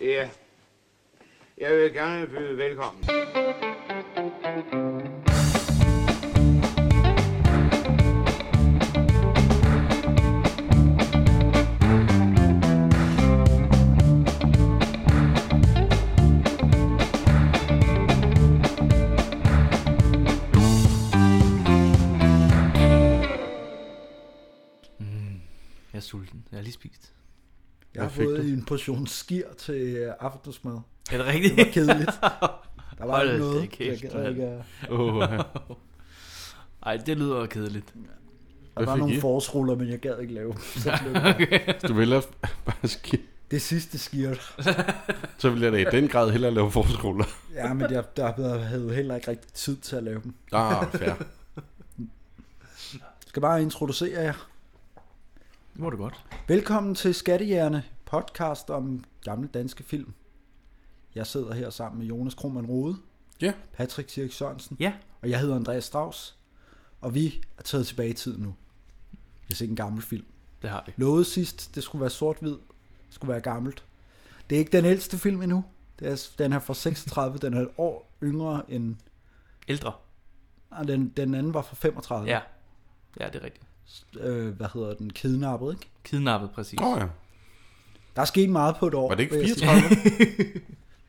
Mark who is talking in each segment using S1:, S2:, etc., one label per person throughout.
S1: Ja. Jeg vil gerne byde velkommen.
S2: Mm. Jeg er sulten. Jeg har lige spist.
S3: Jeg har
S4: Hvad fik
S3: fået
S4: du?
S3: en portion skir til øh, aftensmad.
S2: Er det
S3: Det
S2: rigtigt?
S3: var kedeligt. Der var
S2: Hold
S3: ikke
S2: da
S3: noget.
S2: kæft,
S3: jeg gad
S2: mand.
S3: ikke, øh,
S4: Åh, ja.
S2: Ej, det lyder kedeligt.
S3: der
S4: Hvad
S3: var
S4: fik
S3: nogle
S4: I?
S3: forårsruller, men jeg gad ikke lave dem. Så blev det, bare-
S4: du vil hellere bare ski,
S3: det sidste skir.
S4: så vil jeg da i den grad hellere lave forskruller.
S3: Ja, men jeg, der havde jo heller ikke rigtig tid til at lave dem.
S4: Ah, fair.
S3: Jeg skal bare introducere jer.
S2: Det må du godt.
S3: Velkommen til Skattejerne, podcast om gamle danske film. Jeg sidder her sammen med Jonas Krohmann Rode,
S4: Ja,
S3: Patrick Sirik Sørensen,
S2: Ja.
S3: og jeg hedder Andreas Strauss. Og vi er taget tilbage i tiden nu. Jeg ser en gammel film.
S2: Det har vi.
S3: lovede sidst, det skulle være sort-hvid, det skulle være gammelt. Det er ikke den ældste film endnu. Det er, den er fra 36, den er et år yngre end...
S2: Ældre.
S3: Nej, den, den anden var fra 35.
S2: Ja. Ja, det er rigtigt.
S3: Øh, hvad hedder den? Kidnappet, ikke?
S2: Kidnappet, præcis.
S4: åh oh, ja.
S3: Der er sket meget på et år.
S4: Var det ikke
S3: vil jeg sige.
S4: 34?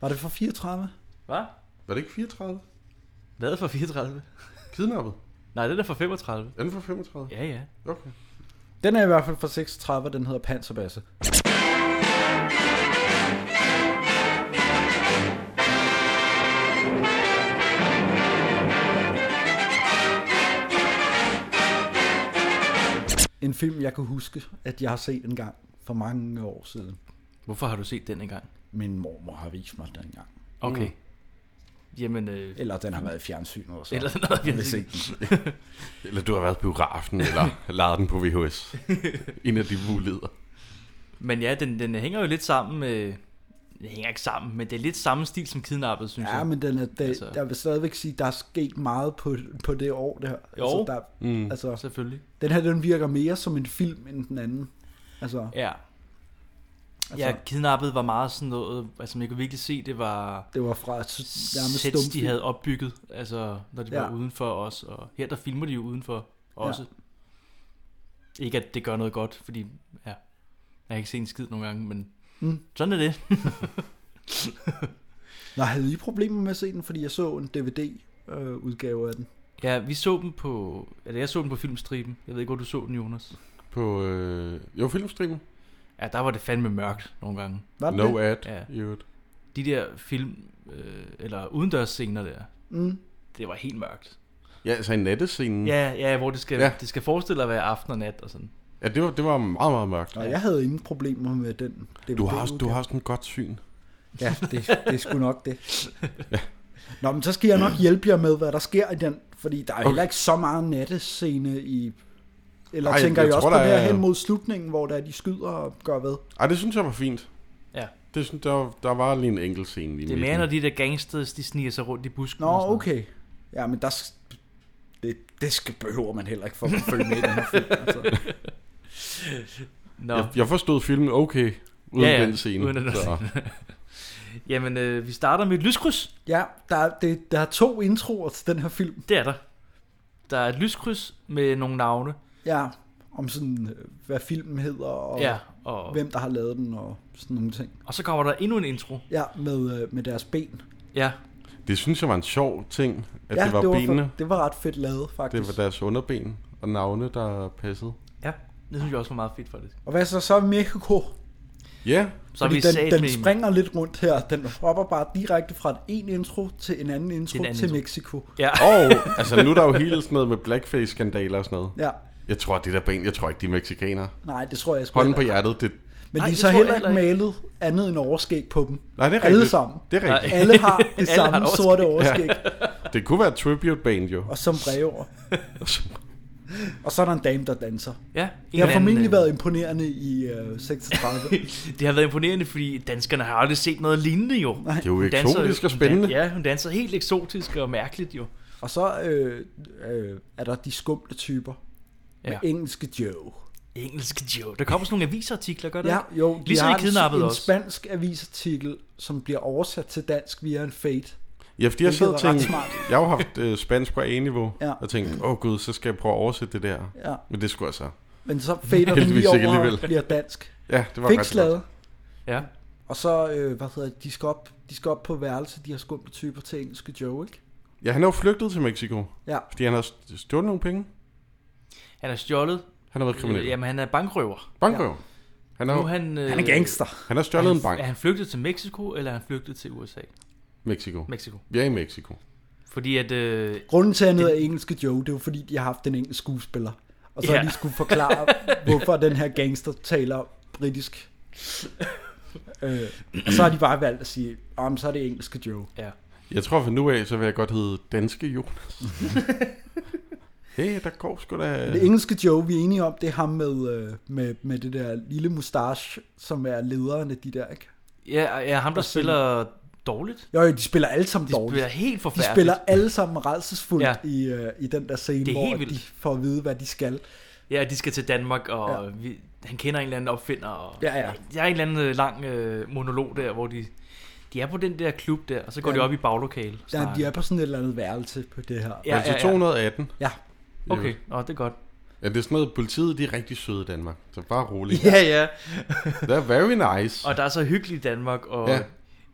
S3: Var det fra 34?
S2: Hvad?
S4: Var det ikke 34?
S2: Hvad er fra 34?
S4: Kidnappet?
S2: Nej, det er fra 35.
S4: Er den fra 35?
S2: Ja, ja.
S4: Okay.
S3: Den er i hvert fald fra 36, og den hedder Panserbasse. En film, jeg kan huske, at jeg har set en gang for mange år siden.
S2: Hvorfor har du set den engang?
S3: Min mormor har vist mig den gang.
S2: Okay. Jamen, øh,
S3: Eller den har været i fjernsynet og så.
S2: Eller den har været i
S3: Jeg har
S2: fjernsynet.
S3: set den.
S4: Eller du har været i biografen, eller lejet den på VHS. en af de muligheder.
S2: men ja, den, den hænger jo lidt sammen med... Den hænger ikke sammen, men det er lidt samme stil som kidnappet, synes
S3: Ja,
S2: jeg.
S3: men den er, der,
S2: Altså.
S3: altså. der vil stadigvæk sige, der er sket meget på, på det år der.
S2: Jo.
S3: Altså, der,
S4: Mm.
S3: altså,
S2: Selvfølgelig.
S3: Den her, den virker mere som en film end den anden. Altså,
S2: Ja.
S3: Altså-
S2: Ja, kidnappet var meget sådan noget, altså man kunne virkelig se, det var
S3: det var fra s- nærmest
S2: sæt, de
S3: stumfilm.
S2: havde opbygget, altså når de ja. var
S3: Ja.
S2: udenfor os. Og her der filmer de jo udenfor også. Ja. Ikke at det gør noget godt, fordi ja, jeg har ikke set en skid nogle gange, men mm.
S3: Mm.
S2: sådan er det.
S3: Nå, havde I problemer med at se den, fordi jeg så en DVD-udgave øh, af den.
S2: Ja, vi så dem på, eller jeg så dem på filmstriben. Jeg ved ikke, hvor du så den, Jonas.
S4: På, øh, jo, filmstreamen.
S2: Ja, der var det fandme mørkt nogle gange.
S3: Var det
S4: No
S3: det?
S4: ad,
S2: Ja.
S4: i øvrigt.
S2: De der film, øh, eller udendørsscener der,
S3: Mm.
S2: det var helt mørkt.
S4: Ja, altså i nattescenen.
S2: Ja, ja, hvor det skal, ja.
S4: Ja.
S2: det skal forestille at være aften og nat og sådan.
S4: ja det, var, det var meget, meget mørkt.
S3: Og jeg havde ingen problemer med den DVD-udgave.
S4: Du har, også, du har sådan et godt syn.
S3: Ja, det, det er sgu nok det. Nå, men så skal jeg nok hjælpe jer med, hvad der sker i den, fordi der er
S4: Okay.
S3: heller ikke så meget nattescene i... Eller
S4: Ej,
S3: Ej,
S4: jeg-
S3: tænker
S4: jeg
S3: jeg, I også
S4: tror,
S3: på
S4: der
S3: det her
S4: er-
S3: hen mod slutningen, hvor der er, de skyder og gør ved?
S4: Ej, det synes jeg var fint.
S2: Ja.
S4: Det synes, der, der var lige en enkelt scene lige
S2: Det er
S4: midt
S2: mere,
S4: i.
S2: når de der gangsters, de sniger sig rundt i busken.
S3: Nå,
S2: og sådan noget.
S3: okay. Ja, men der... s- Det, det skal behøver man heller ikke for at følge med i den her film. Altså.
S2: Nå.
S4: Jeg, jeg forstod filmen okay, uden
S2: Ja, ja,
S4: den scene.
S2: uden den
S4: så.
S2: Jamen, øh, vi starter med et lyskryds.
S3: Ja, der, er- det, der er to introer til den her film.
S2: Det er der. Der er et lyskryds med nogle navne.
S3: Ja, om sådan, øh, hvad filmen hedder, og
S2: Og, ja, og,
S3: hvem der har lavet den, og sådan nogle ting.
S2: og så kommer der endnu en intro.
S3: Ja, med, øh, med deres ben.
S2: Ja,
S4: Det synes jeg var en sjov ting, at
S3: ja,
S4: det var, benene.
S3: For, det var ret fedt lavet, faktisk.
S4: Det var deres underben og navne, der passede.
S2: ja. Det synes jeg også var meget fedt, faktisk.
S3: Og hvad så, så er Mexico?
S4: Ja,
S2: Så er
S3: Fordi
S2: vi
S3: den,
S2: sat
S3: den
S2: med
S3: springer lidt rundt her. Den hopper bare direkte fra en intro til en anden intro
S2: Til en
S3: til,
S2: anden
S3: til
S2: intro.
S3: Mexico.
S2: Ja,
S4: og altså, nu er der jo hele sådan noget med blackface-skandaler og sådan noget.
S3: Ja,
S4: Jeg tror, det der ben, jeg tror ikke, de er mexikanere.
S3: nej, det tror jeg sgu
S4: Hånden
S3: heller
S4: på hjertet, det...
S2: Nej,
S3: Men Nej, de er
S2: det
S3: så
S2: tror jeg
S3: heller ikke
S2: heller
S3: malet andet end overskæg på dem.
S4: Nej, det er rigtigt.
S3: Alle sammen.
S4: Det er rigtigt.
S3: Alle har det
S2: Alle
S3: samme
S2: har et overskæg.
S3: sorte overskæg. Ja.
S4: Det kunne være et tribute-band, jo.
S3: Og som brever. Og så er der en dame, der danser.
S2: ja.
S3: Det har formentlig været imponerende i øh, 36.
S2: øh, det har været imponerende, fordi danskerne har aldrig set noget lignende, jo.
S4: Det er jo
S2: Hun danser
S4: eksotisk og
S2: hun
S4: spændende.
S2: Dan, ja, hun danser helt eksotisk og mærkeligt, jo.
S3: Og så øh, øh, er der de skumle typer. Med
S2: Ja.
S3: engelske Joe.
S2: Engelske Joe. Der kommer sådan nogle avisartikler, gør det
S3: Ja,
S2: ikke?
S3: jo, de
S2: Ligesom i
S3: har en-
S2: Kidnappet
S3: en
S2: også.
S3: spansk avisartikel, som bliver oversat til dansk via en fade.
S4: Ja, fordi jeg
S3: Hvilket
S4: sad og
S3: var
S4: tænkte,
S3: ret smart.
S4: jeg har jo haft øh, spansk på A-niveau,
S3: Ja.
S4: ja. og tænkte, åh oh, gud, så skal jeg prøve at oversætte det der.
S3: Ja,
S4: Men det skulle jeg så.
S3: men så fader den
S4: Heldigvis
S3: lige
S4: ikke
S3: over og
S4: alligevel.
S3: bliver dansk.
S4: Ja, det var
S3: Fik
S4: ret godt.
S3: slaget.
S2: Ja.
S3: Og så, øh, hvad hedder det, de skal op, de skal op på værelse, de har skumpe typer til engelske Joe, ikke?
S4: Ja, han er jo flygtet til Mexico,
S3: Ja,
S4: fordi han har st- stjålet nogle penge.
S2: Han er stjålet. Øh,
S4: Han har været kriminel.
S2: Jamen, han er bankrøver.
S4: Bankrøver. Han, er,
S2: Nu er
S4: jo-
S2: han, øh,
S3: han er gangster.
S4: han har
S2: er
S4: stjålet en
S2: han-
S4: bank.
S2: Er han flygtet til Mexico, eller er han flygtet til USA?
S4: Mexico.
S2: Mexico.
S4: Vi er i Mexico.
S2: Fordi at... Øh,
S3: Grunden til, at han hedder engelske Joe, det er jo fordi, de har haft en engelsk skuespiller. Og så har
S2: Ja.
S3: de skulle forklare, hvorfor den her gangster taler britisk. øh, og så har de bare valgt at sige, om så er det engelske Joe.
S2: ja.
S4: Jeg tror fra nu af, så vil jeg godt hedde Danske Jonas. hey, der går sgu da...
S3: Det engelske Joe, vi er enige om, det er ham med, øh, med, med det der lille mustache, som er lederen af de der, ikke?
S2: Ja, ja, ham der
S3: Og så-
S2: spiller dårligt.
S3: Jo, jo, de spiller alle sammen
S2: De
S3: dårligt.
S2: spiller helt
S3: De
S2: forfærdeligt.
S3: spiller alle sammen redselsfuldt ja.
S2: Ja.
S3: i, øh, i den der scene,
S2: Det er
S3: hvor
S2: helt vildt.
S3: de får at vide, hvad de skal.
S2: Ja, de skal til Danmark, og
S3: Ja.
S2: ja. vi, han kender en eller anden opfinder. Og
S3: Ja, ja.
S2: Der er en eller anden øh, lang øh, monolog der, hvor de, de er på den der klub der, og så går
S3: Ja.
S2: ja. de op i baglokalet. og
S3: Ja,
S2: snakker.
S3: de er på sådan et eller andet værelse på det her.
S2: Ja, ja,
S4: altså
S2: ja.
S4: 218.
S3: Ja.
S2: Okay, Nå, det er godt.
S4: Ja, det er sådan noget, politiet de er rigtig søde i Danmark. Så bare rolig.
S2: Ja, ja.
S4: They're very nice.
S2: Og der er så hyggeligt i Danmark, og ja.
S4: Ja.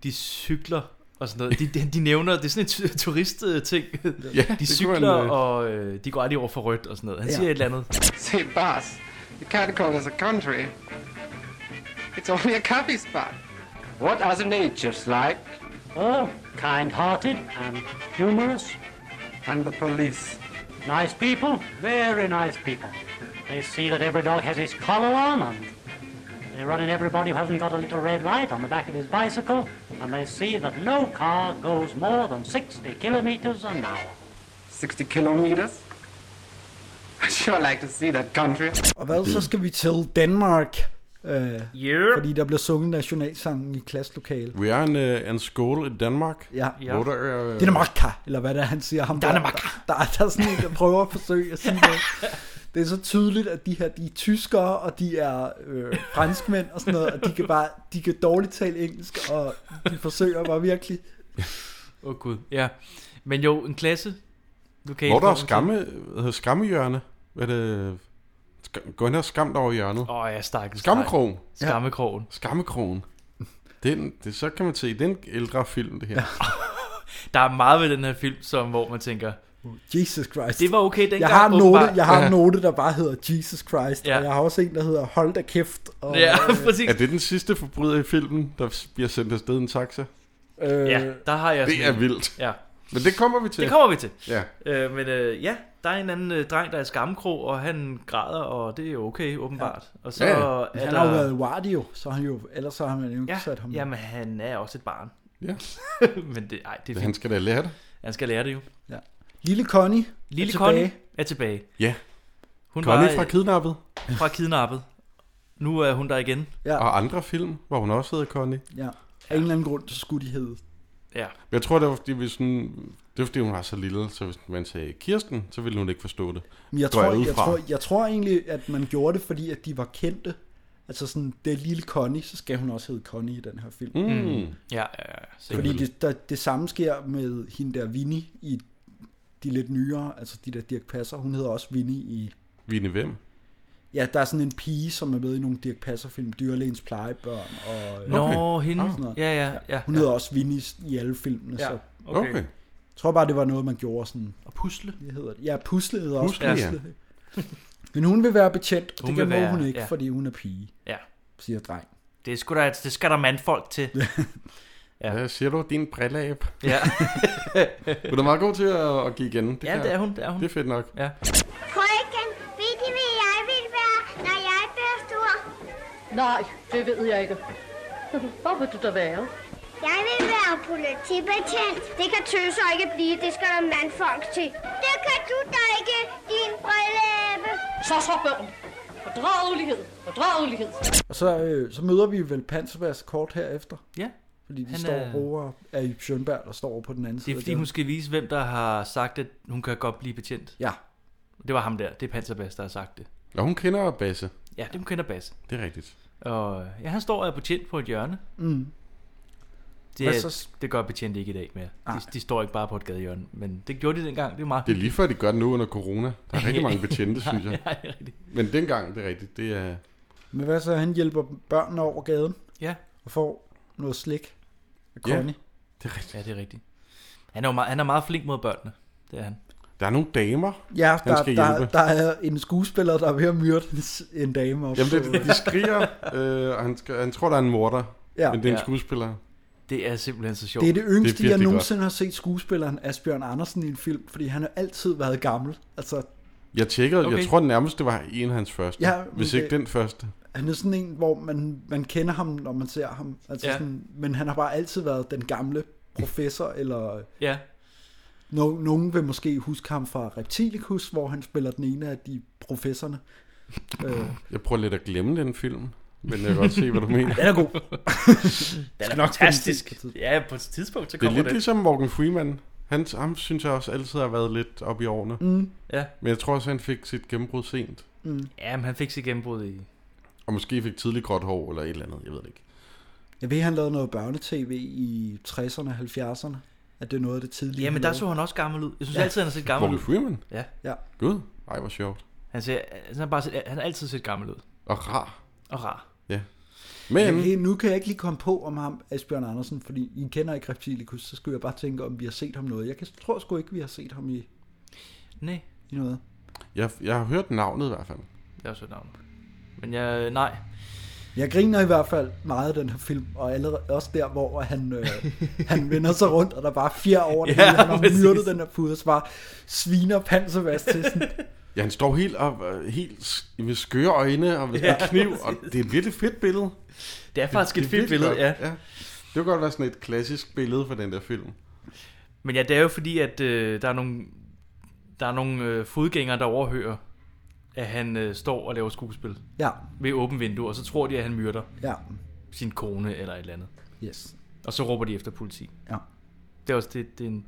S2: de cykler og sådan noget. De, de, de nævner, det er sådan en tu- turistting.
S4: Ja,
S2: De
S4: det kunne man,
S2: cykler,
S4: øh,
S2: og øh, de går aldrig over for rødt og sådan noget. Han
S3: Ja.
S2: siger et eller andet.
S5: Say, boss, you can't call this a country. It's only a coffee spot.
S6: What are the natures like? Oh, kind-hearted and humorous.
S5: And the police.
S6: Nice people, very nice people. They see that every dog has his collar on, and they run in everybody who hasn't got a little red light on the back of his bicycle, and they see that no car goes more than 60 kilometers an hour.
S5: 60 kilometers. I'd sure like to see that country.
S3: Og hvad, så skal vi til Danmark, øh,
S2: Yeah.
S3: fordi der bliver sunget nationalsangen i klasselokalet.
S4: We are in uh, en skole i Danmark.
S3: Ja.
S2: Ja.
S4: Hvor der er... øh,
S3: Det er Marka, eller hvad det er, han siger. Ham der,
S2: Danmark.
S3: Der, der, der er sådan en, der prøver at forsøge at sige noget. Det er så tydeligt, at de her, de er tyskere, og de er øh, franskmænd og sådan noget, og de kan bare, de kan dårligt tale engelsk, og de forsøger bare virkelig.
S2: Åh oh, gud, ja. Men jo, en klasse. Lokal
S4: Hvor der er skamme, hvad hedder skammehjørne. Hvad er det? Skam, gå hen og skam dig over hjørnet.
S2: Åh oh, ja, stakkels.
S4: Skammekrogen.
S2: dreng. Skammekrogen.
S4: Skammekrogen. Den, det, så kan man se, det er en ældre film, det her. Ja.
S2: Der er meget ved den her film, som, hvor man tænker,
S3: Jesus Christ.
S2: det var okay dengang.
S3: jeg har, en note,
S2: åbenbart.
S3: jeg har en note, der bare hedder Jesus Christ, ja.
S2: Ja.
S3: og jeg har også en, der hedder Hold da kæft. Og, øh,
S2: Ja, præcis.
S4: Er det den sidste forbryder i filmen, der bliver sendt afsted i en taxa?
S3: øh,
S2: Ja, der har jeg
S4: Det
S2: sådan
S4: er
S2: en-
S4: vildt.
S2: Ja,
S4: Men det kommer vi til.
S2: det kommer vi til.
S4: Ja.
S2: Øh, men øh, ja, der er en anden øh, dreng, der er skamkrog, og han græder, og det er jo okay, åbenbart. Og så
S4: Ja, ja.
S2: er
S3: Han
S2: der...
S3: har jo været Wardy jo, så har han jo, ellers så har man jo ikke
S2: Ja,
S3: sat ham.
S2: jamen han er også et barn.
S4: Ja.
S2: men det, ej, det er
S4: Han
S2: fint.
S4: skal da lære det.
S2: Han skal lære det jo.
S3: Lille Connie
S2: Lille
S3: er
S2: Connie
S3: tilbage.
S2: er tilbage.
S4: Ja.
S2: Hun
S4: Connie
S2: var
S4: fra
S2: øh,
S4: Kidnappet
S2: fra kidnappet. Nu er hun der igen.
S3: Ja.
S4: og andre film, hvor hun også hedder Connie.
S3: Ja. Af en eller anden grund, så skulle de hedde.
S2: Ja,
S4: Men jeg tror, det var, fordi vi sådan, det var, fordi hun var så lille, så hvis man sagde Kirsten, så ville hun ikke forstå det.
S3: Men jeg
S4: Går
S3: tror,
S4: jeg
S3: jeg,
S4: ud
S3: jeg,
S4: fra.
S3: tror, jeg tror egentlig, at man gjorde det, fordi at de var kendte. Altså sådan, det er lille Connie, så skal hun også hedde Connie i den her film. Mm.
S4: Mm.
S2: ja, ja, ja. sikkert.
S3: Fordi det, der, det samme sker med hende der Vinnie i de lidt nyere, altså de der Dirk Passer, hun hedder også Vinnie i...
S4: Vine hvem?
S3: Ja, der er sådan en pige, som er med i nogle Dirk Passer-film, Dyrlægens plejebørn, og øh,
S2: Nå, hende.
S3: sådan noget.
S2: Ja, ja, ja.
S3: hun hedder også Vinnie i alle filmene, ja.
S2: ja.
S3: så
S4: Okay. okay.
S3: jeg tror bare, det var noget, man gjorde sådan...
S2: Og pusle.
S3: Hvad hedder det? Ja, Pusle hedder også
S4: Pusle, ja.
S3: Pusle. Men hun vil være betjent, og
S2: Hun
S3: det
S2: vil
S3: kan
S2: være-
S3: hun ikke,
S2: ja.
S3: fordi hun er pige,
S2: Ja.
S3: siger dreng.
S2: Det, er sgu da, det skal der mandfolk til. Ja.
S4: Ja, siger du, din brilleab?
S2: ja.
S4: Hun er meget god til at, at give igen. Det
S2: ja,
S4: kan-
S2: det er hun, det er hun.
S4: Det er fedt nok.
S2: Ja.
S7: Frøken, ved I, hvad jeg vil være, når jeg bliver stor?
S8: Nej, det ved jeg ikke. Hvor vil du da være?
S7: Jeg vil være politibetjent. Det kan tøser ikke blive, det skal der mandfolk til. Det kan du da ikke, din brilleæbe.
S8: Så så børn. Fordragelighed, fordragelighed.
S3: Og så, øh, så møder vi vel Panserbass kort herefter,
S2: ja.
S3: fordi de
S2: Han
S3: han står
S2: er-
S3: er... over af Ib Schønberg, der står over på den anden
S2: Det
S3: side.
S2: er
S3: af
S2: fordi,
S3: gaden.
S2: hun skal vise, hvem der har sagt, at hun kan godt blive betjent.
S3: Ja,
S2: Det var ham der. Det er Panserbas, der har sagt det.
S4: Og hun kender Basse.
S2: Ja, dem kender Bas.
S4: Det er rigtigt.
S2: Og ja, han står og er betjent på et hjørne.
S3: Mm.
S2: Det,
S3: Hvad
S2: er,
S3: så?
S2: det gør betjente ikke i dag mere.
S3: Nej.
S2: De, de, står ikke bare på et gadehjørne, men det gjorde de dengang. Det er meget
S4: Det er lige før, de gør det nu under corona. Der er rigtig mange betjente, synes jeg.
S2: Ja, det er rigtigt.
S4: Men dengang, det er rigtigt, det er...
S3: Men hvad så, han hjælper børnene over gaden
S2: Ja,
S3: og får noget slik af
S4: Ja.
S3: Connie.
S4: Det er rigtigt.
S2: ja, det er rigtigt. Han er, jo meget, han er meget flink mod børnene. Det er han.
S4: Der er nogle damer.
S3: Ja, ja der,
S4: skal
S3: der,
S4: hjælpe.
S3: der er en skuespiller, der er ved at myrde en- en dame op.
S4: Jamen, det, de skriger, øh, og han, skal, han tror, der er en morder.
S3: ja.
S4: Men det er en
S2: Ja.
S4: skuespiller.
S2: Det er simpelthen så sjovt.
S3: Det er det yngste, det
S4: virkelig
S3: jeg
S4: godt.
S3: nogensinde har set skuespilleren Asbjørn Andersen i en film, fordi han har altid været gammel. Altså,
S4: Jeg tjekkede, okay.
S2: Okay.
S4: jeg tror nærmest, det var en af hans første.
S3: Ja,
S4: Ja,
S3: men
S4: hvis
S3: det-
S4: ikke den første.
S3: han er sådan en, hvor man, man kender ham, når man ser ham. Altså, ja.
S2: Ja.
S3: sådan, men han har bare altid været den gamle professor, eller
S2: Ja,
S3: no, nogen vil måske huske ham fra Reptilicus, hvor han spiller den ene af de professorerne. øh,
S4: Jeg prøver lidt at glemme den film, men jeg kan godt se, hvad du mener.
S3: den er god.
S2: den er
S3: nok
S2: fantastisk.
S3: finde tid på tidspunkt.
S2: Ja, på et tidspunkt, så
S4: Det er
S2: kommer
S4: lidt
S2: det.
S4: ligesom Morgan Freeman. Han, ham synes jeg også altid har været lidt op i årene.
S3: Mm,
S2: Ja.
S4: Men jeg tror også, han fik sit gennembrud sent.
S3: mm.
S2: ja, men han fik sit gennembrud i...
S4: Og måske fik tidlig gråt hår eller et eller andet, jeg ved det ikke.
S3: Jeg ved, han lavede noget børnetv i 60'erne og 70'erne. At det er noget af det tidlige.
S2: Ja,
S3: han
S2: men der
S3: lavede.
S2: så han også gammel ud. Jeg synes
S3: Ja.
S2: ja. altid, han har set gammel
S4: Morgan
S2: ud.
S4: Freeman?
S2: Ja.
S3: Ja.
S4: Gud, ej hvor sjovt.
S2: Han, ser, han, har bare set, han har altid set gammel ud.
S4: Og rar.
S2: Og rar.
S4: Men
S3: Hey, nu kan jeg ikke lige komme på om ham, Asbjørn Andersen, fordi I kender ikke Reptilicus, så skulle jeg bare tænke, om vi har set ham noget. Jeg kan, tror sgu ikke, vi har set ham i,
S2: Nej,
S3: i noget.
S4: jeg, jeg har hørt navnet i hvert fald.
S2: det er også et navn. Men jeg, nej.
S3: Jeg griner i hvert fald meget af den her film, og allerede, også der, hvor han, øh, han vender sig rundt, og der er bare fjer over det,
S2: Ja,
S3: ja, han har
S2: præcis.
S3: myrdet den her pude, så bare sviner panservast til sådan.
S4: Ja, han står helt, op, øh, helt s- med skøre øjne og med ja, kniv, og det er et virkelig fedt billede.
S2: Det er faktisk
S4: Det
S2: et
S4: er
S2: fedt
S4: virkelig
S2: billede,
S4: godt.
S2: ja.
S4: ja. Det kunne godt være sådan et klassisk billede for den der film.
S2: Men ja, det er jo fordi, at øh, der er nogle, der er nogle øh, fodgængere, der overhører, at han øh, står og laver skuespil
S3: Ja,
S2: ved åbent vindue, og så tror de, at han myrder
S3: ja,
S2: sin kone eller et eller andet.
S3: yes.
S2: Og så råber de efter politi.
S3: Ja.
S2: Det er også det, det er en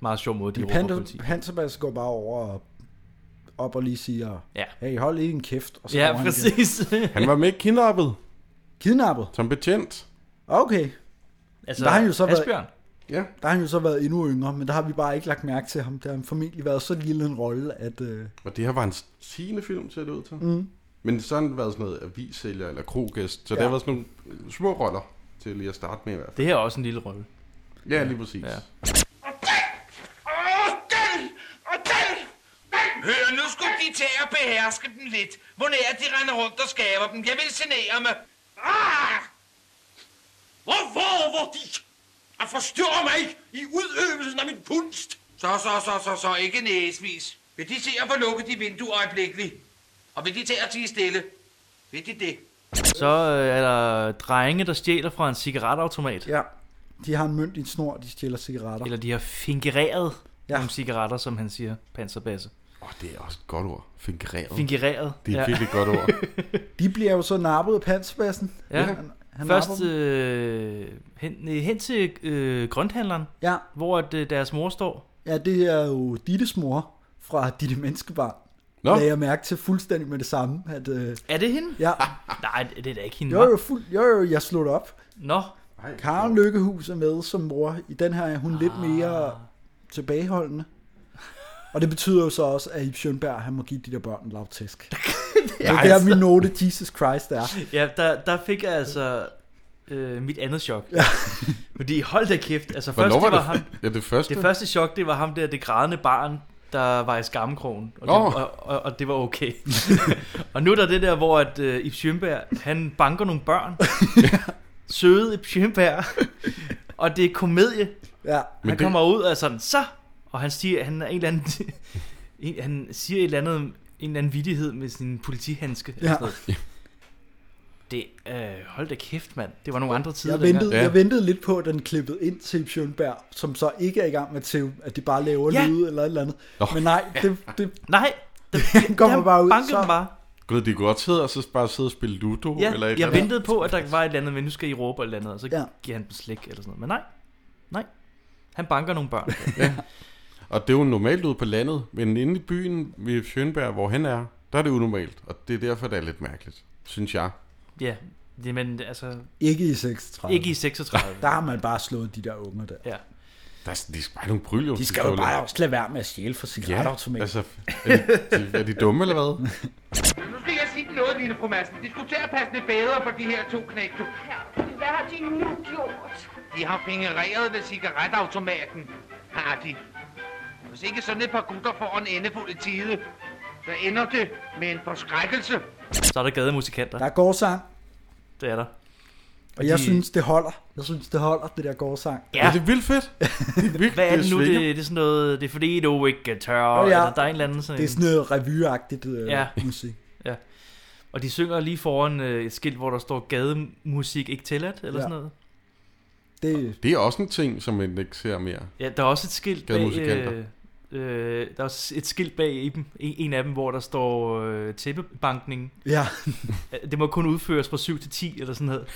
S2: meget sjov måde, de råber politi.
S3: Panser, panservast går bare over og op og lige siger,
S2: Ja.
S3: hey, hold lige en kæft, og så går
S2: Ja,
S3: han igen.
S2: præcis.
S4: Han var med i kidnappet
S3: Kidnappet?
S4: som betjent.
S3: Okay.
S2: altså,
S3: Der har han jo så været-
S2: Asbjørn.
S4: Ja,
S3: Der har han jo så været endnu yngre, men der har vi bare ikke lagt mærke til ham. Der har han formentlig været så lille en rolle, at... Øh,
S4: og det her var hans tiende film, ser det ud til.
S3: Mm.
S4: Men så har han været sådan noget avissælger eller krogæst,
S3: Ja.
S4: så ja. det har været sådan nogle øh, små roller til lige at starte med i hvert fald.
S2: Det her er også en lille rolle.
S4: Ja, lige præcis.
S2: Ja.
S4: Ja.
S9: Åh, den! Og den! Hør, nu skulle de tage og beherske dem lidt. Hvor nær de render rundt og skaber dem. Jeg vil genere mig. Ah! Hvor våger de at forstyrre mig i udøvelsen af min kunst? Så, så, så, så, så, ikke næsvis. Vil de se at få lukket de vinduer øjeblikkeligt? Og vil de tage og tige stille? Vil de det?
S2: Så øh, er der drenge, der stjæler fra en cigaretautomat. Ja.
S3: ja. De har en mønt i en snor, de stjæler cigaretter.
S2: Eller de har fingereret
S3: Ja.
S2: ja. nogle cigaretter, som han siger, panserbasse.
S4: Åh, det er også et godt ord. Fingereret.
S2: Fingereret.
S4: det er et
S2: ja.
S4: virkelig godt ord.
S3: De bliver jo så nappet af panserbassen.
S2: Ja.
S3: Han, han
S2: Først
S3: napper dem.
S2: øh, hen, øh, hen til øh, grønthandleren,
S3: Ja.
S2: hvor at, øh, deres mor står.
S3: ja, det er jo Dittes mor fra Ditte Menneskebarn.
S4: Nå,
S3: Lagde jeg mærke til fuldstændig med det samme. At, øh,
S2: Er det hende?
S3: ja,
S2: Nej, det er da ikke hende.
S3: jo,
S2: hva'?
S3: jo, fuld, jo, jo, jeg slutter op.
S2: Nå,
S3: Karen Lykkehus er med som mor. I den her er hun ah. lidt mere tilbageholdende. Og det betyder jo så også, at Ip Schønberg, han må give de der børn en lav tæsk. det er der min note, Jesus Christ, er.
S2: ja, der, der fik jeg altså øh, mit andet chok. Ja. Fordi hold da kæft, altså først
S4: Hvornår
S2: det
S4: var
S2: var,
S4: det?
S2: ham,
S4: Ja, det første.
S2: det første chok, det var ham der, det grædende barn, der var i skammekrogen, og, det,
S4: Nå.
S2: og, og, og det var okay. og nu er der det der, hvor at, øh, Ip Schønberg, han banker nogle børn. Søde Ip Schønberg. og det er komedie,
S3: Ja,
S2: Men han det...
S4: det-
S2: kommer ud og er sådan, så! Og han siger, han er en eller anden... en, han siger et eller andet, en eller anden vittighed med sin politihandske.
S3: Ja.
S2: Ja. Sådan noget. Det, øh, hold da kæft, mand. Det var nogle andre tider.
S3: jeg
S2: dengang.
S3: ventede,
S4: Ja.
S3: jeg ventede lidt på, at den klippede ind til Ip Schønberg, som så ikke er i gang med TV, at de bare laver ja.
S2: Ja.
S3: lyde eller et eller andet.
S4: Nå.
S3: Men nej, det, det
S2: Nej, der,
S3: Han kommer
S2: der
S3: bare ud,
S2: bankede
S3: så-
S2: den bare.
S4: Gud, de kunne godt sidde og så bare sidde og spille Ludo
S2: Ja,
S4: eller et eller
S2: jeg
S4: andet.
S2: ventede på, at der var et eller andet, men nu skal I råbe eller et eller andet, og så
S3: Ja.
S2: ja. giver han dem slik eller sådan noget. Men nej, nej. Han banker nogle børn.
S4: Og det er jo normalt ude på landet, men inde i byen ved Sjønberg, hvor han er, der er det unormalt, og det er derfor, det er lidt mærkeligt. synes jeg.
S2: Ja, det, men altså,
S3: Ikke i 36.
S2: ikke i 36.
S3: Der har man bare slået de der unger der.
S2: Ja.
S4: Der er, de skal bare have nogle bryllupshistorier.
S3: De skal jo bare også lade være med at stjæle fra cigaretautomaten.
S4: Ja,
S3: Ja,
S4: altså, er de, er de dumme eller hvad?
S9: Nu skal jeg sige dig noget, Line Fru Madsen. Diskuter at passe lidt bedre på de her to knæk, du.
S7: Hvad har de nu gjort?
S9: De har fingereret ved cigaretautomaten, har de. Hvis ikke sådan et par gutter får en endefuld i tide, så ender det med en forskrækkelse.
S2: Så er der gademusikanter.
S4: altså.
S3: Der er gårdsang,
S2: Det er der.
S3: og jeg
S2: de-
S3: synes, det holder. Jeg synes, det holder, det der gårdsang.
S4: Ja. Er det vildt fedt? Det er virkelig,
S2: Hvad er det nu?
S4: svinger.
S2: Det, det er sådan noget, det er fordi, du ikke tør.
S3: Nå
S2: Oh,
S3: ja.
S2: ja. eller der er en eller anden sådan
S3: Det er sådan noget revyagtigt øh,
S2: Ja.
S3: ja. musik.
S2: Og de synger lige foran øh, et skilt, hvor der står gademusik ikke tilladt, eller
S3: Ja.
S2: ja. sådan noget.
S3: Det,
S4: Det er også en ting, som man ikke ser mere.
S2: Ja, der er også et skilt bag... Øh,
S4: Gademusikanter.
S2: øh, der er også et skilt bag i dem. En, en af dem, hvor der står øh, tæppebankning.
S3: ja,
S2: Øh, Det må kun udføres fra 7 til 10, eller sådan noget.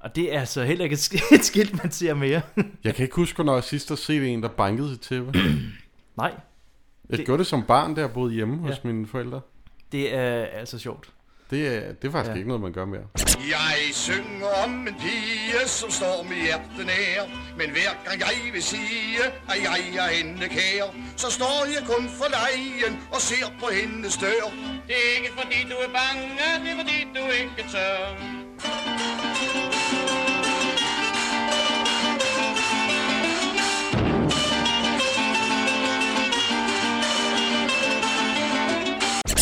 S2: Og det er altså heller ikke et sk- et skilt, man ser mere.
S4: Jeg kan ikke huske, når jeg sidst har set en, der bankede til tæppe.
S2: Nej,
S4: Jeg
S2: Det-
S4: det... gjorde det som barn, der jeg boede hjemme ja. hos mine forældre.
S2: det er altså sjovt.
S4: Det er, det er faktisk
S2: Ja.
S4: ja. ikke noget, man gør mere.
S10: Jeg synger om en pige, som står mit hjerte nær. Men hver gang jeg vil sige, at jeg er hende kær, så står jeg kun for lejen og ser på hendes dør.
S9: Det er ikke fordi du er bange, det er fordi du ikke tør.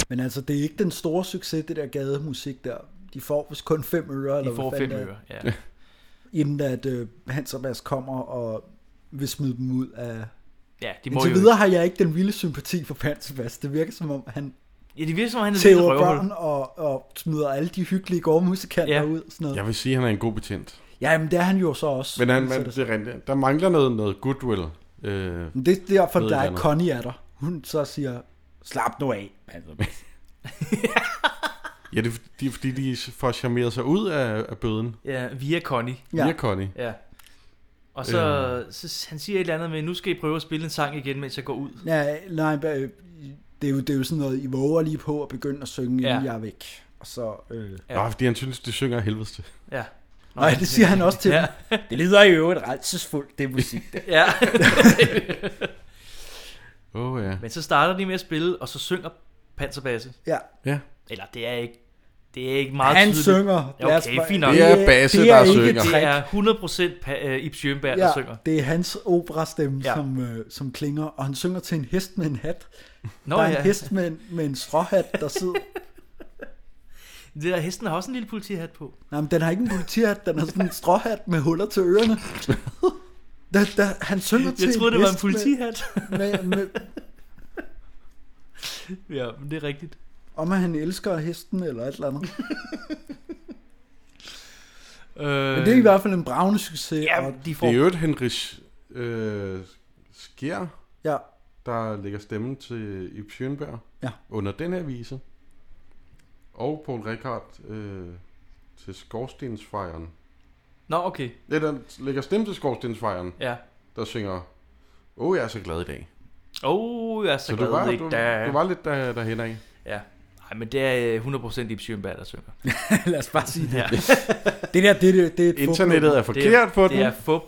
S3: men altså, det er ikke den store succes, det der gademusik der. De får vist kun fem øre, eller
S2: De får
S3: hvad
S2: fem
S3: fanden det er,
S2: øre. Ja.
S3: Inden at øh, Hans og Mads kommer og vil smide dem ud af...
S2: ja, de må
S3: Indtil
S2: jo...
S3: videre har jeg ikke den vilde sympati for Hans og Mads. Det virker som om, han
S2: Ja, det virker som, om, han er lidt et
S3: tæver børn
S2: røvhul.
S3: og, og smider alle de hyggelige gårdmusikanter
S2: Ja.
S3: ja. ud. og Sådan noget.
S4: Jeg vil sige, at han er en god betjent.
S3: Ja, jamen det er han jo så også.
S4: Men han,
S3: Så
S4: man,
S3: det-
S4: det er rent, der mangler noget, noget goodwill. Øh,
S3: Men det er derfor,
S4: Ved
S3: der
S4: et
S3: er
S4: eller
S3: Connie er der. Hun så siger, slap nu af.
S2: Altså.
S3: Hans og Mads."
S4: ja, det er, fordi- det er fordi, de får charmeret sig ud af, af bøden.
S2: Ja, via Connie.
S4: Ja.
S3: Ja.
S4: Via Connie.
S2: Ja. Og så, øh. så han siger et eller andet med, nu skal I prøve at spille en sang igen, mens jeg går ud.
S3: Ja, nej, øh, det er, jo, det er jo sådan noget, I våger lige på at begynde at synge,
S2: Ja.
S3: inden jeg er væk. Og så, øh...
S2: Ja.
S4: Ja. Nå, fordi han synes, det synger af helvedes til.
S2: Ja. Nå,
S3: Nej, det siger han også til
S2: Ja.
S3: ja. Det lyder jo øvrigt rejsesfuldt, det musik. der.
S2: Ja.
S4: Åh oh, ja.
S2: Men så starter de med at spille, og så synger Panserbasse.
S3: ja.
S4: ja.
S2: Eller det er ikke, det er ikke meget
S3: Han
S2: tydeligt.
S3: synger.
S2: Ja,
S3: Lad os
S2: okay,
S3: bare-
S2: fint nok.
S4: Det er Basse,
S3: det er
S4: der
S3: ikke
S4: synger.
S3: et
S2: Det
S3: trick.
S2: er 100% pa- øh, Ib Sjøenberg, der synger.
S3: Ja, det er hans operastemme,
S2: Ja.
S3: ja. som, øh, som klinger, og han synger til en hest med en hat.
S2: Nå,
S3: der er
S2: ja.
S3: en hest med en, med en stråhat, der sidder...
S2: Det der hesten har også en lille politihat på.
S3: Nej, men den har ikke en politihat, den har sådan en stråhat med huller til ørerne. Da, da, han synger til
S2: Jeg troede, det var en
S3: hest
S2: politihat.
S3: Med, med, med,
S2: ja, men det er rigtigt.
S3: om at han elsker hesten eller et eller andet.
S2: Øh,
S3: Men det er i hvert fald en bravende succes.
S2: ja,
S3: og,
S2: de
S4: Det
S2: får...
S4: er jo et Henrik øh, Skjær,
S3: ja,
S4: der lægger stemmen til Ip Schønberg
S3: Ja.
S4: under den her vise. Og Paul Rikard øh, til Skorstensfejren.
S2: Nå, okay.
S4: Det der lægger stemme til Skorstensfejren,
S2: Ja.
S4: der synger Åh, oh, jeg er så glad i dag.
S2: Åh, oh, jeg er så,
S4: Så
S2: så
S4: du
S2: glad,
S4: var,
S2: ikke?
S4: du,
S2: Da...
S4: du var lidt der, derhen af.
S2: Ja. Nej, men det er øh, 100% Ib Sjøenberg, der synger.
S3: lad os bare sige det.
S2: Ja.
S3: Det der, det, det, det er et
S4: Internettet er forkert på
S2: det
S4: den.
S2: er fup.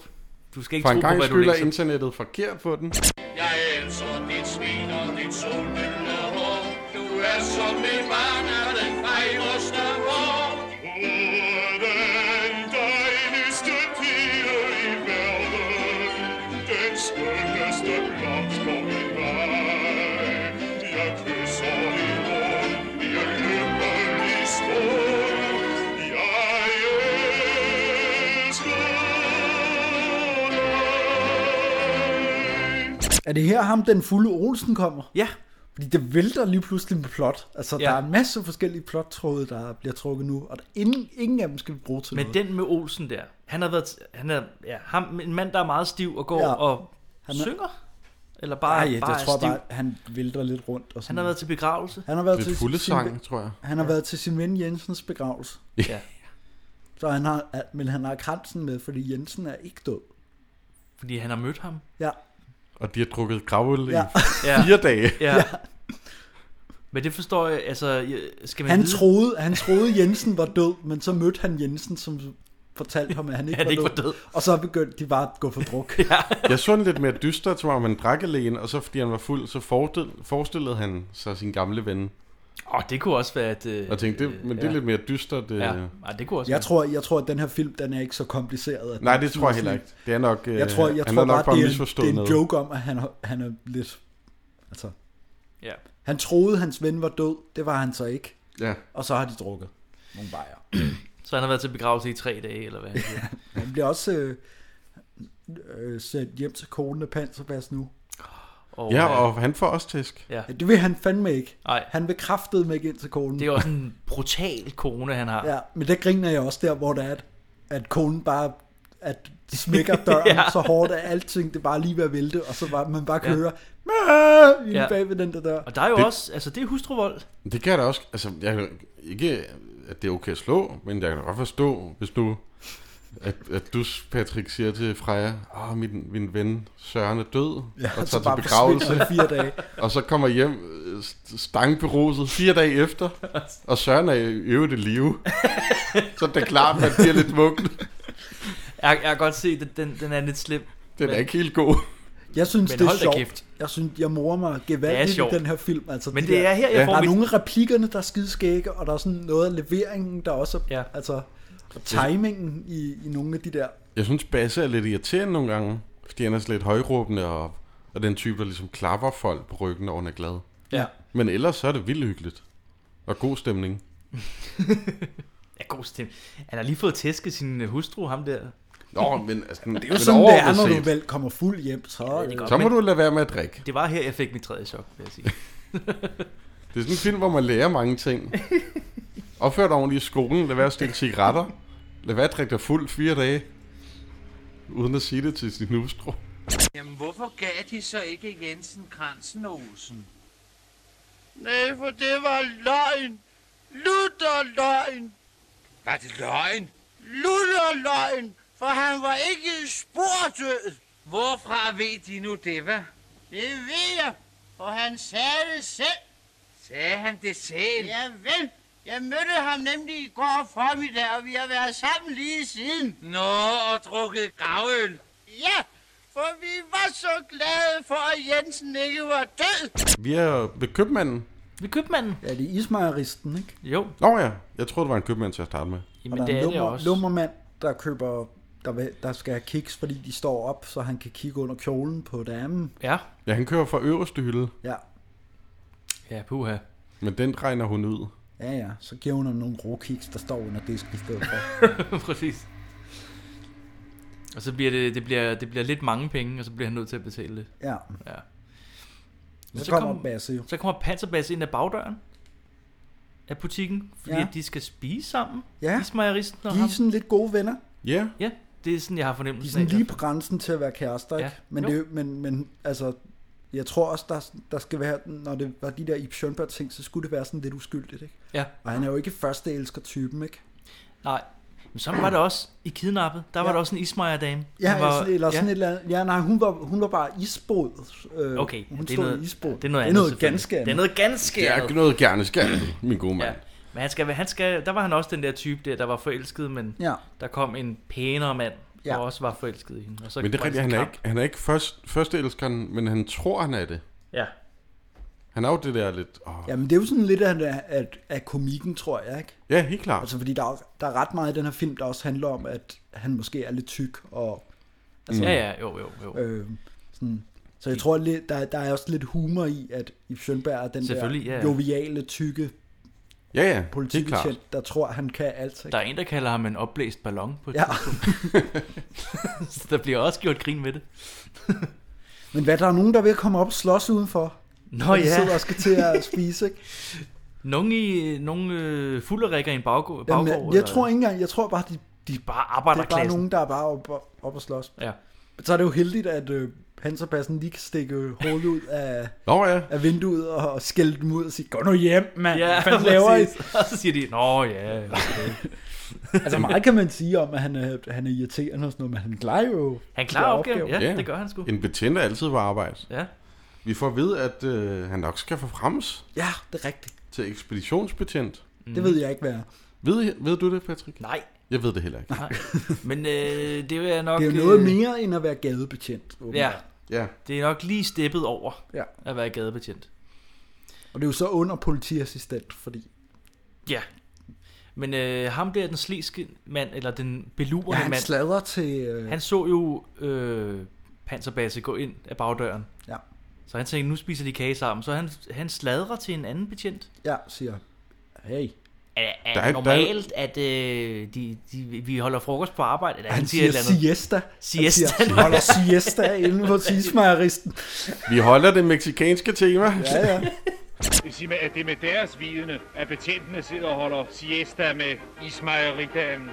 S2: Du skal ikke
S4: For en
S2: tro på,
S4: gang
S2: hvad du
S4: skyld er
S2: læser.
S4: internettet forkert på den.
S10: Jeg elsker dit smil og dit solmyldne hår. Du er som et barn af den fejreste vår. Åh, den dejligste pige i verden. Den skønneste blomst på min vej. Jeg kysser i mund i en lykkelig skål. Jeg elsker dig.
S3: Er det her ham, den fulde Olsen kommer?
S2: Ja,
S3: Fordi det vælter lige pludselig med plot. Altså,
S2: Ja.
S3: ja. der er en masse forskellige plottråde, der bliver trukket nu, og der ingen, ingen af dem skal vi bruge til
S2: men
S3: noget.
S2: den med Olsen der, han har været, han er, ja, ham, en mand, der er meget stiv og går
S3: Ja.
S2: ja. og
S3: Han
S2: han
S3: er-
S2: synger? Eller
S3: Ej,
S2: bare,
S3: ja,
S2: bare
S3: jeg
S2: er
S3: tror
S2: stiv?
S3: bare, han vælter lidt rundt. Og sådan.
S2: Han har været til begravelse.
S3: han har været
S4: Det er
S3: til
S4: fulde
S3: sin,
S4: sang, tror jeg.
S3: Han har været til sin ven Jensens begravelse.
S2: Ja.
S3: Så han har, men han har kransen med, fordi Jensen er ikke død.
S2: Fordi han har mødt ham.
S3: Ja,
S4: Og de har drukket gravøl
S3: Ja.
S4: i fire dage.
S2: Ja. Men det forstår jeg, altså, jeg- skal man
S3: Han
S2: vide,
S3: troede, han troede, Jensen var død, men så mødte han Jensen, som fortalte ham, at han ikke,
S2: Han
S3: var,
S2: ikke
S3: død.
S2: var død.
S3: Og så begyndte de bare at gå for druk.
S4: Jeg så en lidt mere dyster, så var man drakkelægen, og så fordi han var fuld, så forestil- forestillede han sig sin gamle ven.
S2: Åh, oh, det kunne også være, at... Øh,
S4: Jeg tænkte, det, men det er
S2: ja.
S4: lidt mere dystert. Øh.
S2: Ja, Ej, det kunne også
S3: Jeg
S2: være.
S3: tror, jeg tror, at den her film, den er ikke så kompliceret. at
S4: Nej,
S3: den
S4: det
S3: sådan
S4: tror jeg
S3: er
S4: heller
S3: sådan-
S4: ikke. Det er nok, øh,
S3: Jeg tror, jeg
S4: han
S3: tror
S4: har nok
S3: bare,
S4: bare
S3: det er, en,
S4: misforstået
S3: det er en
S4: noget.
S3: joke om, at han, han er lidt... Altså,
S2: Ja.
S3: han troede, hans ven var død. Det var han så ikke.
S4: Ja.
S3: Og så har de drukket nogle bajer.
S2: Så han har været til begravelse i tre dage, eller hvad? Ja.
S3: Han bliver også øh, øh, sendt hjem til konen af Panserbas nu.
S2: Og, øh,
S4: Ja, og han får også tæsk.
S2: Ja.
S3: Det vil han fandme ikke.
S2: Nej.
S3: Han vil kraftedeme ikke ind til konen.
S2: Det er også en brutal kone, han har.
S3: Ja, men der griner jeg også der, hvor der er, at, at konen bare at smækker døren ja.
S2: Ja.
S3: så hårdt, at alting det bare lige ved at vælte, og så bare, man bare kan ja.
S2: Ja.
S3: høre, "Mæh!" inde
S2: Ja.
S3: ja. bag ved den der dør.
S2: Og der er jo
S4: Det-
S2: det... også, altså det er hustruvold.
S4: Det kan jeg da også... Altså, jeg kan ikke, at det er okay at slå, men jeg kan da godt forstå, hvis du... At, at du, Patrick, siger til Freja, åh, min, min ven Søren er død,
S3: Ja,
S4: og
S3: så
S4: tager
S3: bare
S4: til begravelse,
S3: forsvinder i fire dage.
S4: og så kommer hjem øh, st- stangberuset fire dage efter, og Søren er i øvrigt i live. så det er klart, man bliver lidt mukken.
S2: Jeg, jeg kan godt se, at den, den er lidt slem.
S4: Den er
S2: Men-
S4: ikke helt god.
S3: Jeg synes,
S2: Men
S3: det er
S2: hold da
S3: sjovt.
S2: kæft.
S3: Jeg synes, jeg morer mig
S2: Det er
S3: gevaldigt i
S2: sjovt.
S3: den her film. Altså,
S2: Men
S3: de
S2: det
S3: der,
S2: er her, jeg
S4: Ja.
S2: får
S3: Der er
S2: mit...
S3: nogle af replikkerne, der er skideskægge, og der er sådan noget af leveringen, der også er, ja.
S2: Ja.
S3: altså, og timingen i, i nogle af de der.
S4: Jeg synes, Basse er lidt irriterende nogle gange, fordi han er sådan lidt højråbende og, og den type, der ligesom klapper folk på ryggen, når hun er glad.
S2: Ja.
S4: Men ellers så er det vildt hyggeligt. Og god stemning.
S2: Ja, god stemme. Han har lige fået tæsket sin øh, hustru, ham der.
S4: Nå, men altså, det er
S3: Det er jo sådan, det er, når du vel kommer fuld hjem, så...
S2: det er
S3: øh,
S2: godt.
S4: Så må du lade være med at drikke.
S2: Det var her, jeg fik mit tredje chok, vil jeg sige.
S4: Det er sådan en film, hvor man lærer mange ting. Opfør dig ordentligt i skolen, lad være at stille cigaretter. Lad være at drikke dig fuld fire dage. Uden at sige det til sin hustru.
S9: Jamen, hvorfor gav de så ikke Jensen Kransen og Olsen?
S10: Nej, for det var løgn. Lutter løgn.
S9: Var det løgn?
S10: Lutter løgn. For han var ikke spordød.
S9: Hvorfra ved de nu det, hvad?
S10: Det ved jeg. For han sagde det selv.
S9: Sagde han det selv?
S10: Ja vel. Jeg mødte ham nemlig i går formiddag, og vi har været sammen lige siden.
S9: Nå, og drukket gravøl.
S10: Ja, for vi var så glade for, at Jensen ikke var død.
S4: Vi er ved købmanden.
S2: Vi købmanden.
S3: Ja, det er ismejeristen, ikke?
S2: Jo,
S4: Nå ja, jeg troede, det var en købmand til at starte med.
S2: jamen
S3: og der
S2: det er
S3: er en
S2: det
S3: lummer,
S2: også.
S3: lummermand, der køber... Der, vil- der skal have kiks, fordi de står op, så han kan kigge under kjolen på damen.
S2: Ja,
S4: Ja, han kører fra øverste hylde,
S3: Ja,
S2: ja, puha.
S4: men den regner hun ud.
S3: ja, ja. Så giver hun ham nogle råkiks, der står under disken i stedet for.
S2: Præcis. Og så bliver det, det, bliver, det bliver lidt mange penge, og så bliver han nødt til at betale det.
S3: Ja.
S2: Ja.
S3: Så,
S2: så
S3: så kommer
S2: kom-
S3: Basse jo.
S2: Så kommer Panserbasse ind ad bagdøren af butikken, fordi
S3: Ja.
S2: ja. at de skal spise sammen.
S3: Ja.
S2: Ismajeristen og
S3: De er
S2: ham.
S3: sådan lidt gode venner.
S4: Ja,
S2: Ja, det er sådan, jeg har
S3: De er
S2: fornemmelsen
S3: sådan
S2: af.
S3: Ligesom lige på grænsen til at være kærester, ikke? Ja.
S2: Ja.
S3: Men,
S2: Jo.
S3: det, er jo- men, men altså, jeg tror også, der, der skal være, når det var de der Ip Schønberg ting, så skulle det være sådan lidt uskyldigt, ikke?
S2: Ja,
S3: Og han er jo ikke første elsker typen, ikke?
S2: nej. Men sådan var det også i Kidnappet. Der var
S3: Ja.
S2: der også en ismajer-dame.
S3: Ja,
S2: Han var,
S3: var, eller sådan ja. et eller andet. Ja, nej, hun var, hun var bare isbåd. Øh,
S2: Okay,
S3: hun
S2: ja, det, er
S3: stod i
S2: noget,
S3: isbåd.
S2: det er noget
S3: det er noget
S2: andet,
S3: ganske andet.
S2: Det er noget ganske
S4: det er
S2: andet.
S4: noget gerne skal, min gode mand.
S2: Ja. Men han skal, han skal, der var han også den der type der, der var forelsket, men
S3: Ja.
S2: der kom en pænere mand,
S3: Ja.
S2: ja. der også var forelsket i hende. Og så
S4: Men det er
S2: var
S4: rigtigt,
S2: sådan
S4: han er
S2: en
S4: ikke, han er ikke først, førsteelskeren, men han tror, han er det.
S2: kamp.
S4: Han er jo det der lidt... Åh. Ja.
S3: Jamen, det er jo sådan lidt af, af, af komikken, tror jeg, ikke?
S4: ja, helt klart.
S3: Altså, fordi der er, der er ret meget i den her film, der også handler om, at han måske er lidt tyk, og altså,
S4: Mm.
S2: Ja. ja, ja, jo, jo, jo.
S3: Øh, sådan. Så jeg tror, lidt, der, der er også lidt humor i, at Ip Schønberg er den der
S2: Selvfølgelig, ja, ja.
S3: joviale, tykke
S4: Ja, ja, helt klart.
S3: politibetjent, der tror, han kan alt.
S2: Der
S3: Ikke?
S2: er en, der kalder ham en opblæst ballon på et
S3: Ja.
S2: tidspunkt. så der bliver også gjort grin med det.
S3: Men hvad, der er nogen, der er ved at komme op og slås udenfor?
S2: Nå
S3: De sidder
S2: ja,
S3: og skal til at spise, ikke?
S2: nogle, i, nogle øh, fulderikker i en baggård.
S3: Jamen,
S2: baggård
S3: jeg, jeg tror ikke engang, jeg tror bare, de, de
S2: de er bare
S3: det er bare
S2: arbejderklassen.
S3: nogen, der er bare op, og- op og slås.
S2: Ja.
S3: Så er det jo heldigt, at øh, panserpassen lige kan stikke hovedet ud af,
S4: Nå ja,
S3: af vinduet og, og skælde dem ud og sige, gå nu hjem, mand.
S2: Ja,
S3: hvad fanden laver I?
S2: præcis. Og så siger de, nå ja, okay.
S3: Altså meget kan man sige om, at han er, han er irriterende og sådan noget, men han klarer jo
S2: Han klarer
S3: de
S2: opgaven. Ja,
S4: Ja.
S2: det gør han sgu.
S4: en betjent er altid på arbejde.
S2: Ja.
S4: Vi får at vide, at øh, han nok skal forfremmes.
S3: Ja, det er rigtigt.
S4: Til ekspeditionsbetjent.
S3: Det ved jeg ikke, hvad er.
S4: Ved, ved du det, Patrick?
S2: Nej.
S4: Jeg ved det heller ikke.
S2: Nej. Men øh, det vil jeg nok...
S3: Det er jo noget
S2: øh,
S3: mere end at være gadebetjent.
S2: Ja.
S3: åbenbart.
S4: ja.
S2: Det er nok lige steppet over
S3: ja.
S2: at være gadebetjent.
S3: Og det er jo så under politiassistent, fordi
S2: Ja. Men øh, ham der, den sliske mand, eller den belurende
S3: ja, han
S2: mand,
S3: sladrer til... Øh,
S2: han så jo øh, Panserbasse gå ind af bagdøren.
S3: Ja.
S2: Så han tænkte, nu spiser de kage sammen. Så han, han sladrer til en anden betjent.
S3: ja, siger, hey.
S2: Er, er der er,
S4: Der er- der er-
S2: normalt, at øh, de, de, vi holder frokost på arbejde? Eller
S3: Han siger
S2: et eller andet.
S3: siesta.
S2: Siesta.
S3: Han siger, holder siesta inde på tidsmejeristen.
S4: Vi holder det meksikanske tema.
S3: Ja, ja.
S11: Sig mig, at det er med deres vidne, at betjentene sidder og holder siesta med ismejeridamen.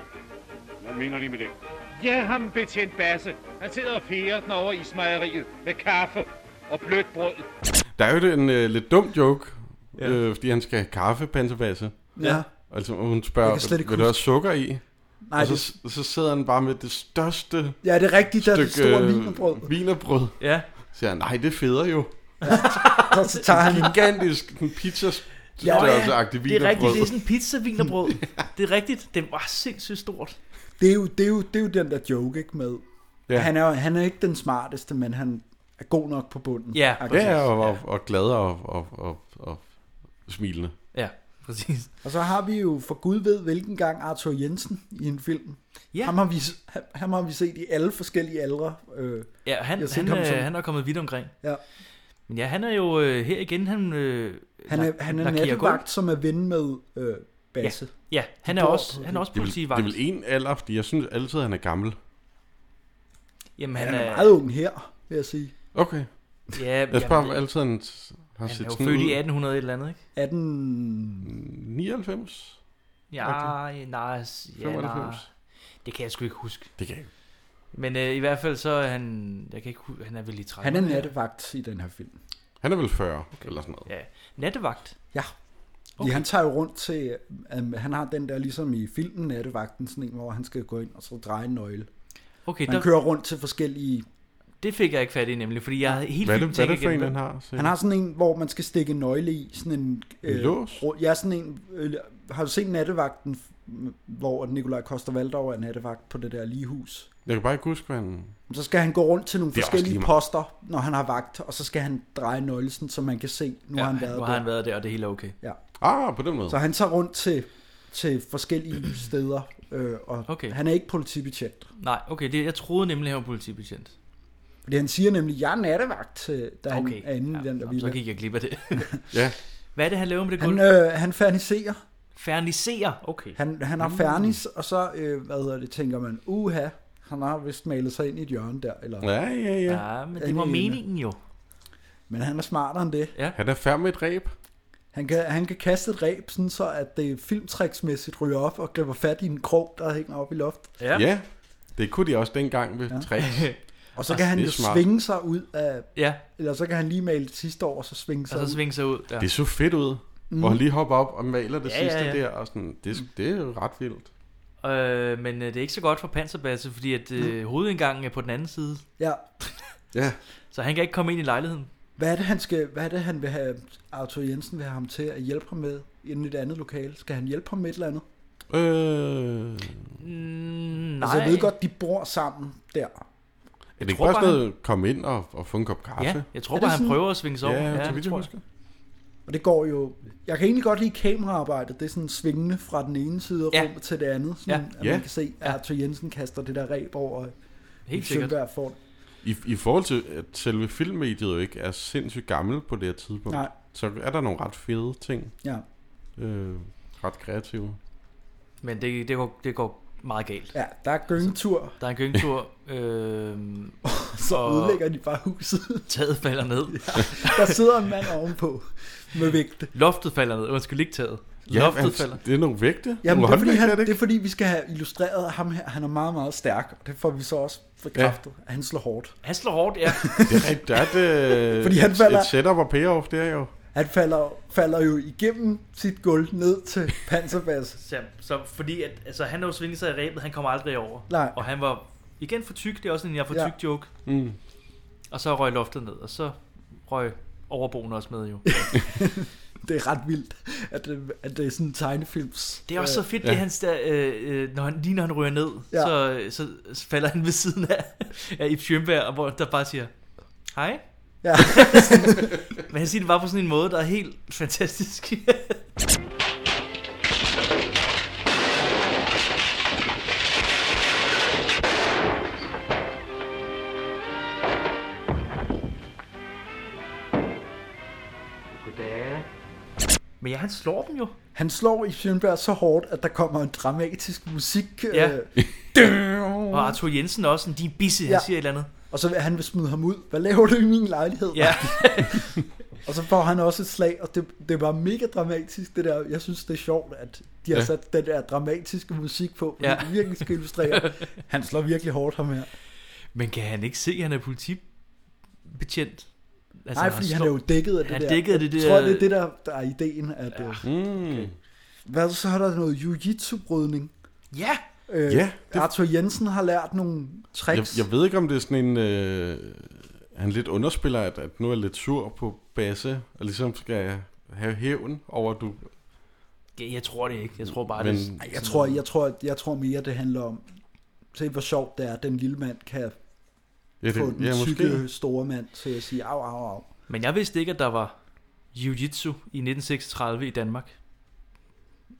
S11: Hvad mener de med det? Ja, ham betjent Basse. Han sidder og færer den over ismejeriet med kaffe og blødt brød.
S4: Der er jo den øh, lidt dum joke, ja. øh, fordi han skal have kaffe, pansebasse.
S3: Ja.
S4: Altså, hun
S3: Jeg
S4: spørger,
S3: kan slet ikke
S4: vil du
S3: huske-
S4: have sukker i?
S3: Nej,
S4: Nej, og så,
S3: det-
S4: så sidder han bare med det største
S3: Ja, det er rigtigt, der er det store
S4: øh,
S3: wienerbrød.
S4: Wienerbrød.
S2: Ja.
S4: Så siger han, nej, det feder jo.
S3: Og så tager han...
S4: Gigantisk en pizza
S3: Ja, ja.
S4: størrelse agtig
S2: Det er rigtigt,
S4: wienerbrød.
S2: det er sådan en pizza vinerbrød. det er rigtigt, det var sindssygt stort.
S3: Det er jo, det er jo, det er jo den der joke, ikke, med...
S4: Ja.
S3: Ja. Han, er, jo- han er ikke den smarteste, men han er god nok på bunden.
S2: Ja,
S3: Agtigt.
S4: Ja, og, og, og glad og, og, og, og smilende.
S2: Ja, præcis.
S3: Og så har vi jo, for Gud ved hvilken gang, Arthur Jensen i en film.
S2: Ja.
S3: Ham, har vi, ham, ham har vi set i alle forskellige aldre. Øh,
S2: Ja, han,
S3: Jeg har set
S2: han,
S3: ham
S2: øh,
S3: som-
S2: han er kommet vidt omkring.
S3: Ja.
S2: Men ja, han er jo øh, her igen, han... Øh,
S3: han er,
S2: lak-
S3: han er
S2: lakerer gulv.
S3: nattevagt, som er ven med øh, Basse.
S2: Ja, han
S3: De
S2: er,
S3: bor
S2: også,
S3: på-
S2: han er også
S4: Det er, vel, det
S2: politivagt.
S4: er vel en alder, fordi jeg synes altid, han er gammel.
S2: Jamen,
S3: Han
S2: han,
S3: er,
S2: er,
S3: meget ung her, vil jeg sige.
S4: Okay.
S2: Ja,
S4: Jeg
S2: jamen,
S4: spørger om altid, han har
S2: han er
S4: set
S2: jo
S4: sådan
S2: født i
S4: ud.
S2: 1800 et eller andet, ikke?
S3: 18...
S4: 99?
S2: Ja, okay. nej, s- ja, nej.
S4: 95.
S2: Det kan jeg sgu ikke huske.
S4: Det kan jeg ikke.
S2: Men øh, i hvert fald så er han... Jeg kan ikke huske, han er vel i 30'erne.
S3: Han er nattevagt i den her film.
S4: Han er vel 40, okay. eller sådan noget.
S2: Ja, nattevagt.
S3: Ja. Okay. Han tager jo rundt til, um, han har den der ligesom i filmen Nattevagten, sådan en, hvor han skal gå ind og så dreje en nøgle.
S2: Okay,
S3: Han
S2: der,
S3: kører rundt til forskellige...
S2: det fik jeg ikke fat i nemlig, fordi jeg havde helt
S4: Hvad er
S2: filmen
S4: det, hvad er det
S2: tænkt
S4: for en,
S2: igennem.
S4: han har? Se.
S3: Han har sådan en, hvor man skal stikke en nøgle i. Sådan en...
S4: En lås?
S3: rå- Ja, sådan en... Øh, har du set Nattevagten, hvor Nikolaj Koster-Valdau er nattevagt på det der ligehus?
S4: Jeg kan bare ikke huske, hvad han...
S3: Så skal han gå rundt til nogle
S4: Det er også lige
S3: forskellige
S4: meget.
S3: poster, når han har vagt, og så skal han dreje nøglen, så man kan se, nu har han
S2: Ja,
S3: været
S2: nu
S3: der.
S2: har han været der, og det hele er okay.
S3: Ja.
S4: Ah, på den måde.
S3: Så han tager rundt til, til forskellige steder, øh, og
S2: Okay.
S3: okay. han er ikke politibetjent.
S2: Nej, okay, det, jeg troede nemlig, han var politibetjent.
S3: Fordi han siger nemlig, jeg er nattevagt, til- da okay.
S2: Okay,
S3: han er inde ja, i den der
S2: Nå, så
S3: villa.
S2: gik jeg glip af det.
S4: Ja.
S2: Hvad er det, han laver med det gulv?
S3: Han, øh, han ferniserer.
S2: Ferniserer. Okay.
S3: Han, han har fernis, og så øh, hvad hedder det, tænker man, uha, han har vist malet sig ind i et hjørne der. Eller, ja.
S4: Ja, ja, ja.
S2: Ja, men det
S3: Alene.
S2: var meningen jo.
S3: Men han er smartere end det.
S4: Han er færdig med et ræb.
S3: Han kan, han kan kaste et ræb, sådan så at det filmtræksmæssigt ryger op og griber fat i en krog, der hænger op i loftet.
S4: Ja. ja. Det kunne de også dengang ved ja. træ.
S3: Og så
S2: Ah,
S3: kan han
S4: det er
S3: jo
S4: smart.
S3: svinge sig ud af,
S2: Ja,
S3: eller så kan han lige male det sidste år, og så svinge sig
S2: og så
S3: ud.
S2: svinge sig ud. Ja.
S4: Det så fedt ud. Mm. Hvor han lige hopper op og maler det
S2: Ja,
S4: ja, sidste
S2: ja,
S4: ja,
S2: ja.
S4: ja. der. Og sådan, det, det er jo ret vildt.
S2: Øh, men øh, det er ikke så godt for panserbasse, fordi at øh, hovedindgangen er på den anden side.
S3: Ja.
S4: Ja.
S2: Så han kan ikke komme ind i lejligheden.
S3: Hvad er det, han, skal, hvad er det, han vil have, Arthur Jensen vil have ham til at hjælpe ham med inden i et andet lokale? Skal han hjælpe ham med et eller andet?
S4: Øh,
S2: Mm, nej.
S3: Altså, jeg ved godt, de bor sammen der.
S4: er det ikke
S2: tror
S4: bare
S2: bare,
S4: sådan noget, komme ind og, og få en kop kaffe?
S2: Ja, jeg tror
S3: Er det
S2: bare, han
S3: sådan?
S2: prøver at svinge sig over.
S4: ja, ja, så
S2: det
S4: vidt jeg
S2: tror jeg.
S4: husker.
S3: Og det går jo... Jeg kan egentlig godt lide kameraarbejdet. Det er sådan svingende fra den ene side af
S2: Ja.
S3: rummet til det andet. Sådan,
S2: Ja.
S3: At
S4: Ja.
S3: man kan se, at Arthur Jensen kaster det der ræb over. øh,
S2: Helt sikkert.
S3: Får. det.
S4: I, I forhold til, at selve filmmediet jo ikke er sindssygt gammel på det her tidspunkt,
S3: Nej.
S4: så er der nogle ret fede ting.
S3: Ja.
S4: Øh, ret kreative.
S2: Men det, det, går, det går meget galt.
S3: ja, der er gyngetur,
S2: Der er en gyngetur, øh,
S3: så
S2: og-
S3: ødelægger de bare huset.
S2: taget falder ned.
S3: der sidder en mand ovenpå med vægte.
S2: Loftet falder ned. Undskyld, ikke taget.
S4: Ja,
S2: Loftet
S4: han,
S2: falder.
S4: det er nogle vægte.
S3: Jamen,
S4: nogle
S3: det er, fordi
S4: håndvægte,
S3: han,
S4: er
S3: det
S4: det
S3: er fordi, vi skal have illustreret ham her. Han er meget, meget stærk, og det får vi så også bekræftet. Ja. Han slår hårdt.
S2: Han slår hårdt, ja.
S4: Det er rigtigt. Der er et, øh,
S3: Fordi han falder-
S4: et setup og payoff der jo.
S3: Han falder, falder jo igennem sit gulv ned til panserbasse.
S2: Så, så fordi at, altså, han har jo svinget sig i rebet, han kommer aldrig over.
S3: Nej.
S2: Og han var igen for tyk, det er også en jeg er for
S3: Ja.
S2: tyk joke.
S4: Mm.
S2: Og så røg loftet ned, og så røg overboen også med jo.
S3: Det er ret vildt, at det, at det er sådan en tegnefilms...
S2: Det er også så fedt,
S3: Ja.
S2: det hans der, øh, øh, når han, lige når han ryger ned,
S3: Ja.
S2: ja. så, så, så falder han ved siden af, af Ip Schønberg, og hvor der bare siger, hej.
S3: øh, Ja.
S2: Men han siger det bare på sådan en måde, der er helt fantastisk.
S6: Goddag.
S2: Men ja, han slår dem jo.
S3: Han slår i Schönberg så hårdt, at der kommer en dramatisk musik.
S2: Ja.
S3: Øh,
S2: og Arthur Jensen er også, sådan, de er bisse, Mm. ja. han siger et eller andet.
S3: Og så vil han vil smide ham ud. Hvad laver du i min lejlighed?
S2: Ja.
S3: og så får han også et slag, og det, det var mega dramatisk, det der. Jeg synes, det er sjovt, at de har
S2: Ja.
S3: sat den der dramatiske musik på, fordi
S2: Ja.
S3: ja. det virkelig skal illustrere. Han slår virkelig hårdt ham her.
S2: Men kan han ikke se, at han er politibetjent?
S3: Altså, Nej, fordi han er
S2: slår-
S3: jo dækket af det
S2: han
S3: der.
S2: er dækket af det der.
S3: Jeg tror, det er det, der, der er ideen. At, ja.
S4: okay.
S3: Hvad så er der noget jiu-jitsu-brydning?
S2: Ja!
S3: Øh,
S4: Ja,
S3: ja det... Arthur Jensen har lært nogle
S4: Jeg,
S3: tricks.
S4: jeg ved ikke, om det er sådan en... Øh, han lidt underspiller, at, at nu er jeg lidt sur på Basse, og ligesom skal have hævn over, at du...
S2: Ja, Jeg tror det ikke. Jeg tror bare,
S4: Men-
S2: det
S3: Ej, jeg tror, jeg, tror, jeg tror mere, det handler om, se hvor sjovt det er, at den lille mand kan
S4: Ja, det-
S3: få den
S4: ja, måske.
S3: tykke store mand til at sige, au, au, au.
S2: Men jeg vidste ikke, at der var jiu-jitsu i 1936 i Danmark.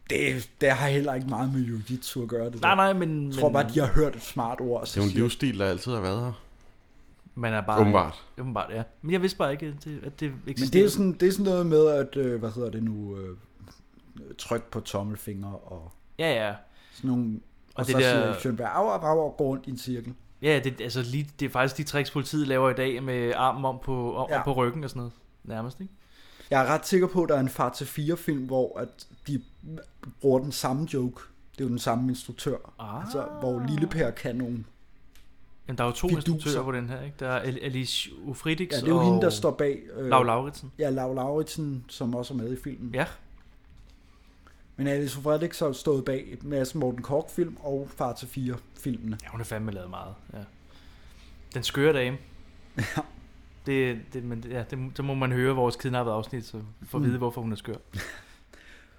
S3: Det, det har heller ikke meget med jiu-jitsu at gøre. Det
S2: Nej,
S3: der.
S2: nej, men-
S3: Jeg tror
S2: men-
S3: bare, de har hørt et smart ord. og
S4: Det
S3: så
S4: er jo en
S3: siger-
S4: livsstil, der altid har været her.
S2: Man er bare...
S4: Åbenbart.
S2: Åbenbart, ja. Men jeg vidste bare ikke, at det, at det
S3: Men
S2: eksisterede.
S3: det er, sådan, det er sådan noget med, at, øh, hvad hedder det nu, øh, tryk på tommelfinger og
S2: Ja, ja.
S3: sådan nogle... Og, og
S2: det
S3: det så
S2: der-
S3: der... siger Schönberg, au, au, au, og går rundt i en cirkel.
S2: Ja, det, altså, lige, det er faktisk de tricks, politiet laver i dag med armen om på, om, ja.
S3: Ja.
S2: om på ryggen og sådan noget. Nærmest, ikke?
S3: Jeg er ret sikker på, at der er en Far til 4 film, hvor at de bruger den samme joke. Det er jo den samme instruktør.
S2: Ah.
S3: Altså, hvor Lille Per kan nogle...
S2: Jamen, der er jo to
S3: Fiduser.
S2: instruktører på den her, ikke? Der er Al- Alice Ufridix
S3: Ja, det er jo
S2: og...
S3: hende, der står bag... øh,
S2: Lau Lauritsen.
S3: Ja, Lau Lauritsen, som også er med i filmen.
S2: Ja.
S3: Men Alice Frederik har jo stået bag Mads Morten Kork-film og Far til 4 filmene.
S2: Ja, hun har fandme lavet meget. Ja. Den skøre dame. Ja. Det, det, men, ja, det, så må man høre vores kidnappede afsnit, så for at
S3: Mm.
S2: vide, hvorfor hun er skør.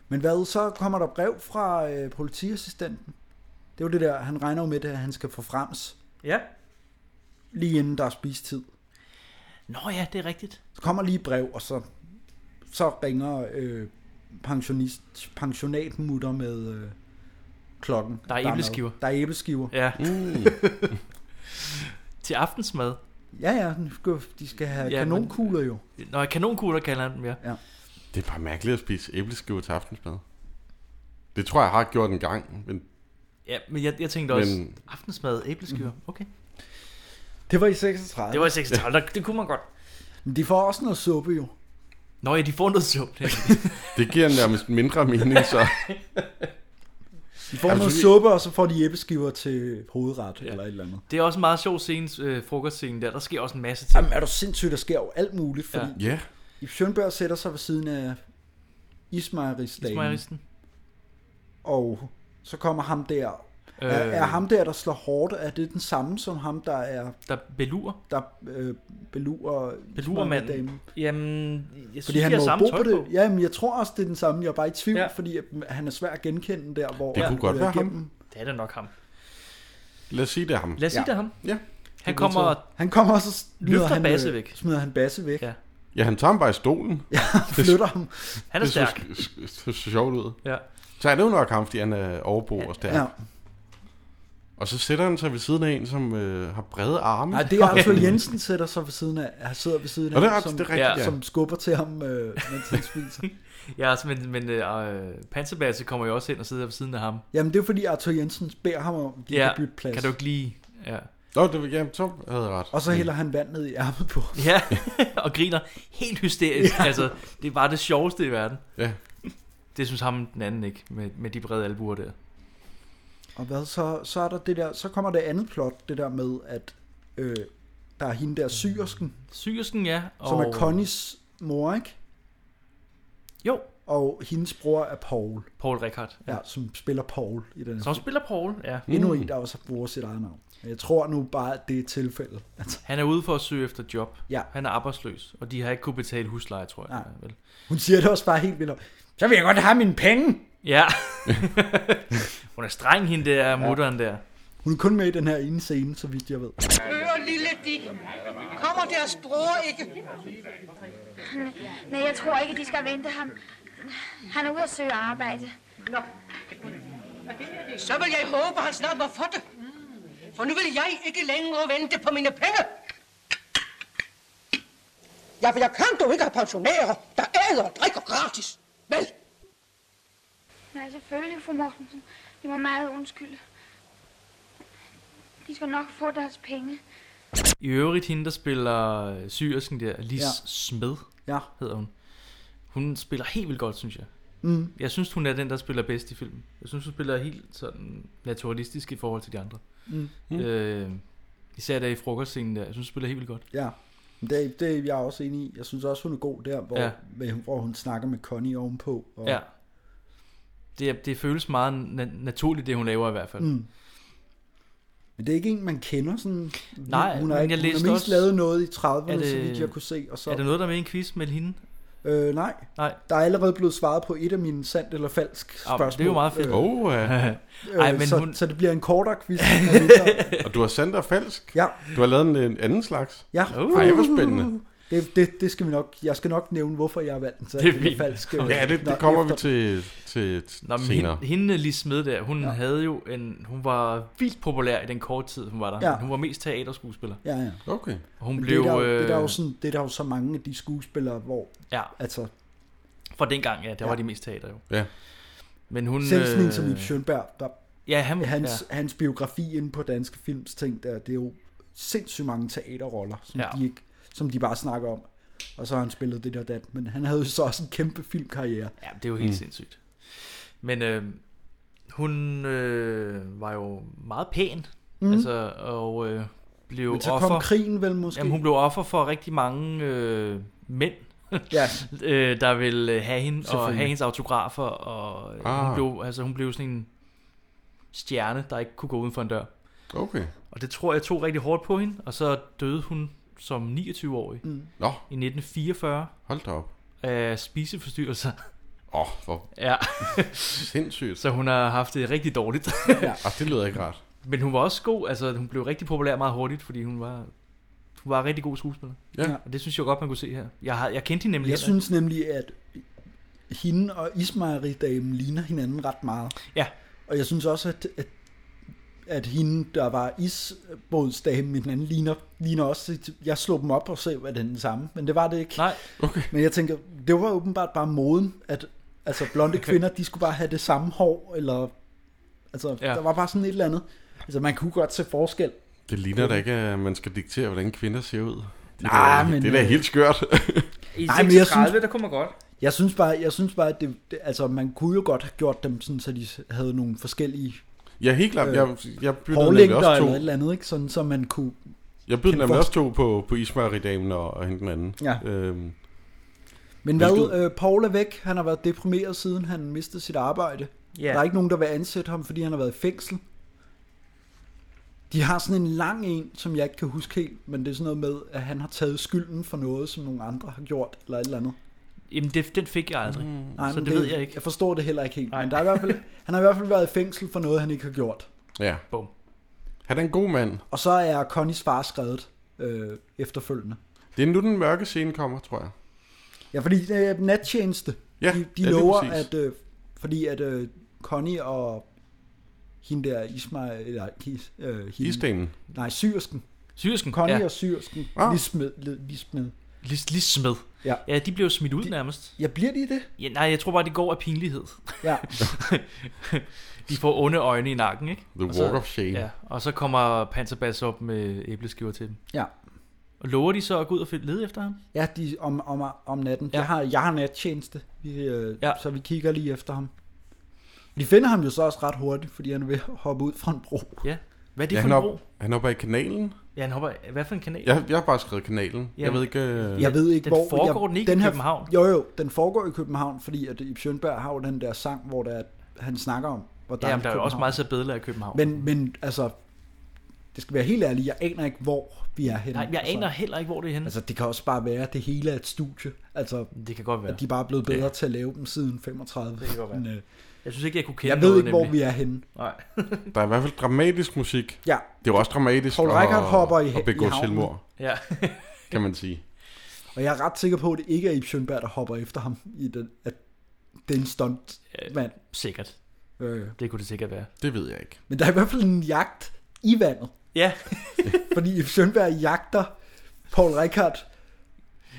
S3: Men hvad, så kommer der brev fra øh, politiassistenten. Det er jo det der, han regner jo med, at han skal få frems.
S2: Ja.
S3: Lige inden der er spistid.
S2: Nå ja, det er rigtigt.
S3: Så kommer lige et brev, og så, så ringer øh, pensionist, pensionatmutter med øh, klokken.
S2: Der er
S3: mad.
S2: æbleskiver.
S3: Der er æbleskiver.
S2: Ja.
S3: Mm.
S2: Til aftensmad.
S3: ja, ja, den skal- de skal have ja,
S2: Ja, men-
S3: kanonkugler jo.
S2: Nå, kanonkugler kalder han dem, ja.
S3: ja.
S4: Det er bare mærkeligt at spise æbleskiver til aftensmad. Det tror jeg, jeg har gjort en gang, men
S2: Ja, men jeg, jeg tænkte også,
S4: Men-
S2: men... aftensmad, æbleskiver,
S3: Mm.
S2: okay.
S3: Det var i 36.
S2: Det var i 36, der- det kunne man godt.
S3: Men de får også noget suppe jo.
S2: Nå ja, de får noget suppe.
S4: det giver nærmest mindre mening, så...
S3: De får
S4: Altså,
S3: noget
S4: vi-
S3: suppe, og så får de æbleskiver til hovedret ja. eller et eller andet.
S2: det er også en meget sjov scene, øh, frokostscene der. Der sker også en masse ting.
S3: Jamen er du sindssygt, der sker jo alt muligt, fordi
S4: Ja. Ja.
S3: Ib Schønberg sætter sig ved siden af Ismajeristen.
S2: Ismajeristen.
S3: Og så kommer ham der. Øh... Er,
S2: Øh.
S3: er ham der, der slår hårdt, er det den samme som ham, der er...
S2: Der belurer.
S3: Der øh, belurer...
S2: Belurmanden.
S3: Ismajerdamen?
S2: Jamen, jeg synes,
S3: Fordi
S2: de
S3: han
S2: har
S3: må jo
S2: samme
S3: bo på
S2: tøj på.
S3: det. Jamen, jeg tror også, det er den samme. Jeg er bare i tvivl, ja. fordi at øh, han er svær at genkende der, hvor...
S4: Det kunne godt
S3: øh,
S4: være ham.
S3: gennem-
S2: Det er da nok ham.
S4: Lad os sige, det er ham.
S2: Lad os sige, det er ham.
S4: Ja.
S2: Han kommer og
S3: Han kommer også og smider
S2: løfter
S3: han, øh,
S2: Basse væk.
S3: Smider han basse væk.
S2: Ja.
S4: Ja, han tager ham bare i stolen. Ja, han
S3: flytter ham.
S2: Han er stærk.
S4: Det så, sk- sk- så sjovt ud.
S2: Ja.
S4: Så er det jo nok ham, fordi han er overbo og stærk.
S3: Ja.
S4: Og så sætter han sig ved siden af en, som øh, har brede arme.
S3: Nej, det er Arthur Jensen sætter sig ved siden af. Han sidder ved siden
S4: Nå, det er
S3: af,
S4: ret-
S3: som,
S4: det er rigtigt, ja.
S3: som skubber til ham, øh, mens han spiser.
S2: Ja, altså, men, men øh, Panserbasse kommer jo også ind og sidder ved siden af ham.
S3: Jamen, det er fordi Arthur Jensen beder ham om, at de
S2: ja,
S3: kan bytte plads.
S2: kan du ikke lige... Ja.
S4: Nå, det var ja, Tom havde ret.
S3: Og så hælder han vand ned i ærmet på. ham.
S2: ja, og griner helt hysterisk.
S3: Ja.
S2: Ja. Altså, det var det sjoveste i verden.
S4: Ja.
S2: Det synes ham den anden ikke, med, med de brede albuer der.
S3: Og hvad så, så er der det der, så kommer det andet plot, det der med, at øh, der er hende der syrsken,
S2: Sygersken, ja.
S3: som er Connys mor, ikke?
S2: Jo.
S3: Og hendes bror er Paul.
S2: Paul Rickard.
S3: Ja, som spiller Paul i den her
S2: Som
S3: film.
S2: spiller Paul, ja.
S3: Endnu en, der også bruger sit eget navn. Jeg tror nu bare, at det er tilfældet. Altså,
S2: Han er ude for at søge efter job.
S3: Ja.
S2: Han er arbejdsløs, og de har ikke kunne betale husleje, tror jeg.
S3: Nej.
S2: Vel?
S3: hun siger det også bare helt vildt. Så vil jeg godt have mine penge.
S2: Ja. Hun er streng, hende der, ja. mutteren der.
S3: Hun er kun med i den her ene scene, så vidt jeg ved.
S12: Hør, lille Dick. Kommer deres bror ikke?
S7: Nej, jeg tror ikke, de skal vente ham. Han er ude at søge arbejde. Nå.
S12: Så vil jeg håbe, han snart må få det. For nu vil jeg ikke længere vente på mine penge. Ja, for jeg kan dog ikke have pensionærer, der æder og drikker gratis. Vel?
S7: Nej, selvfølgelig, fru Mortensen. De var meget undskylde. De skal nok få deres penge.
S2: I øvrigt, hende der spiller øh, syrersken der, Lis
S7: Ja.
S2: ja. Smed,
S3: ja.
S2: hedder hun. Hun spiller helt vildt godt, synes jeg.
S3: Mm.
S2: Jeg synes, hun er den, der spiller bedst i filmen. Jeg synes, hun spiller helt sådan naturalistisk i forhold til de andre.
S3: Mm. Mm.
S2: Øh, især der i frokostscenen der. Jeg synes, hun spiller helt vildt godt.
S3: Ja, Men det, det er jeg også enig i. Jeg synes også, hun er god der, hvor, ja.
S2: Ja.
S3: hvor hun snakker med Connie ovenpå. Og,
S2: Ja. Det, det føles meget na- naturligt, det hun laver i hvert fald.
S3: Mm. Men det er ikke en, man kender sådan.
S2: Nej,
S3: hun har,
S2: men
S3: ikke,
S2: jeg
S3: hun
S2: læste
S3: har mest
S2: også-
S3: lavet noget i 30'erne,
S2: Er
S3: det,
S2: det-
S3: så vidt jeg kunne se. Og så,
S2: Er der noget, der er med i en quiz med hende?
S3: Øh, nej.
S2: nej.
S3: Der er allerede blevet svaret på et af mine sandt eller falsk
S2: Ah, men
S3: spørgsmål.
S2: det er jo meget fedt.
S3: Øh,
S4: Oh, ja.
S3: øh, Ej, men så, hun... så det bliver en kortere quiz.
S4: Og du har sandt og falsk?
S3: Ja. Uh.
S4: Du har lavet en, en anden slags?
S3: Ja.
S4: Ej, hvor spændende.
S3: Det, det, det skal vi nok, jeg skal nok nævne, hvorfor jeg har valgt den. Så
S4: Det er
S3: eller
S4: fint.
S3: falsk, øh,
S4: Ja, det,
S3: når-
S4: det kommer vi
S3: efter-
S4: til, til
S2: Nå,
S4: Nå,
S2: men
S4: senere.
S2: hende, hende lige smed der, hun ja. havde jo en, hun var vildt populær i den korte tid, hun var der.
S3: Ja.
S2: Ja. Hun var mest teaterskuespiller.
S3: Ja, ja.
S4: Okay.
S2: Og hun
S3: Men
S2: blev,
S3: Det er, der, jo-
S2: øh,
S3: det, er der jo sådan, det er der jo så mange af de skuespillere, hvor...
S2: Ja.
S3: Altså,
S2: Fra dengang, ja, der
S3: Ja.
S2: ja. var de mest teater jo.
S4: Ja.
S2: Men hun... øh,
S3: selv sådan en som Ip Schønberg, der,
S2: Ja, han-
S3: hans, ja. hans biografi inde på Danske Films ting, der, det er jo sindssygt mange teaterroller, som, ja.
S2: Ja.
S3: de ikke, som de bare snakker om. Og så har han spillet det der dat, men han havde jo så også en kæmpe filmkarriere.
S2: Ja, det er jo helt
S3: Mm.
S2: mm. sindssygt. Men øh, hun øh, var jo meget pæn,
S3: Mm.
S2: mm. altså, og øh, blev
S3: Men så kom
S2: offer...
S3: krigen vel måske?
S2: Jamen, hun blev offer for rigtig mange øh, mænd,
S3: ja.
S2: øh, der ville øh, have hende, og
S3: Selvfølgelig.
S2: have hendes autografer, og øh,
S4: Ah.
S2: hun, blev, altså, hun blev sådan en stjerne, der ikke kunne gå uden for en dør.
S4: Okay.
S2: Og det tror jeg tog rigtig hårdt på hende, og så døde hun som 29-årig
S3: Mm.
S4: Nå.
S2: i 1944
S4: Hold da op.
S2: af spiseforstyrrelser.
S4: Åh, oh, hvor
S2: Ja.
S4: sindssygt.
S2: Så hun har haft det rigtig dårligt.
S3: ja.
S4: Ah, det lyder ikke rart.
S2: Men hun var også god, altså hun blev rigtig populær meget hurtigt, fordi hun var, hun var en rigtig god skuespiller.
S4: Ja.
S2: Og det synes jeg godt, man kunne se her. Jeg, har, jeg kendte hende nemlig
S3: Jeg
S2: heller ikke.
S3: synes nemlig, at hende og Ismairi-damen ligner hinanden ret meget.
S2: Ja.
S3: Og jeg synes også, at, at, at hende, der var isbådsdamen med den anden, ligner, ligner også... Jeg slog dem op og se, hvad den samme, men det var det ikke.
S2: Nej.
S4: Okay.
S3: Men jeg tænker, det var åbenbart bare moden, at altså, blonde kvinder, de skulle bare have det samme hår, eller... Altså, ja.
S2: Ja.
S3: der var bare sådan et eller andet. Altså, man kunne godt se forskel.
S4: Det ligner da ikke, at man skal diktere, hvordan kvinder ser ud. Det, er
S3: Nej,
S4: da-
S3: men,
S4: det er da
S3: øh,
S4: helt skørt.
S2: I
S3: Nej, men jeg 36, synes-
S2: der kunne man godt.
S3: Jeg synes bare, jeg synes bare at det, det, altså, man kunne jo godt have gjort dem sådan, så de havde nogle forskellige
S4: Ja, helt klart. Jeg- jeg byttede
S3: hårlængder
S4: nemlig også
S3: øh,
S4: to.
S3: eller et eller andet, ikke? Sådan, så man kunne...
S4: Jeg bød
S3: kende
S4: nemlig også
S3: forskel.
S4: to på, på Ismairi-damen og, og hende den anden.
S3: Ja.
S4: Øhm,
S3: Men hvad, øh, Paul er væk, han har været deprimeret, siden han mistede sit arbejde.
S2: Ja.
S3: Der er ikke nogen, der vil ansætte ham, fordi han har været i fængsel. De har sådan en lang en, som jeg ikke kan huske helt, men det er sådan noget med, at han har taget skylden for noget, som nogle andre har gjort, eller et eller andet.
S2: Jamen, det, den fik jeg aldrig. Mm.
S3: Nej,
S2: så
S3: men
S2: det, ved jeg ikke.
S3: Jeg forstår det heller ikke helt, Nej. men der er i hvert fald, han har i hvert fald været i fængsel for noget, han ikke har gjort.
S4: ja.
S2: Bum.
S4: Han er en god mand.
S3: Og så er Connys far skrevet øh, efterfølgende.
S4: Det er nu, den mørke scene kommer, tror jeg.
S3: Ja, fordi øh, nattjeneste,
S4: Ja,
S3: de, de
S4: ja, lige
S3: lover,
S4: præcis.
S3: at øh, fordi at øh, Connie og hende der Ismail, eller Kis- øh, hende,
S4: Isdamen.
S3: Nej, syrsken.
S2: Syrsken,
S3: Connie
S2: ja.
S3: og syrsken.
S2: Ah.
S3: Lismed, lismed.
S2: Lis, lis smed.
S3: Ja.
S2: ja, de blev jo smidt ud de, nærmest.
S3: Ja, bliver de det?
S2: Ja, nej, jeg tror bare, det går af pinlighed.
S3: Ja.
S2: de får onde øjne i nakken, ikke?
S4: The
S2: Og
S4: walk of shame.
S2: Ja, og så kommer Panserbas op med æbleskiver til dem.
S3: Ja.
S2: Og lover de så at gå ud og finde- lede efter ham?
S3: Ja, de, om, om, om natten. Ja. Jeg, har, jeg har nattjeneste, vi, øh, ja. så vi kigger lige efter ham. De finder ham jo så også ret hurtigt, fordi han er ved at hoppe ud fra en bro.
S2: Ja. Hvad er det
S4: ja,
S2: for
S4: han,
S2: en
S4: hop-
S2: bro?
S4: han hopper i kanalen.
S2: Ja, han hopper... Hvad for en kanal?
S4: Jeg, jeg har bare skrevet kanalen. Jeg ved ikke... øh,
S3: jeg ved ikke
S2: den
S3: hvor.
S2: foregår
S3: jeg,
S2: den ikke i
S3: her-
S2: København?
S3: Jo, jo, den foregår i København, fordi at Ibs Sjønberg har jo den der sang, hvor der, han snakker om, hvor
S2: Ja, men der er jo også meget så bedler i
S3: København.
S2: København.
S3: Men, men altså, det skal være helt ærligt, jeg aner ikke, hvor vi er henne.
S2: Nej, jeg
S3: altså,
S2: aner heller ikke, hvor det er henne.
S3: Altså, det kan også bare være, at det hele er et studie. Altså,
S2: det kan godt være.
S3: At de bare er blevet bedre ja. til at lave dem siden 35. Det kan godt være. Men, øh,
S2: Jeg synes ikke, jeg kunne kende
S3: Jeg ved
S2: noget,
S3: ikke, hvor
S2: nemlig.
S3: vi er henne.
S2: Nej.
S4: Der er i hvert fald dramatisk musik.
S3: Ja.
S4: Det er jo også dramatisk
S3: Poul Reichhardt hopper i-
S4: at begå
S3: i havnen.
S4: selvmord,
S2: Ja.
S4: kan man sige.
S3: Og jeg er ret sikker på, at det ikke er Ibs Sjønberg, der hopper efter ham. I den, at det er en stunt mand.
S2: Sikkert.
S3: Øh.
S2: Det kunne det sikkert være.
S4: Det ved jeg ikke.
S3: Men der er i hvert fald en jagt i vandet.
S2: Ja.
S3: Fordi Ibs Sjønberg jagter Paul Rickard.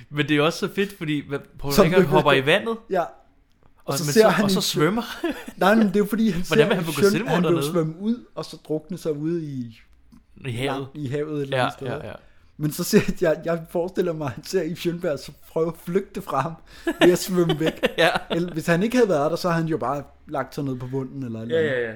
S2: Men det er også så fedt, fordi hvad- Paul
S3: Som
S2: Rickard
S3: det-
S2: hopper i vandet.
S3: Ja.
S2: Og,
S3: så
S2: men
S3: ser
S2: så-
S3: han
S2: og så
S3: Ibs-
S2: svømmer.
S3: Nej, men det er jo fordi, han
S2: Hvordan
S3: ser
S2: vil han
S3: Ibs
S2: begå
S3: Sjøn-
S2: selvmord
S3: han vil jo
S2: dernede?
S3: svømme ud, og så drukne sig ude i,
S2: I havet.
S3: i havet et eller
S2: Ja,
S3: andet sted.
S2: ja, ja.
S3: Men så ser jeg, jeg, jeg forestiller mig, at han ser Ibs Sjønberg så prøve at flygte fra ham ved at svømme væk.
S2: ja.
S3: eller, hvis han ikke havde været der, så havde han jo bare lagt sig ned på bunden eller, et eller andet.
S2: ja.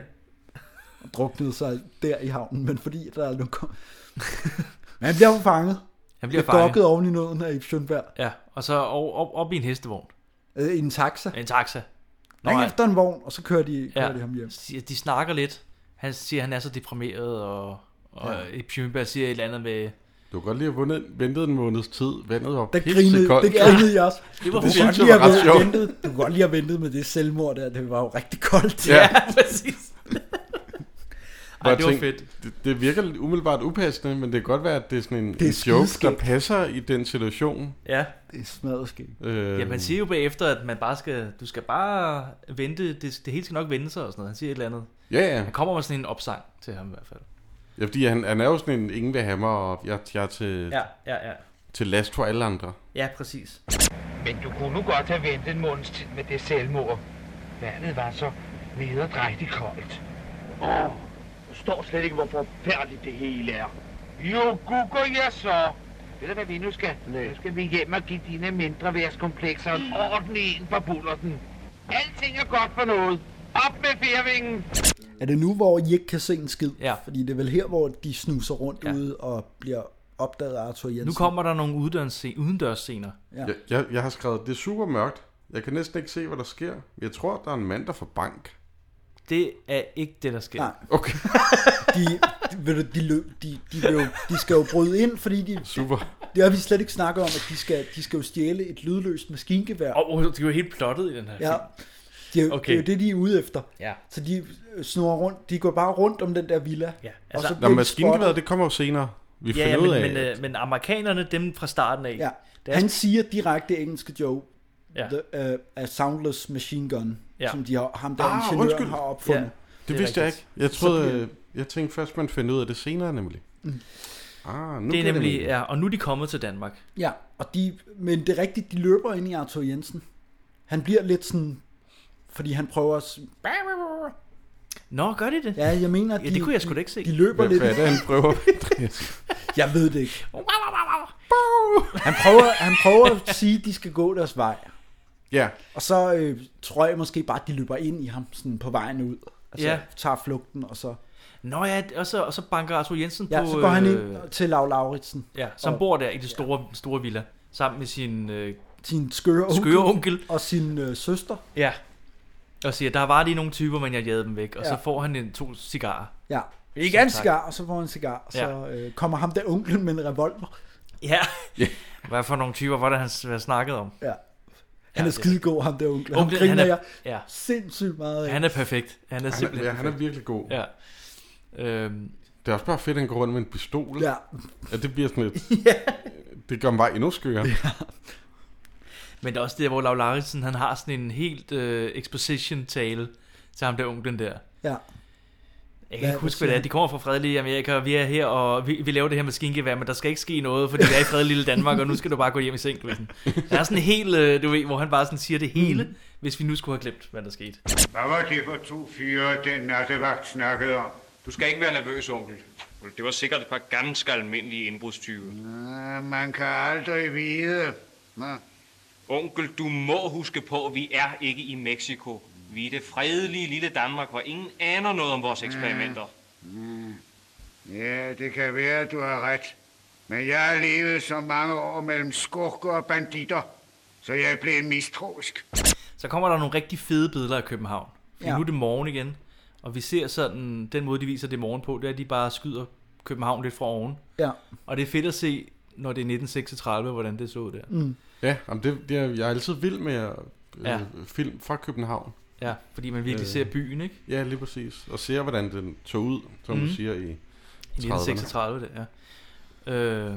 S3: og druknede sig der i havnen, men fordi der er lukket. men han bliver jo fanget.
S2: Han bliver
S3: fanget.
S2: fanget.
S3: Dokket oven i nåden af Ibs Sjønberg.
S2: Ja, og så op, op, op i en hestevogn.
S3: Øh, I en taxa.
S2: En taxa.
S3: Han
S2: ja.
S3: er efter en vogn, og så kører de, kører ja. de ham hjem.
S2: Siger- De snakker lidt. Han siger, han er så deprimeret, og, og
S4: Ja.
S2: ja. Pjønberg siger et eller andet med...
S4: Du kan godt lige have vundet, ventet en måneds tid. Vandet var
S3: Der grinede,
S4: pissekoldt.
S3: det grinede jeg også.
S2: Det var
S3: du,
S4: fedt.
S3: kunne godt
S4: Det
S3: lige
S4: var ret
S3: have
S4: sjovt.
S3: ventet, du kunne godt lige have ventet med det selvmord der. Det var jo rigtig koldt.
S4: Ja.
S2: præcis.
S4: Hvor jeg
S2: det var
S4: tænkte, Det, det virker lidt umiddelbart upassende, men det kan godt være, at det er sådan en,
S3: er
S4: en joke, der
S3: skideskægt.
S4: passer i den situation.
S2: Ja.
S3: Det er smadret skægt.
S4: Øh,
S2: Ja, man
S3: Øhm.
S2: siger jo bagefter, at man bare skal, du skal bare vente, det, det hele skal nok vende sig og sådan noget. Han siger et eller andet.
S4: Ja, ja.
S2: Han kommer med sådan en opsang til ham i hvert fald.
S4: ja, fordi han, han er jo sådan en ingen vil have mig, og jeg, jeg er til,
S2: Ja, ja, ja.
S4: til last for alle andre.
S2: Ja, præcis.
S9: Men du kunne nu godt have ventet en måneds tid med det selvmord. Vandet var så nederdrægtigt koldt. Åh, du står slet ikke, hvor forfærdeligt det hele er. Jo, gukker jeg så. Ved du, hvad vi nu skal? Nej. Nu skal vi hjem og give dine mindre værtskomplekser en ordentlig en for bullerten. Alting er godt for noget. Op med fjervingen!
S3: Er det nu, hvor I ikke kan se en skid?
S2: Ja.
S3: Fordi det er vel her, hvor de snuser rundt ja. ude og bliver opdaget af Arthur Jensen.
S2: Nu kommer der nogle udendørsscener. udendørsscener.
S3: Ja.
S4: Jeg, jeg, jeg har skrevet, det er super mørkt. Jeg kan næsten ikke se, hvad der sker. Jeg tror, der er en mand, der får bank.
S2: Det er ikke det, der sker.
S3: Nej.
S4: Okay.
S3: de, de, ved du, de, løb, de, de, vil jo, de skal jo bryde ind, fordi de...
S4: Super.
S3: Det har vi slet ikke snakket om, at de skal, de skal jo stjæle et lydløst maskingevær.
S2: Åh, oh, det er jo helt plottet i den her
S3: Ja.
S2: film.
S3: De, okay.
S2: Okay.
S3: Det er jo det, de er ude efter.
S2: Ja.
S3: Så de øh, snurrer rundt. De går bare rundt om den der villa. Ja.
S2: altså-
S4: Nå, maskingeværet, det kommer jo senere. Vi
S2: ja,
S4: finder
S2: ja,
S4: ud
S2: men,
S4: af.
S2: men, øh, men amerikanerne, dem fra starten af.
S3: Ja.
S2: Det er-
S3: Han siger direkte engelske Joe,
S2: Ja.
S3: ja. the, uh, a soundless machine gun,
S2: Ja.
S3: ja. som de har, ham der
S4: Ah,
S3: ah, ingeniøren
S4: undskyld.
S3: har opfundet.
S2: Ja.
S3: Ja.
S4: Det,
S2: Det er
S4: vidste jeg ikke.
S2: rigtigt.
S4: Jeg
S2: Så
S4: troede,
S2: bliver-
S4: øh, jeg tænkte først, man finder ud af det senere nemlig. Mm. Ah, nu
S2: det er
S4: bliver
S2: nemlig,
S4: meningen.
S2: ja, og nu er de kommet til Danmark.
S3: ja. Og de, men det er rigtigt, de løber ind i Arthur Jensen. Han bliver lidt sådan, fordi han prøver at... s-
S2: Nå, gør de det?
S3: Ja, jeg mener,
S2: Ja, det kunne jeg sgu da ikke se.
S3: De løber
S4: Hvad,
S3: lidt.
S4: hvad er det, han prøver?
S3: Jeg ved det ikke. Han prøver, han prøver at sige, at de skal gå deres vej.
S4: ja,
S3: Og så øh, tror jeg måske bare, at de løber ind i ham sådan på vejen ud. Altså,
S2: Ja.
S3: ja. tager flugten, og så,
S2: Nå ja, og så, og så banker Arthur Jensen
S3: ja,
S2: på...
S3: så går han
S2: øh,
S3: ind til Lav Lauritsen.
S2: Ja, som
S3: og
S2: bor der i det store, store villa, sammen med sin øh,
S3: sin skøre onkel,
S2: skøre onkel.
S3: og sin øh, søster.
S2: Ja. Og siger, der var lige nogle typer, men jeg jagede dem væk. Og så
S3: Ja.
S2: får han en, to cigarer.
S3: Ja.
S2: Som
S3: Ikke en
S2: tak.
S3: cigar, og så får han en cigar, og så
S2: Ja.
S3: øh, kommer ham der onklen med en revolver.
S2: Ja. Hvad for nogle typer var det, han s- hvad snakkede om?
S3: Ja.
S2: Ja,
S3: Han
S2: det
S3: er
S2: er
S3: skidegod, ham der onklen. Ham
S2: Onklen,
S3: griner
S2: han er-
S3: jeg
S2: ja.
S3: sindssygt meget af.
S2: Han er perfekt. Han er
S4: han er,
S2: simpelthen
S4: ja, han er virkelig god.
S2: Ja. Øhm,
S4: Det er også bare fedt, at han går rundt med en pistol.
S3: Ja.
S4: ja det bliver sådan lidt... Det gør mig bare endnu skørere.
S2: men det er også det, hvor Lau Larsen, han har sådan en helt øh, exposition-tale til ham der onklen der.
S3: Ja.
S2: Jeg kan
S3: Hvad-
S2: ikke
S3: hvad
S2: huske,
S3: siger
S2: hvad det er.
S3: han?
S2: De kommer fra fredelige Amerika, og vi er her, og vi, vi laver det her maskingevær, men der skal ikke ske noget, fordi vi er i fredelige lille Danmark, og nu skal du bare gå hjem i seng, du ved. sådan. Der er sådan en hel, øh, du ved, hvor han bare sådan siger det hele, mm. hvis vi nu skulle have glemt, hvad der skete.
S13: Hvad var det for to fyre, den nattevagt snakkede om?
S14: Du skal ikke være nervøs, onkel. Det var sikkert et par ganske almindelige indbrudstyve.
S13: Ah, man kan aldrig vide. Nå.
S14: Onkel, du må huske på, at vi er ikke i Mexico. Vi er det fredelige lille Danmark, hvor ingen aner noget om vores eksperimenter.
S13: Mm. Ja, det kan være, at du har ret. Men jeg har levet så mange år mellem skurker og banditter, så jeg er blevet mistroisk.
S2: Så kommer der nogle rigtig fede billeder af København. For ja.
S13: Ja.
S2: nu er det morgen igen, og vi ser sådan, den måde de viser det morgen på, det er at de bare skyder København lidt fra oven.
S3: Ja.
S2: Og det er fedt at se, når det er 1936, hvordan det så ud der.
S3: Mm.
S4: Ja, jamen det, det er, jeg er altid vild med øh,
S2: Ja.
S4: ja. film fra København.
S2: Ja, fordi man virkelig
S4: Øh,
S2: ser byen, ikke?
S4: Ja, lige præcis. Og ser, hvordan den tog ud, som mm.
S2: Mhm.
S4: du siger, i 1936.
S2: 1936, det er. Øh,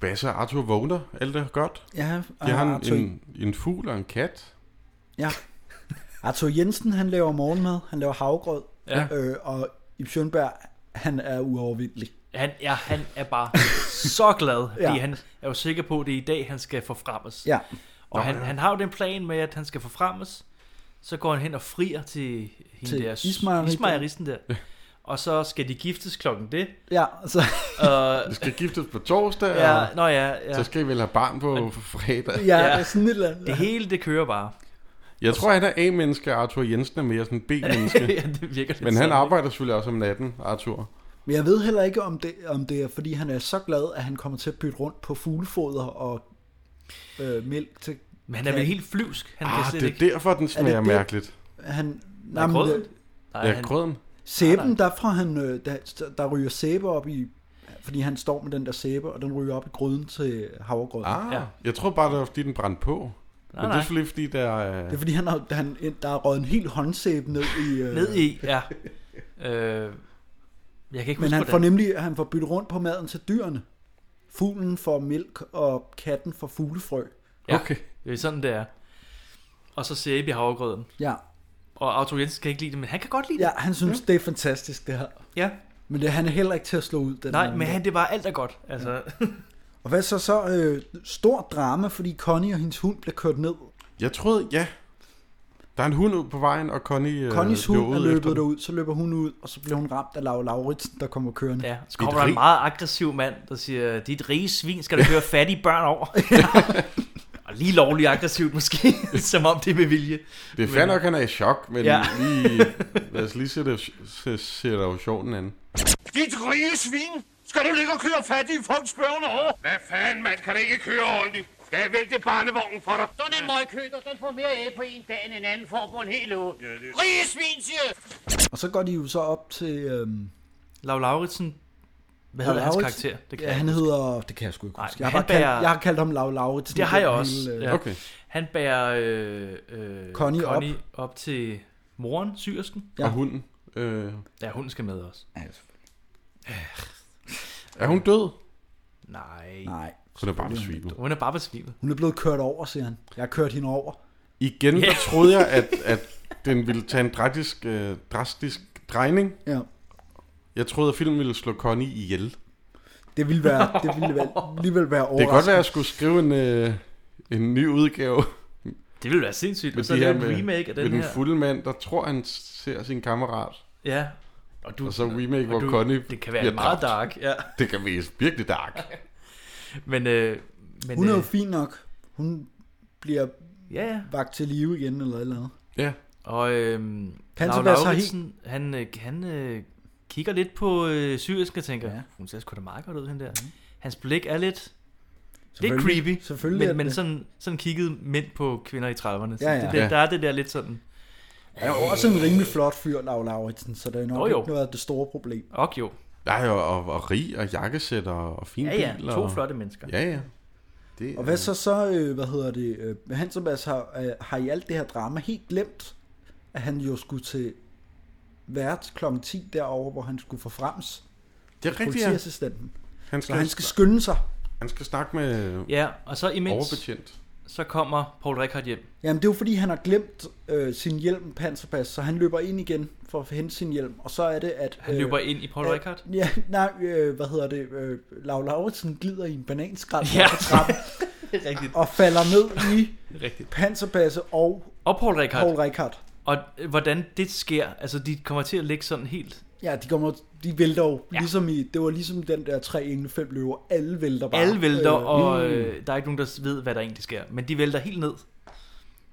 S4: Basse og Arthur vågner, alt er godt.
S3: Ja, og
S4: De har
S3: Ah, Arthur-
S4: en, en, en fugl og en kat.
S3: Ja. Arthur Jensen, han laver morgenmad, han laver havgrød,
S2: Ja.
S3: øh, og Ib Schønberg, han er uovervindelig.
S2: han, ja, han er bare så glad, fordi
S3: Ja.
S2: ja. han er jo sikker på, at det er i dag, han skal forfremmes.
S3: Ja.
S2: Og
S3: Nå,
S2: han,
S3: ja.
S2: han har jo den plan med, at han skal forfremmes. Så går han hen og frier til hende
S3: Til
S2: der,
S3: ismejeristen.
S2: ismejeristen der. Og så skal de giftes klokken det.
S3: Ja, altså, og så...
S2: Og,
S4: De skal giftes på torsdag,
S2: Ja,
S4: og
S2: nå ja, ja.
S4: så skal I vel have barn på fredag.
S3: Ja, ja. sådan et eller andet.
S2: Det hele, det kører bare.
S4: Jeg tror, han er A-menneske, og Arthur Jensen er mere sådan en B-menneske.
S2: Ja, det virker lidt
S4: Men han
S2: sådan,
S4: arbejder selvfølgelig også om natten, Arthur.
S3: Men jeg ved heller ikke, om det, om det er, fordi han er så glad, at han kommer til at bytte rundt på fuglefoder og øh, mælk til...
S2: Men han er vel helt flyvsk. Han
S4: Ah, det er derfor, den smager
S3: det-
S4: mærkeligt.
S3: Han, øh,
S2: Nej, grøden?
S4: Nej, Ja, han- grøden.
S3: Sæben, der, får han, øh, der, der ryger sæbe op i... Fordi han står med den der sæbe, og den ryger op i gryden til havregrøden.
S4: Ah, ja. jeg tror bare, det var, fordi den brændte på. Nej, Men det
S3: nej.
S4: er selvfølgelig, fordi der er...
S3: Det er fordi, han har, han, der er røget en hel håndsæbe ned i... Øh,
S2: Ned i, ja. Øh, jeg kan ikke
S3: Men
S2: huske,
S3: han
S2: hvordan-
S3: får nemlig han får byttet rundt på maden til dyrene. Fuglen får mælk, og katten får fuglefrø.
S2: Ja, okay. det er sådan, det er. Og så sæbe i havregrøden.
S3: Ja.
S2: Og Arthur Jensen kan ikke lide det, men han kan godt lide det.
S3: Ja, han synes, mm. det er fantastisk, det her.
S2: Ja.
S3: Men det, han er heller ikke til at slå ud. Den
S2: Nej,
S3: anden
S2: men
S3: der.
S2: han, det var alt er godt. Altså, ja.
S3: Og hvad så så? Øh, stor drama, fordi Connie og hendes hund bliver kørt ned.
S4: Jeg troede, ja. Der er en hund ud på vejen, og Connie... øh,
S3: Connies
S4: løber
S3: hund er
S4: ud efter
S3: løbet
S4: den.
S3: derud, så løber hun ud, og så bliver hun ramt af Laura Lauritsen, der kommer kørende.
S2: Ja, så kommer der en meget aggressiv mand, der siger, dit rige svin, skal du køre fattige børn over? og lige lovligt aggressivt måske, som om det er med vilje.
S4: Det er
S2: Men-
S4: fair nok, han er i chok, men
S2: Ja.
S4: ja. lige, lad os lige se, det, se, se der jo sjovt anden.
S10: Dit rige svin! Skal du ligge og køre fattige folks børn over? Hvad fanden, man kan ikke køre ordentligt. Skal jeg vælte barnevognen for dig?
S12: Sådan en møgkøter, den får mere æg på en dag, end en anden får på en hel uge. Ja, det... Rige svin, siger jeg.
S3: Og så går de jo så op til... Øhm,
S2: Lav Lauritsen, hvad hedder hans karakter?
S3: Det
S2: kan
S3: ja,
S2: jeg
S3: han
S2: ikke
S3: hedder... Det kan jeg sgu ikke huske.
S2: men
S3: jeg, har
S2: han
S3: bare kaldt,
S2: bærer-
S3: jeg har kaldt ham Laura Lauritsen.
S2: Det har jeg
S3: gennem
S2: også.
S3: hele, øh,
S2: Ja. Han bærer øh, øh,
S3: Connie op.
S2: Connie op. op til moren, syrsken.
S4: Ja. Og hunden. Øh,
S2: Ja, hunden skal med også.
S3: Ja,
S4: Altså, er hun død?
S2: Nej.
S3: Nej.
S4: Hun er bare besvimet.
S2: Hun er bare besvimet.
S3: Hun er blevet kørt over, siger han. Jeg har kørt hende over.
S4: Igen,
S3: Ja.
S4: der troede jeg, at, at den ville tage en drastisk, øh, drastisk drejning.
S3: Ja.
S4: Jeg troede, at filmen ville slå Connie ihjel.
S3: Det ville, være, det ville være, alligevel være
S4: Det kan
S3: overraskende.
S4: godt være, at jeg skulle skrive en, øh, en ny udgave.
S2: Altså, Det ville være sindssygt,
S4: Med
S2: og så
S4: de
S2: lave
S4: her
S2: en
S4: med-
S2: remake af den
S4: med den
S2: her.
S4: fulde mand, der tror, han ser sin kammerat.
S2: Ja. Og,
S4: Og,
S2: du-
S4: du, og så remake, hvor
S2: og du-
S4: Connie
S2: det kan være
S4: bliver
S2: meget
S4: dræbt.
S2: dark, ja.
S4: Det kan være virkelig dark.
S2: Men, øh, men
S3: Hun er jo
S2: øh,
S3: fin nok. Hun bliver
S2: ja, ja.
S3: vagt til live igen, eller et eller andet.
S4: Ja.
S2: Og øhm, Lav
S3: Panservads har
S2: Lauritsen, han, øh, han øh, kigger lidt på øh, syrisk og tænker, ja. hun ser sgu da meget godt ud, hende der. Mm. Hans blik er lidt... Lidt
S3: Mhm. Selvfølgelig-
S2: creepy,
S3: selvfølgelig
S2: men,
S3: er det
S2: men
S3: det.
S2: sådan, sådan kiggede mænd på kvinder i 30'erne. Så
S3: Ja, ja.
S2: Det, der,
S3: Ja.
S2: der er det der lidt sådan...
S3: Han er jo også en rimelig flot fyr, Lav Lauritsen, så det er nok
S2: Jo,
S3: jo,
S2: jo.
S3: jo. ikke noget af det store problem.
S2: Og jo.
S4: Nej, og, og, og rig og jakkesæt og, og fin
S2: Ja, ja.
S4: bil.
S2: To
S4: og...
S2: flotte mennesker.
S4: Ja, ja. Det,
S3: Og hvad så så, øh, hvad hedder det, øh, Hans og Mads har, øh, har i alt det her drama helt glemt, at han jo skulle til vært kl. 10 derovre, hvor han skulle forfrems.
S4: Det er rigtigt, ja.
S3: Politiassistenten.
S4: Han
S3: Han
S4: skal-
S3: skal, så han skal skynde sig.
S4: Han skal snakke med
S2: Ja, og så imens...
S4: overbetjent.
S2: Så kommer Paul Rickard hjem.
S3: Jamen det er jo fordi, han har glemt øh, sin hjelm panserpas, så han løber ind igen for at hente sin hjelm, og så er det, at...
S2: Han løber ind i Paul
S3: at-
S2: Rickard?
S3: Øh, Ja, nej, øh, hvad hedder det? Øh, Lav Lauritsen glider i en bananskræl
S2: Ja.
S3: ja. på trappen,
S2: Det er rigtigt.
S3: og falder ned i
S2: Rigtigt.
S3: panserpasse og,
S2: og Paul Rickard.
S3: Paul Rickard.
S2: Og øh, hvordan det sker, altså de kommer til at ligge sådan helt...
S3: Ja, de kommer, de vælter jo, ja. ligesom i, det var ligesom den der tre engle, fem løver, alle vælter bare.
S2: Alle vælter,
S3: Øh,
S2: og
S3: mm.
S2: øh, der er ikke nogen, der ved, hvad der egentlig sker. Men de vælter helt ned.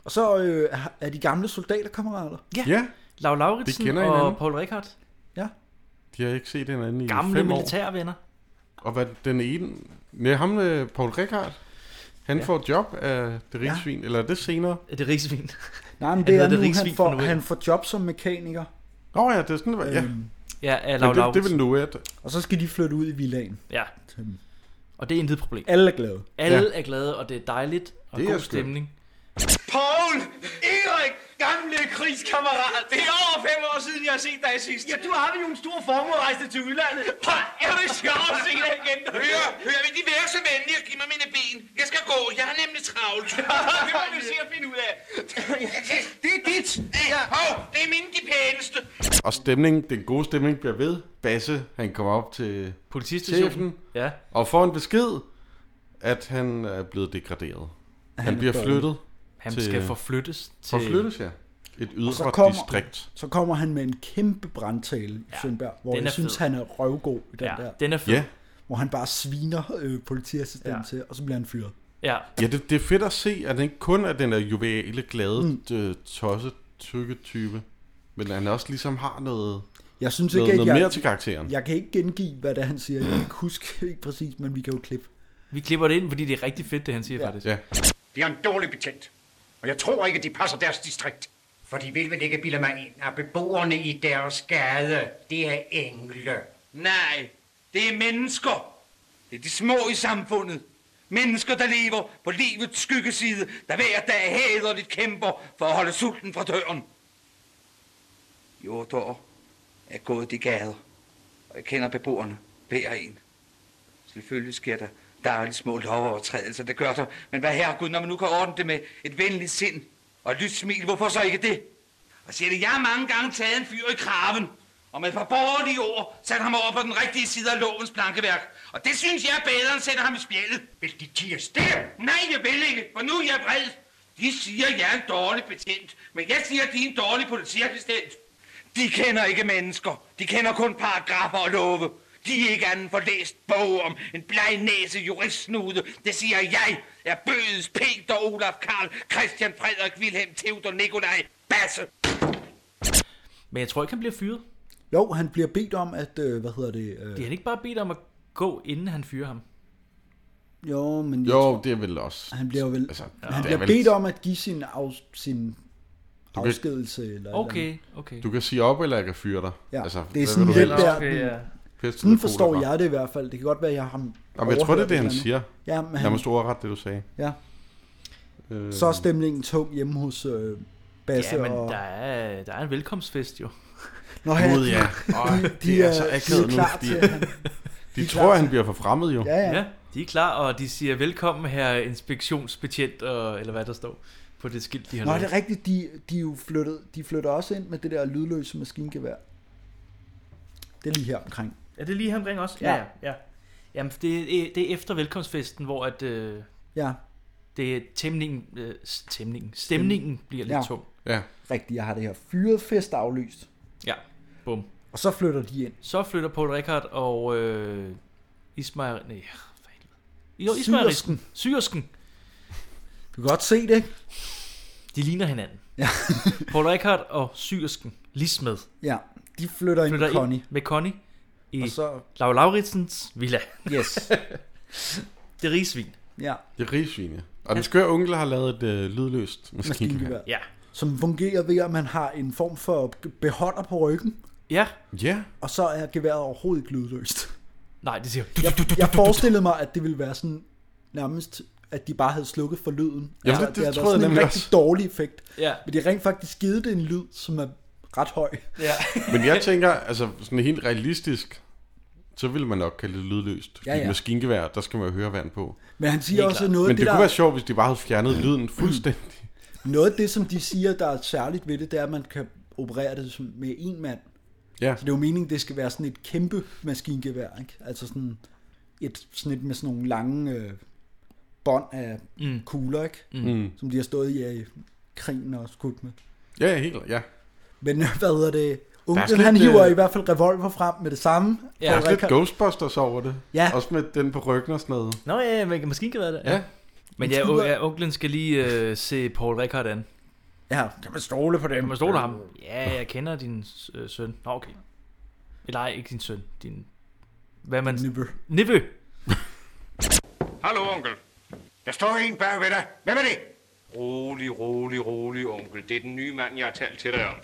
S3: Og så øh, er- er de gamle soldaterkammerater.
S2: Ja. Lav Lauritsen
S3: De kender
S2: og
S3: hinanden.
S2: Paul Rickard.
S3: Ja.
S4: De har ikke set hinanden i
S2: Gamle
S4: fem år.
S2: militærvenner.
S4: Og hvad den ene... Nej, ham, øh, Paul Rickard, han
S3: Ja.
S4: ja. får et job af det rige
S3: Ja.
S4: ja. svin, eller er det senere?
S2: Er det rige svin?
S3: Nej, men det er nu, han får, han får job som mekaniker.
S4: Åh oh, ja, det er sådan, det var, ja.
S3: Øhm,
S2: Ja, af
S4: Men
S2: Lau
S4: det, det
S2: Lauritsen.
S4: er vel nu, at...
S3: Og så skal de flytte ud i villaen.
S2: Ja. Og det er intet problem.
S3: Alle er glade.
S2: Alle ja. er glade, og det er dejligt, og
S3: Det
S2: det
S3: er
S2: god
S3: skønt.
S2: stemning.
S9: Paul! Erik! Gamle krigskammerat! Det er over fem år siden, jeg har set dig sidst. Ja, du har vel jo en stor formue rejst til udlandet. Jeg vil sjovt se dig igen. Hør, hør, vil de være så venlige at give mig mine ben? Jeg skal gå, jeg har nemlig travlt. det må vi se at finde ud af. det er dit. Ja. Hov, det er mine de pæneste.
S4: Og stemningen, den gode stemning bliver ved. Basse, han kommer op til
S2: Politistationen.
S4: chefen,
S2: Ja.
S4: og får en besked, at han er blevet degraderet. Han,
S2: Han
S4: han
S2: er
S4: bliver
S2: dårlig.
S4: flyttet.
S2: Han skal forflyttes til-
S4: Forflyttes, ja. Et
S3: Og så
S4: ydre
S3: kommer,
S4: distrikt.
S3: så kommer han med en kæmpe brandtale i ja, Sønberg, hvor
S2: den
S3: jeg
S2: er
S3: synes,
S2: fed.
S3: han er røvgod i den
S2: Ja,
S3: der.
S2: den er fed. Ja.
S3: Hvor han bare sviner øh, politiassistenten ja.
S2: Ja.
S3: til, og så bliver han fyret.
S2: Ja.
S4: Ja, det, det er fedt at se, at han ikke kun er den der joviale, glade, mm. tosse, tykke type, men han også ligesom har noget,
S3: Jeg synes
S4: noget,
S3: ikke, at
S4: noget
S3: jeg,
S4: mere til karakteren.
S3: Jeg kan ikke gengive, hvad det er, han siger. Jeg kan ikke huske ikke præcis, men vi kan jo klippe.
S2: Vi klipper det ind, fordi det er rigtig fedt, det han siger ja. faktisk.
S4: Ja.
S15: De er en dårlig betjent, og jeg tror ikke, de passer deres distrikt. For de vil vel ikke bilde mig ind, at beboerne i deres gade, det er engle.
S9: Nej, det er mennesker. Det er de små i samfundet. Mennesker, der lever på livets skyggeside, der hver dag hæderligt kæmper for at holde sulten fra døren. I otte år er jeg gået de gader, og jeg kender beboerne hver en. Selvfølgelig sker der daglige små lovovertrædelser, det gør der. Men hvad her, Gud, når man nu kan ordne det med et venligt sind og et lyst smil, hvorfor så ikke det? Og siger det, jeg har mange gange taget en fyr i kraven, og med et par borgerlige ord satte ham over på den rigtige side af lovens plankeværk. Og det synes jeg er bedre, end sætter ham i spjældet. Vil de tige stille? Nej, jeg vil ikke, for nu er jeg vred. De siger, jeg er en dårlig betjent, men jeg siger, de er en dårlig politiassistent. De kender ikke mennesker. De kender kun paragrafer og love. De er ikke andet for læst bog om en blegnæse juristsnude. Det siger jeg er Bødes, Peter, Olaf, Karl, Christian, Frederik, Wilhelm, Theodor, Nikolaj, Basse.
S2: Men jeg tror ikke, han bliver fyret.
S3: Jo, han bliver bedt om at, øh, hvad hedder det? Øh,
S2: De har ikke bare bedt om at gå, inden han fyrer ham.
S3: Jo, men jeg
S4: Jo, det er vel også...
S3: Han bliver vel, altså,
S4: det
S3: han
S4: er
S3: bliver
S4: vel-
S3: bedt om at give sin, af, sin
S4: kan-
S3: afskedelse. Eller et eller andet.
S2: okay.
S4: Du kan sige op, eller jeg kan fyre dig.
S3: Ja,
S4: altså,
S3: det
S4: hvad
S3: er sådan
S4: vil
S3: lidt
S4: du helst?
S3: der, okay, ja.
S4: Pest
S3: sådan
S4: eller kolera?
S3: forstår jeg det i hvert fald. Det kan godt være, jeg har ham
S4: Jamen, jeg tror, det er
S3: overhørt
S4: det, han
S3: eller
S4: siger.
S3: andet. Ja, men
S4: Lad mig
S3: han,
S4: stå ret, det du sagde.
S3: ja.
S4: Øh,
S3: Så er stemningen tung hjemme hos øh, Basse.
S2: ja, men
S3: og,
S2: der, er, der er en velkomstfest jo.
S3: Nå, han-
S4: Gud, ja. Øj, de, de, er, så akavet nu, fordi de, de tror, han bliver forfremmet jo.
S2: ja. De er klar, og de siger velkommen her inspektionsbetjent, og, eller hvad der står på det skilt, de har
S3: Nå,
S2: lavet.
S3: det er rigtigt, de, de, er jo flyttet, de flytter også ind med det der lydløse maskingevær. Det er lige her omkring.
S2: Er det lige omkring også?
S3: Ja.
S2: Ja, ja. ja. Jamen, det, er- det er efter velkomstfesten, hvor at... Øh,
S3: Ja.
S2: Det er temningen, øh, s- temningen. Stemningen bliver lidt
S3: ja.
S2: tung.
S4: Ja.
S3: Rigtigt, jeg har det her fyret fest aflyst.
S2: Ja. Bum.
S3: Og så flytter de ind.
S2: Så flytter Paul Rickard og øh, Ismail... Nej, for helvede. Jo,
S3: Syrersken.
S2: Ismail Syrsken.
S3: Du kan godt se det, ikke?
S2: De ligner hinanden. Ja. Paul Rickard og Syrsken. Lismed.
S3: Ja, de flytter, ind med Connie.
S2: med Connie. I
S3: Og
S2: og
S3: så-
S2: så... Lau Lauritsens villa.
S3: Yes.
S2: det rigsvin.
S3: Ja.
S4: Det er rigsvin, ja. Og den skøre onkel har lavet et øh, lydløst maskingevær.
S2: Ja.
S3: Som fungerer ved, at man har en form for beholder på ryggen.
S2: Ja.
S4: Ja.
S3: Og så er geværet overhovedet ikke lydløst.
S2: Nej, det siger
S3: jeg, jeg forestillede mig, at det ville være sådan nærmest at de bare havde slukket for lyden.
S4: Ja,
S3: altså,
S4: det- det
S3: havde været
S4: troede jeg
S3: sådan en
S4: nemlig
S3: rigtig
S4: også.
S3: dårlig effekt.
S2: Ja.
S3: Men de har rent faktisk givet det en lyd, som er ret høj.
S2: Ja.
S4: Men jeg tænker, altså sådan helt realistisk, så ville man nok kalde det lydløst.
S3: Ja,
S4: Ja, ja.
S3: ja.
S4: Maskingevær, der skal man jo høre vand på.
S3: Men han siger Helt også klart. noget af det,
S4: Men det, det
S3: der-
S4: kunne være sjovt, hvis de bare havde fjernet lyden fuldstændig.
S3: Noget af det, som de siger, der er særligt ved det, det er, at man kan operere det som- med en mand.
S4: Ja.
S3: Så det er jo meningen, det skal være sådan et kæmpe maskingevær, ikke? Altså sådan et, sådan et med sådan nogle lange øh, bånd af mm.
S4: Mm.
S3: kugler, ikke?
S4: Mm.
S3: Som de har stået i, øh, krigen og skudt med.
S4: Ja, ja, helt, ja.
S3: Men hvad hedder det? Onklen,
S4: lidt,
S3: han hiver
S4: øh,
S3: i hvert fald revolver frem med det samme.
S4: Ja, der er også lidt
S3: Rickard-
S4: Ghostbusters over det.
S3: Ja.
S4: Også med den på ryggen og sådan noget.
S2: Nå ja, men måske ikke være det.
S4: Ja.
S2: Men ja, o- ja, onklen skal lige øh, se Paul Rickard an.
S3: Ja, kan man stole på dem?
S2: Kan man stole på ham? Ja, jeg kender din øh, søn. Nå, okay. Eller ej, ikke din søn. Din... Hvad er man... Nivø. Nivø.
S14: Hallo, onkel.
S13: Der står en bag ved dig. Hvem er det?
S14: Rolig, rolig, rolig, onkel. Det er den nye mand, jeg har talt til dig om.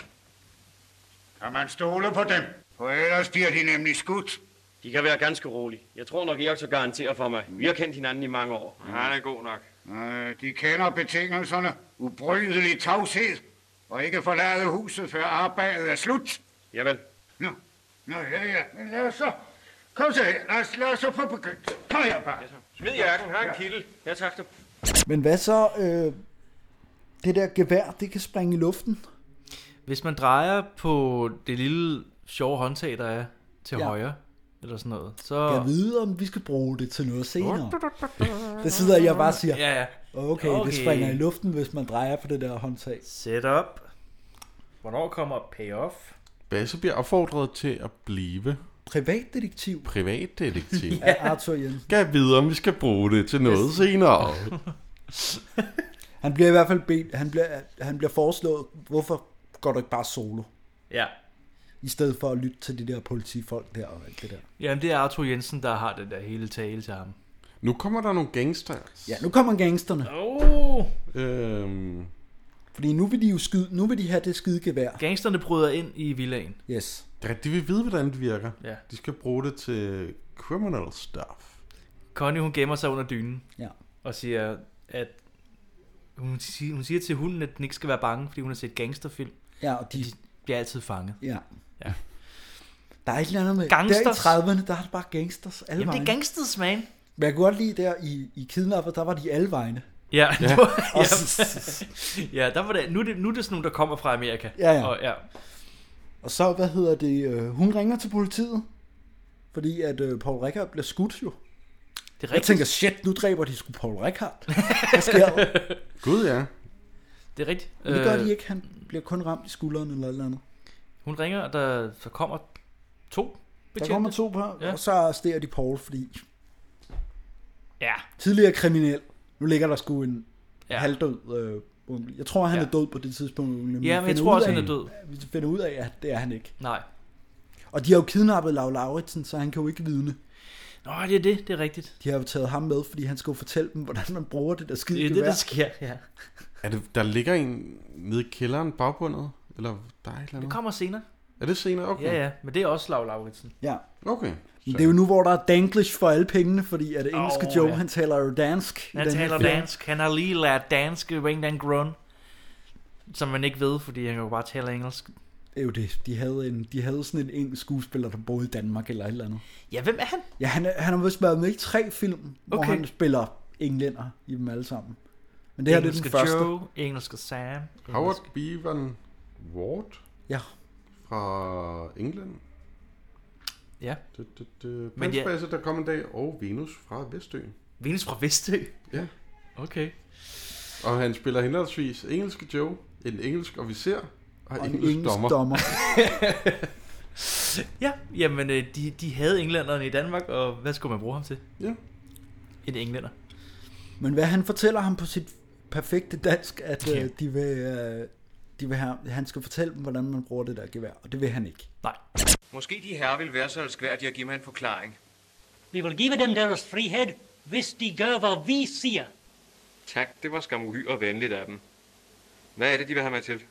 S13: Kan man stole på dem? For ellers bliver de nemlig skudt.
S16: De kan være ganske rolige. Jeg tror nok, Erik så garanterer for mig. Vi har kendt hinanden i mange år.
S14: Han er god nok.
S13: Øh, de kender betingelserne. Ubrydelig tavshed. Og ikke forlade huset, før arbejdet er slut.
S16: Javel.
S13: Nå, Nå ja, ja. Men lad os så... Kom så her. Lad os, lad os så få begyndt. Kom her, bare.
S14: Smid jakken. Her er en kilde. Ja, tak du.
S3: Men hvad så? Øh, det der gevær, det kan springe i luften.
S2: Hvis man drejer på det lille sjove håndtag, der er til
S3: Ja.
S2: ja. højre, eller sådan noget,
S3: Så...
S2: så...
S3: Jeg vide, om vi skal bruge det til noget senere. Det sidder jeg og bare og siger.
S2: Ja, ja.
S3: Okay, okay, det springer i luften, hvis man drejer på det der håndtag.
S2: Set up. Hvornår kommer payoff?
S4: Basse bliver opfordret til at blive
S3: privatdetektiv.
S4: Privatdetektiv.
S3: Af Arthur Jensen.
S4: Skal vide, om vi skal bruge det til noget yes. senere.
S3: Han bliver i hvert fald bedt, han bliver, han bliver foreslået, hvorfor går du ikke bare solo?
S2: Ja.
S3: I stedet for at lytte til de der politifolk der og alt det der.
S2: Jamen, det er Arthur Jensen, der har den der hele tale til ham.
S4: Nu kommer der nogle gangster.
S3: Ja, nu kommer gangsterne.
S2: Oh.
S4: Øhm,
S3: Fordi nu vil de jo skyde, nu vil de have det skidegevær.
S2: Gangsterne bryder ind i villaen.
S3: Yes.
S4: ja, de vil vide, hvordan det virker.
S2: Ja.
S4: De skal bruge det til criminal stuff.
S2: Connie, hun gemmer sig under dynen.
S3: Ja.
S2: Og siger, at... Hun siger, hun siger til hunden, at den ikke skal være bange, fordi hun har set gangsterfilm.
S3: Ja, og de-
S2: At de bliver altid fanget.
S3: Ja.
S2: ja.
S3: Der er et eller andet med, der i
S2: Gangsters.
S3: 30'erne, der er det bare gangsters alle
S2: Jamen, det er
S3: vegne.
S2: gangsters, man.
S3: Men jeg kunne godt lide der i, i Kidnapper, der var de alle vegne.
S2: Ja, ja.
S3: ja. Og,
S2: ja der var det, nu, er det, nu er det sådan nogle, der kommer fra Amerika.
S3: Ja, ja.
S2: Og, ja.
S3: og så, hvad hedder det, øh, hun ringer til politiet, fordi at øh, Paul Rickard bliver skudt jo.
S2: Det
S3: jeg tænker, shit, nu dræber de sgu Paul Rickard. Hvad sker der?
S4: Gud ja.
S2: Det er rigtigt.
S3: Men det gør
S2: Øh,
S3: de ikke, han bliver kun ramt i skulderen eller et eller andet.
S2: Hun ringer, og der så kommer to
S3: Der
S2: betjente.
S3: kommer to på, ja.
S2: Ja.
S3: og så arresterer de Paul, fordi
S2: Ja.
S3: tidligere kriminel, nu ligger der sgu en ja.
S2: Ja.
S3: halvdød øh, onkel. Jeg tror, han
S2: Ja.
S3: er død på det tidspunkt. Onkel. men vi
S2: Ja, men jeg
S3: finder
S2: tror
S3: ud
S2: også,
S3: af-
S2: han er død.
S3: Vi finder ud af, at det er han ikke.
S2: Nej.
S3: Og de har jo kidnappet Lau Lauritsen, så han kan jo ikke vidne.
S2: Nå, det er det, det er rigtigt.
S3: De har jo taget ham med, fordi han skal jo fortælle dem, hvordan man bruger det der skide
S2: Det er det,
S3: gevær.
S2: der sker, ja.
S4: Er det, der ligger en nede i kælderen bagbundet? Eller der er et eller andet?
S2: Det kommer senere.
S4: Er det senere? Okay.
S2: Ja, ja, men det er også Lav Lauritsen.
S3: Ja.
S4: Okay.
S3: Men det er jo nu, hvor der er danglish for alle pengene, fordi at det engelske
S2: Åh,
S3: oh, Joe,
S2: ja.
S3: han taler jo dansk. i
S2: Han
S3: den her
S2: taler
S3: film.
S2: dansk. Han har lige lært dansk ved en eller anden grund. Som man ikke ved, fordi han jo bare taler engelsk.
S3: Det er jo det. De havde, en, de havde sådan en engelsk skuespiller, der boede i Danmark eller et eller andet.
S2: Ja, hvem er han?
S3: Ja, han, er- han har vist været med i tre film, okay. hvor
S2: Okay.
S3: han spiller englænder i dem alle sammen. Men det her det er den
S2: Engelske
S3: første.
S2: Joe, engelske Sam.
S4: Howard Bevan Ward
S3: Ja.
S4: fra England.
S2: Ja.
S4: Det, det, det.
S2: Men
S4: Men
S2: ja.
S4: ja. der kom en dag, og Venus fra Vestø.
S2: Venus fra Vestø?
S4: Ja.
S2: Okay.
S4: Og han spiller henholdsvis engelske Joe, en engelsk officer og,
S3: Og
S4: og
S3: en
S4: en engelsk,
S3: engelsk
S4: dommer.
S3: dommer.
S2: Ja, jamen øh, de, de havde englænderne i Danmark, og hvad skulle man bruge ham til?
S4: Ja.
S2: En englænder.
S3: Men hvad han fortæller ham på sit perfekte dansk, at
S2: Ja.
S3: øh, de vil, øh, de vil have, han skal fortælle dem, hvordan man bruger det der gevær, og det vil han ikke.
S2: Nej.
S14: Måske de herrer vil være så elskværdige at give mig en forklaring.
S6: We will give them deres frihed, hvis de gør, hvad vi siger.
S14: Tak, det var skam uhyre venligt af dem. Hvad er det, de vil have mig til?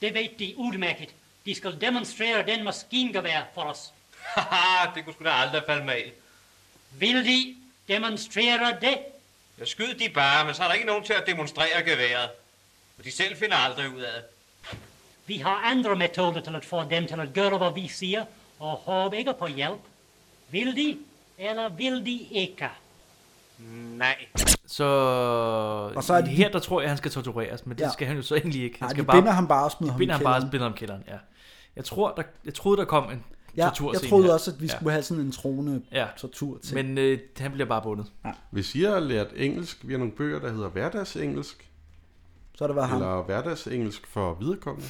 S6: Det ved de udmærket. De skal demonstrere den maskingevær for os.
S14: Haha, det kunne sgu da aldrig falde mig af.
S6: Vil de demonstrere det?
S14: Jeg skyd de bare, men så er der ikke nogen til at demonstrere geværet. Og de selv finder aldrig ud af det.
S6: Vi har andre metoder til at få dem til at gøre, hvad vi siger, og håbe ikke på hjælp. Vil de, eller vil de ikke?
S14: Nej.
S2: Så,
S3: Og
S2: og
S3: så
S2: så
S3: er det-
S2: her, der tror jeg, han skal tortureres, men det
S3: Ja.
S2: ja. skal han jo så egentlig ikke. Han
S3: Nej,
S2: skal
S3: de binder ham bare og
S2: de
S3: smider ham i
S2: binder ham bare og
S3: kælderen.
S2: binder ham i kælderen, ja. Jeg, tror, der, jeg troede, der kom en
S3: Ja,
S2: torturscene
S3: jeg troede
S2: her.
S3: også, at vi ja. skulle have sådan en troende ja. tortur til.
S2: Men øh, han bliver bare bundet.
S3: Ja.
S4: Hvis I har lært engelsk via nogle bøger, der hedder hverdagsengelsk,
S3: så har det været ham.
S4: eller hverdagsengelsk for viderekommende,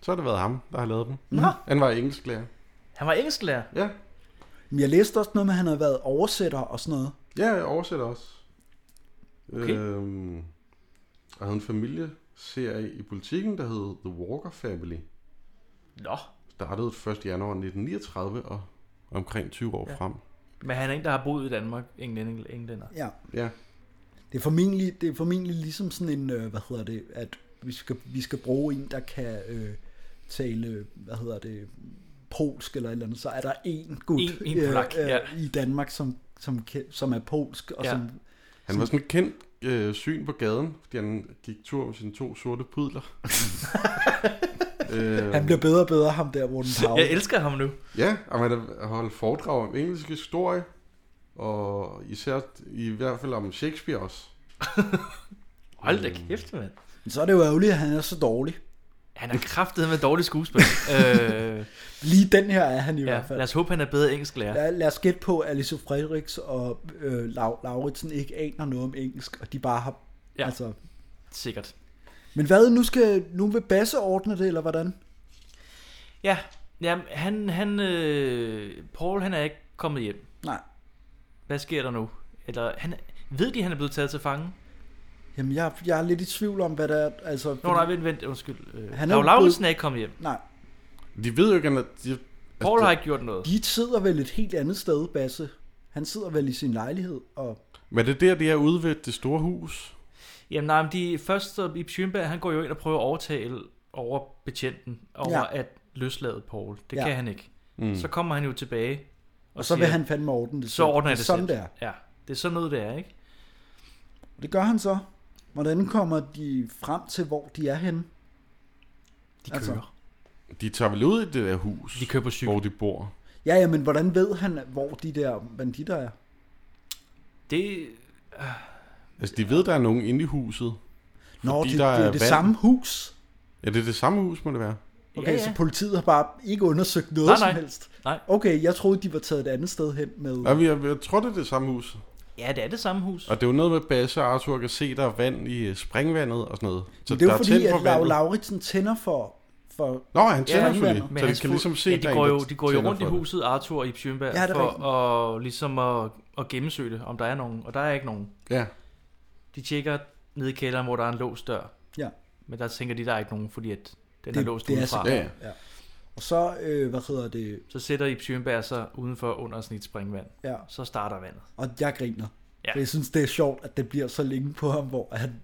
S4: så har det været ham, der har lavet dem.
S3: Nå.
S4: Han var engelsklærer.
S2: Han var engelsklærer?
S4: Ja.
S3: Men jeg læste også noget med, at han havde været oversætter og sådan noget.
S4: Ja, jeg oversætter også. Okay. Øhm, og havde en familieserie i politikken, der hed The Walker Family.
S2: Nå.
S4: startede 1. januar 1939 og omkring 20 år
S2: Ja.
S4: ja. frem.
S2: Men han er en, der har boet i Danmark, englænder. englænder.
S3: Ja.
S4: Ja.
S3: Det er formentlig, det er formentlig ligesom sådan en, øh, hvad hedder det, at vi skal, vi skal bruge en, der kan øh, tale, øh, hvad hedder det, polsk eller et eller andet, så er der en gut øh,
S2: En- en polak, ja.
S3: i Danmark, som, som, kan- som er polsk, og
S4: Ja.
S3: ja. som...
S4: Han var sådan et kendt øh, syn på gaden, fordi han gik tur med sine to sorte pudler. øh,
S3: Han bliver bedre og bedre, ham der, Morten Pau.
S2: ham nu.
S4: Ja, og man har holdt foredrag om engelsk historie, og især i hvert fald om Shakespeare også.
S2: Hold
S3: Øh.
S2: da kæft, mand.
S3: Men så er det jo ærgerligt, at han er så dårlig.
S2: Han er kraftet med dårlig skuespil. øh,
S3: Lige den her er han i ja, hvert fald.
S2: lad os håbe, han er bedre engelsklærer.
S3: Lad, lad os gætte på, at Alice Frederiks og øh, Lau, Lauritsen ikke aner noget om engelsk, og de bare har...
S2: Ja.
S3: Altså,
S2: Sikkert.
S3: men hvad, nu, skal, nu vil Basse ordne det, eller hvordan?
S2: Ja, jamen, han, han, øh, Paul han er ikke kommet hjem.
S3: Nej.
S2: Hvad sker der nu? Eller, han, ved de, at han er blevet taget til fange?
S3: Jamen, jeg, jeg er lidt i tvivl om, hvad der er... Altså,
S2: Nå, nej, vent, vent, undskyld. Øh,
S3: Han
S2: han
S3: er
S2: er
S3: jo
S2: Lauritsen
S3: blevet- Altså,
S2: er ikke kommet hjem.
S3: Nej.
S4: De ved jo ikke, at de...
S2: Paul har ikke gjort noget.
S3: De sidder vel et helt andet sted, Basse. Han sidder vel i sin lejlighed, og...
S4: Men det er der, de er ude ved det store hus.
S2: Jamen nej, men de første i Schönberg, han går jo ind og prøver at overtale over betjenten, over
S3: Ja.
S2: ja. at løslade Paul. Det
S3: Ja.
S2: ja. kan han ikke.
S4: Mm.
S2: Mm. Så kommer han jo tilbage. Og,
S3: så vil han fandme ordne det
S2: Så
S3: selv.
S2: ordner jeg
S3: Det er
S2: det,
S3: sådan,
S2: selv.
S3: det
S2: Ja, det er sådan noget, det er, ikke?
S3: Det gør han så. Hvordan kommer de frem til, hvor de er henne? Altså,
S2: De
S4: De tager vel ud i det der hus, de
S2: køber
S4: hvor de bor.
S3: Ja, ja, men hvordan ved han, hvor de der banditter er?
S2: Det...
S4: Altså, de ved, der er nogen inde i huset.
S3: Nå,
S4: fordi
S3: det,
S4: der
S3: det er
S4: vand.
S3: det samme hus.
S4: Ja, det er det samme hus, må det være.
S3: Okay, ja, ja. så politiet har bare ikke undersøgt noget
S4: Nej,
S3: som
S4: nej.
S3: helst.
S2: Nej.
S3: Okay, jeg troede, de var taget et andet sted hen med...
S4: Ja, vi- jeg, jeg tror, det er det samme hus.
S2: Ja, det er det samme hus.
S4: Og det er jo noget med, at Basse og Arthur kan se, der er vand i øh, springvandet og sådan noget. Så
S3: Men det er
S4: der
S3: jo fordi,
S4: tændt
S3: at
S4: for
S3: Lau
S4: vandet.
S3: Lauritsen tænder for... for
S4: Nå, han tænder
S3: for
S4: selvfølgelig.
S2: Men
S4: Så de
S2: hans
S4: kan
S2: fu-
S4: ligesom se,
S2: ja,
S4: der
S2: de
S4: er
S2: går
S4: en,
S2: jo,
S4: der
S2: de går jo
S4: tænder
S2: rundt i
S4: for det.
S2: huset, Arthur i Schönberg,
S3: Ja, det er rigtigt.
S2: for at, ligesom at, at gennemsøge det, om der er nogen. Og der er ikke nogen.
S4: Ja.
S2: De tjekker ned i kælderen, hvor der er en låst dør.
S3: Ja.
S2: Men der tænker de, der er ikke nogen, fordi at den er låst udefra.
S3: så- ja. Og så, øh, hvad hedder det...
S2: Så sætter Ib Schønberg sig udenfor under sådan et springvand.
S3: Ja.
S2: Så starter vandet.
S3: Og jeg griner. Ja.
S2: Ja.
S3: For jeg synes, det er sjovt, at det bliver så længe på ham, hvor han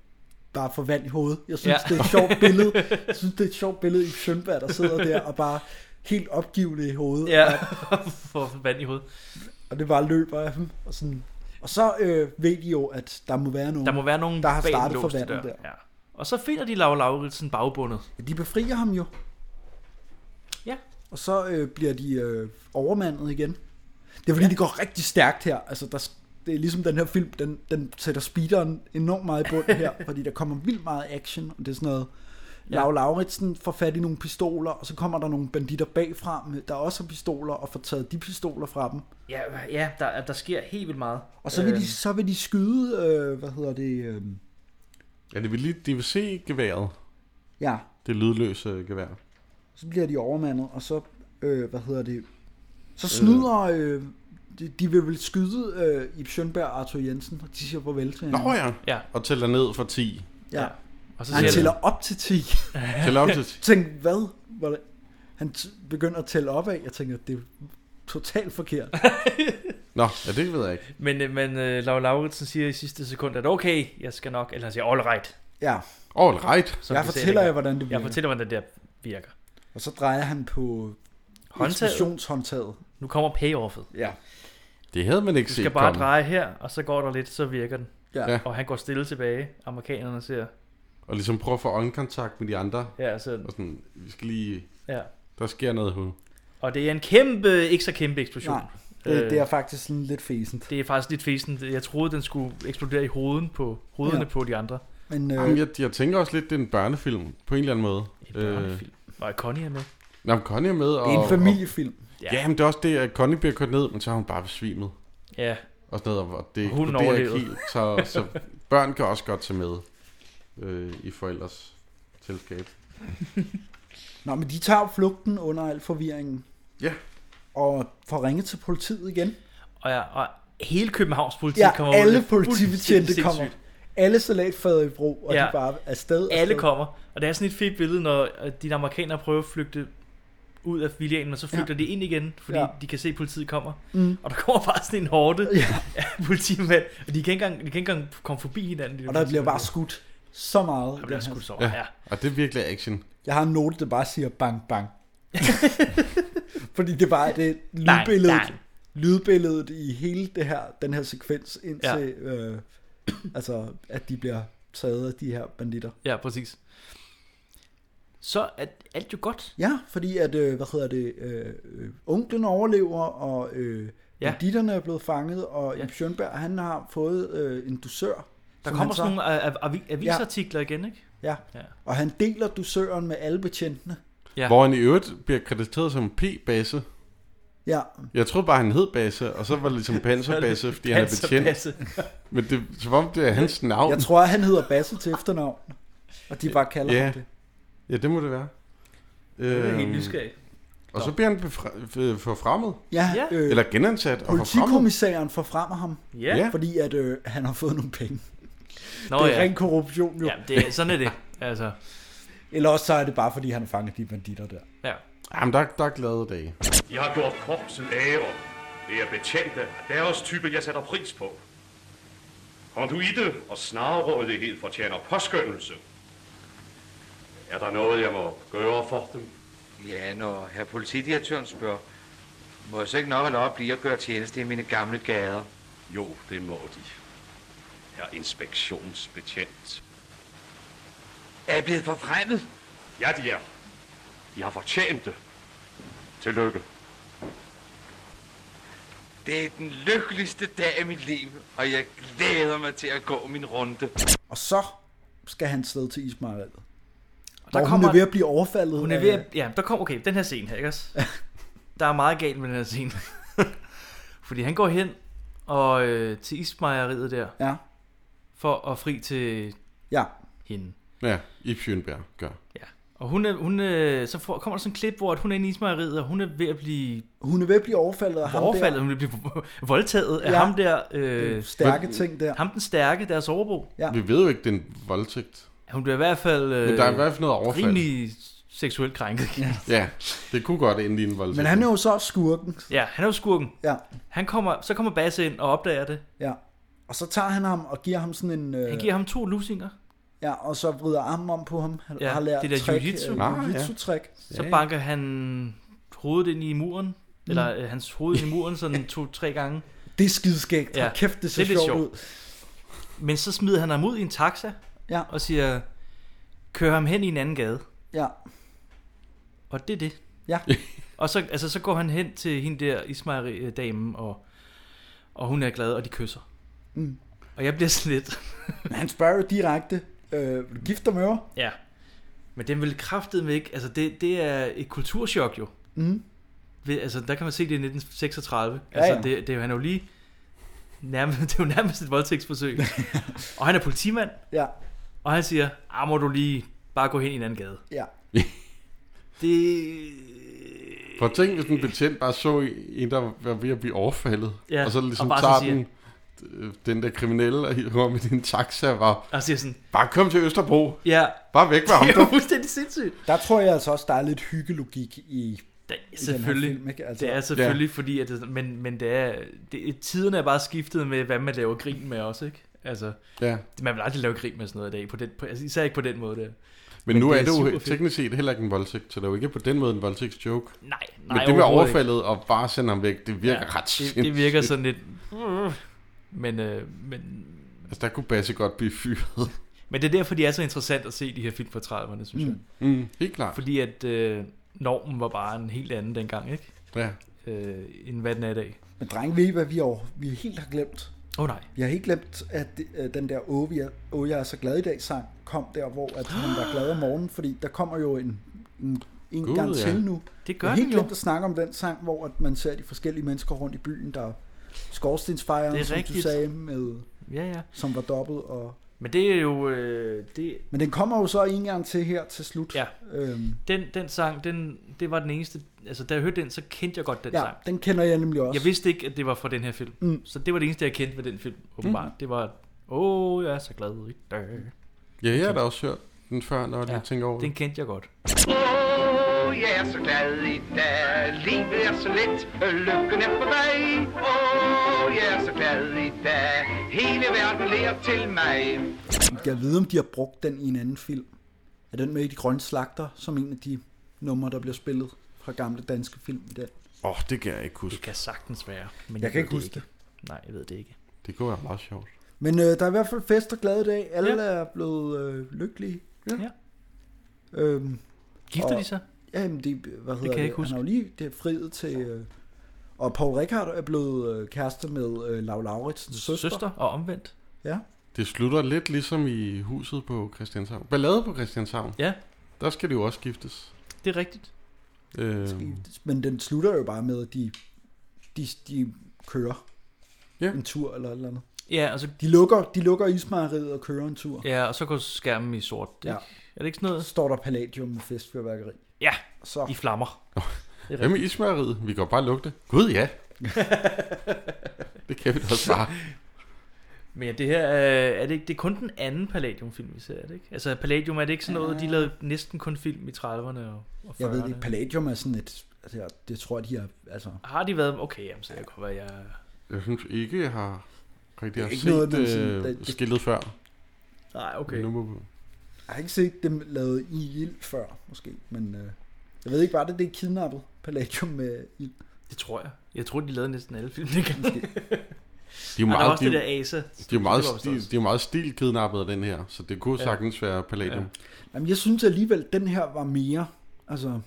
S3: bare får vand i hovedet. Jeg synes,
S2: Ja.
S3: ja. det er et sjovt billede. Jeg synes, det er et sjovt billede i Schønberg, der sidder der og bare helt opgivende i hovedet.
S2: Ja,
S3: Og,
S2: for vand i hovedet.
S3: og det bare løber af ham. Og, sådan. og så øh, ved de jo, at der må være nogen,
S2: Der må være nogen
S3: der har
S2: bag den
S3: startet for
S2: låste
S3: vandet
S2: dør.
S3: der.
S2: Ja. Og så finder de Laura Lauritsen bagbundet.
S3: De befrier ham jo.
S2: Ja.
S3: Og så øh, bliver de øh, overmandet igen. Det er fordi, ja. det går rigtig stærkt her. Altså, der, s- det er ligesom den her film, den, den sætter speederen enormt meget i bund her, fordi der kommer vildt meget action, og det er sådan noget...
S2: Ja.
S3: Ja. Lau Lauritsen får fat i nogle pistoler, og så kommer der nogle banditter bagfra, med- der også har pistoler, og får taget de pistoler fra dem.
S2: Ja, ja der, der sker helt vildt meget.
S3: Og så vil, de, så vil de skyde, øh, hvad hedder det, øh,
S4: Ja, de vil, lige, de vil se geværet.
S3: Ja.
S4: Det lydløse gevær.
S3: så bliver de overmandet, og så, øh, hvad hedder det, så snyder, øh, de, de vil vel skyde øh, Ib Schønberg og Arthur Jensen, og de siger farvel til
S4: Nå ja.
S2: ja.
S4: Og tæller ned fra 10.
S3: Ja.
S2: Og
S3: Og så
S2: så
S3: han
S2: siger
S3: tæller
S2: de-
S3: op til 10.
S4: Tæller op til 10.
S3: Tænk, hvad? Hvordan? Han t- begynder at tælle op af. Jeg tænker, det er totalt forkert.
S4: Nå, ja, det ved jeg ikke.
S2: Men, øh, men uh, Laura Lauritsen siger i sidste sekund, at okay, jeg skal nok, eller han siger all right.
S3: Ja.
S4: All oh, right.
S2: Som
S3: Jeg
S2: de sagde
S3: fortæller jer,
S2: dengang.
S3: hvordan det virker.
S2: Jeg fortæller, hvordan det der virker.
S3: Og så drejer han på
S2: Håndtaget.
S3: eksplosionshåndtaget.
S2: Nu kommer payoffet.
S3: Ja.
S4: Det havde man ikke
S2: Du
S4: set
S2: skal bare
S4: komme.
S2: dreje her, og så går der lidt, så virker den.
S3: Ja.
S4: Ja.
S2: Og han går stille tilbage. Amerikanerne ser,
S4: Og ligesom prøve at få øjenkontakt med de andre.
S2: Ja, så...
S4: Og sådan, vi skal lige...
S2: Ja.
S4: Der sker noget hun.
S2: og det er en kæmpe, ikke så kæmpe eksplosion.
S3: Nej, det, Øh, det er faktisk sådan lidt fæsent.
S2: Det er faktisk lidt fesen. Jeg troede, den skulle eksplodere i hovedet på, hovederne
S3: Ja.
S2: ja. på de andre.
S3: Men, øh,
S4: Jamen, jeg, jeg tænker også lidt, det er en børnefilm, på en eller anden måde. En
S2: børnefilm. Og Connie er med.
S4: Nå, men Connie er med. Og,
S3: en familiefilm.
S4: Og, ja. Jamen, det er også det, at Connie bliver kørt ned, men så har hun bare besvimet.
S2: Ja.
S4: Og sådan noget, og det
S2: Og hun
S4: det er ikke
S2: overlevede.
S4: helt, så, så børn kan også godt tage med øh, i forældres selskab.
S3: Nå, men de tager flugten under al forvirringen.
S4: Ja.
S3: Og får ringet til politiet igen.
S2: Og, ja, og hele Københavns politi
S3: Ja,
S2: kommer
S3: alle
S2: ud. Det er
S3: politibetjente
S2: fuldstændig
S3: kommer.
S2: sindssygt.
S3: Alle salatfader i brug, og ja.
S2: Ja.
S3: de bare afsted.
S2: Alle
S3: afsted.
S2: kommer. Og det er sådan et fedt billede, når øh, de amerikanere prøver at flygte ud af filialen, og så flygter ja. de ind igen, fordi ja.
S3: Ja.
S2: de kan se, at politiet kommer.
S3: Mm.
S2: Og der kommer bare sådan en hårde ja. af politimænd, og de kan ikke engang, de kan ikke engang komme forbi hinanden. De
S3: Og der bliver
S2: politimænd.
S3: bare skudt så meget.
S2: Der bliver
S3: i den her-
S2: skudt så meget, ja.
S4: Og det er virkelig action.
S3: Jeg har en note, der bare siger bang bang. Fordi det er bare det
S4: Nej,
S3: lydbilledet,
S4: nej.
S3: lydbilledet i hele det her, den her sekvens, indtil ja. øh, altså, at de bliver taget af de her banditter.
S2: Ja, præcis. Så er alt jo godt.
S3: Ja, fordi at, øh, hvad hedder det, øh, øh, onklen overlever, og øh,
S2: Ja.
S3: ja. banditterne er blevet fanget, og ja. Ib Schønberg, han har fået øh, en dusør.
S2: Der
S3: som
S2: kommer
S3: han så-
S2: sådan nogle a- a- avi- avisartikler igen, ikke?
S3: Ja.
S2: Ja.
S3: ja, og han deler dusøren med alle betjentene.
S2: Ja.
S4: Hvor han i øvrigt bliver krediteret som P-basse.
S3: Ja.
S4: Jeg troede bare, han hed Basse, og så var det ligesom Panserbasse, fordi han er betjent.
S3: Panserbasse.
S4: Men det, som om det er hans navn.
S3: Jeg tror, han hedder Basse til efternavn, og de bare kalder
S4: ja.
S3: ham det.
S4: Ja, det må det være.
S3: er jeg
S4: Øhm,
S3: helt nysgerrig.
S4: Og så bliver han befra- øh, forfremmet.
S3: Ja, Ja. øh,
S4: Eller genansat og forfremmet.
S3: Politikommissæren forfremmer ham,
S4: Ja. Ja.
S3: fordi at øh, han har fået nogle penge.
S2: Nå,
S3: det er
S2: ja.
S3: ren korruption jo.
S2: Ja, det er, sådan er det. Altså,
S3: Eller også så er det bare, fordi han har fanget de banditter der.
S2: ja.
S4: Jamen, der, der er glade dage.
S17: Jeg har gjort korpset ære. Det er betjente af deres type, jeg sætter pris på. Konduite og snarrådighed fortjener påskyndelse. Er der noget, jeg må gøre for dem?
S9: Ja, når herr politidirektøren spørger, må jeg så ikke nok holde op blive og gøre tjeneste i mine gamle gader?
S17: Jo, det må de. Herr inspektionsbetjent.
S9: Er jeg blevet forfremmet?
S17: Ja, de er. De har fortjent det. Tillykke.
S9: Det er den lykkeligste dag af mit liv, og jeg glæder mig til at gå min runde.
S3: Og så skal han sted til Ismail. Og
S2: der
S3: der kommer...
S2: kommer-
S3: hun er ved at blive overfaldet.
S2: Hun er
S3: af- øh,
S2: ved at, ja, der kom, okay, den her scene her, ikke også? Der er meget galt med den her scene. Fordi han går hen og øh, til ismejeriet der.
S3: Ja.
S2: For at fri til
S3: ja.
S2: hende.
S4: Ja, Ip Schønberg gør.
S2: Og hun er, hun er, så får, kommer der sådan et klip, hvor at hun er inde i ismejeriet, og hun er ved at blive
S3: Hun er ved at blive overfaldet af ham
S2: overfaldet,
S3: der.
S2: hun bliver voldtaget af
S3: Ja.
S2: ham der. Øh,
S3: Det er stærke ting der.
S2: Ham den stærke, deres overbo.
S3: Ja.
S4: Vi ved jo ikke, det er en voldtægt.
S2: Hun bliver i hvert fald... Øh,
S4: Men der er i hvert fald noget overfald.
S2: Rimelig seksuelt krænket. Ja.
S4: Ja, det kunne godt ende i en voldtægt.
S3: Men han er jo så skurken.
S2: ja, han er jo skurken.
S3: Ja.
S2: Han kommer, så kommer Basse ind og opdager det.
S3: Ja. Og så tager han ham og giver ham sådan en... Øh...
S2: Han giver ham to lusinger.
S3: Ja, og så vrider armen om på ham. Han
S2: Ja,
S3: ja, har lært
S2: det der
S3: trick,
S2: jiu-jitsu.
S3: øh,
S2: Ah, ja.
S3: jiu-jitsu-trick.
S2: Så banker han hovedet ind i muren.
S3: Mm.
S2: Eller øh, hans hoved ind i muren sådan to-tre gange.
S3: Det er skideskægt. Ja. Kæft, det ser
S2: lidt
S3: det sjovt ud.
S2: Men så smider han ham ud i en taxa.
S3: Ja.
S2: Og siger, kør ham hen i en anden gade.
S3: Ja.
S2: Og det er det.
S3: Ja.
S2: og så, altså, så går han hen til hende der Ismail-damen, og, og hun er glad, og de kysser.
S3: Mm.
S2: Og jeg bliver sådan lidt...
S3: Men han spørger jo direkte, øh, vil du gifte dig med mig?
S2: Ja. Men den vil kraftedeme ikke... Altså, det, det er et kulturschok jo.
S3: Mhm.
S2: Ved, altså, der kan man se det i 1936.
S3: Ja,
S2: altså,
S3: ja.
S2: Det, det er jo, han er jo lige... Nærmest, det er jo nærmest et voldtægtsforsøg. og han er politimand.
S3: Ja.
S2: Og han siger, ah, må du lige bare gå hen i en anden gade.
S3: Ja.
S2: Det...
S4: For tænk, hvis en betjent bare så en, der var ved at blive overfaldet,
S2: Ja,
S4: og så ligesom
S2: og bare så
S4: tager
S2: siger-
S4: den, øh, den der kriminelle og hiver ham i din taxa, og bare,
S2: og siger sådan,
S4: bare kom til Østerbro.
S2: Ja.
S4: Bare væk med ham.
S2: Det er jo fuldstændig sindssygt.
S3: Der tror jeg altså også, der er lidt hyggelogik i,
S2: der,
S3: i
S2: Selvfølgelig.
S3: den her film. Ikke?
S2: Altså, det er selvfølgelig, ja. fordi... At det, men, men det er, det, tiderne er bare skiftet med, hvad man laver grin med også, ikke? Altså,
S4: Ja.
S2: man vil aldrig lave grin med sådan noget i dag. På den, på, altså, især ikke på den måde der.
S4: Men, men nu er det jo
S2: super fedt.
S4: teknisk set heller ikke en voldtægt, så det er jo ikke på den måde en voldtægtsjoke.
S2: Nej,
S4: Men
S2: nej,
S4: det med
S2: overhovedet ikke.
S4: overfaldet og bare sende ham væk, det virker ret
S2: det, det virker
S4: sindssygt.
S2: sådan lidt... Men, øh, men,
S4: Altså, der kunne Basse godt blive fyret.
S2: men det er derfor, de er så interessant at se de her film fra 30'erne, synes
S4: Mm.
S2: jeg.
S4: Mm, helt klart.
S2: Fordi at øh, normen var bare en helt anden dengang, ikke?
S4: Ja.
S2: Øh, end hvad den er i dag.
S3: Men dreng, ved I, hvad vi, over, vi helt har glemt?
S2: Åh oh, nej.
S3: Vi har helt glemt, at øh, den der Åh, vi er- Åh, jeg er så glad i dag sang kom der, hvor at han var glad om morgenen, fordi der kommer jo en, en, en
S2: Gud,
S3: gang
S2: ja.
S3: til nu.
S2: Det gør
S3: Jeg har
S2: den
S3: helt
S2: jo.
S3: glemt at snakke om den sang, hvor at man ser de forskellige mennesker rundt i byen, der er
S2: Det
S3: skorstensfejren,
S2: er
S3: som
S2: rigtigt.
S3: du sagde, med,
S2: Ja, ja.
S3: som var dobbelt. Og,
S2: Men det er jo... Øh, det,
S3: men den kommer jo så en gang til her til slut.
S2: Ja.
S3: Øhm,
S2: den, den sang, den, det var den eneste... Altså, da jeg hørte den, så kendte jeg godt den
S3: ja,
S2: sang.
S3: den kender jeg nemlig også.
S2: Jeg vidste ikke, at det var fra den her film.
S3: Mm.
S2: Så det var det eneste, jeg kendte ved den film, åbenbart. Mm. Det var... Åh, oh, jeg er så glad i dag.
S3: Mm.
S4: Ja, jeg har da også hørt den før, når jeg ja.
S2: Ja,
S4: lige tænker over
S2: Den kendte jeg godt.
S10: Oh, Åh, jeg er så glad i dag. Livet er så let. Lykken er på vej. Åh, jeg er så glad i dag. Hele verden ler til mig.
S3: Jeg ved, om de har brugt den i en anden film. Er den med i De Grønne Slagter, som en af de numre, der bliver spillet fra gamle danske film i dag?
S4: Åh, oh, det kan jeg ikke huske.
S2: Det kan sagtens være. Men
S3: Jeg kan
S2: ved
S3: ikke huske
S2: det. Nej, jeg ved det ikke.
S4: Det kunne være meget sjovt.
S3: Men øh, der er i hvert fald fest og glade i dag. Alle ja. er blevet øh, lykkelige.
S2: Ja. ja.
S3: Øhm,
S2: Gifter de sig?
S3: Jamen, de, hvad hedder det?
S2: kan jeg ikke
S3: Han har jo lige det er friet til... Øh, og Paul Rickard er blevet øh, kærester med øh, Lav Lauritsens søster.
S2: Søster og omvendt.
S3: Ja.
S4: Det slutter lidt ligesom i huset på Christianshavn. Ballade på Christianshavn.
S2: Ja.
S4: Der skal det jo også skiftes.
S2: Det er rigtigt.
S4: Øh,
S3: Men den slutter jo bare med, at de, de, de kører
S4: ja.
S3: en tur eller et eller andet.
S2: Ja, altså...
S3: De lukker, de lukker ismejeriet og kører en tur.
S2: Ja, og så går skærmen i sort. Det, ja. Er det ikke sådan noget?
S3: Står der palladium med festfyrværkeri.
S2: Ja,
S3: så.
S2: i flammer.
S4: Det Hvad med ismejeriet? Vi kan jo bare lugte. Gud ja. det kan vi da også bare.
S2: Men ja, det her, øh, er det, ikke, det er kun den anden Palladium-film, vi ser, er det ikke? Altså, Palladium er det ikke sådan noget, de lavede næsten kun film i 30'erne og, og 40'erne?
S3: Jeg ved det ikke, palladium er sådan et... Altså, jeg- det tror jeg, de har... Altså,
S2: Har de været... Okay, jamen, så jeg kan være, jeg...
S4: Jeg synes ikke, jeg har rigtig
S3: Det
S4: har
S3: er ikke
S4: set
S3: noget,
S4: noget,
S3: man sådan-
S4: øh,
S3: det-
S4: skiltet før.
S2: Nej, okay.
S4: Nu må-
S3: jeg har ikke set dem lavet i ild før, måske. Men øh, jeg ved ikke, var det det kidnappet palladium med ild?
S2: Det tror jeg. Jeg tror, de lavede næsten alle film, det kan
S4: De er jo
S2: Og der
S4: meget,
S2: er også
S4: de,
S2: det der Asa.
S4: De er jo meget,
S2: Det var vist
S4: de, de er jo meget stilkidnappet af den her, så det kunne
S2: Ja.
S4: ja. sagtens være Palladium. Ja.
S3: Jamen, jeg synes alligevel, den her var mere... Altså,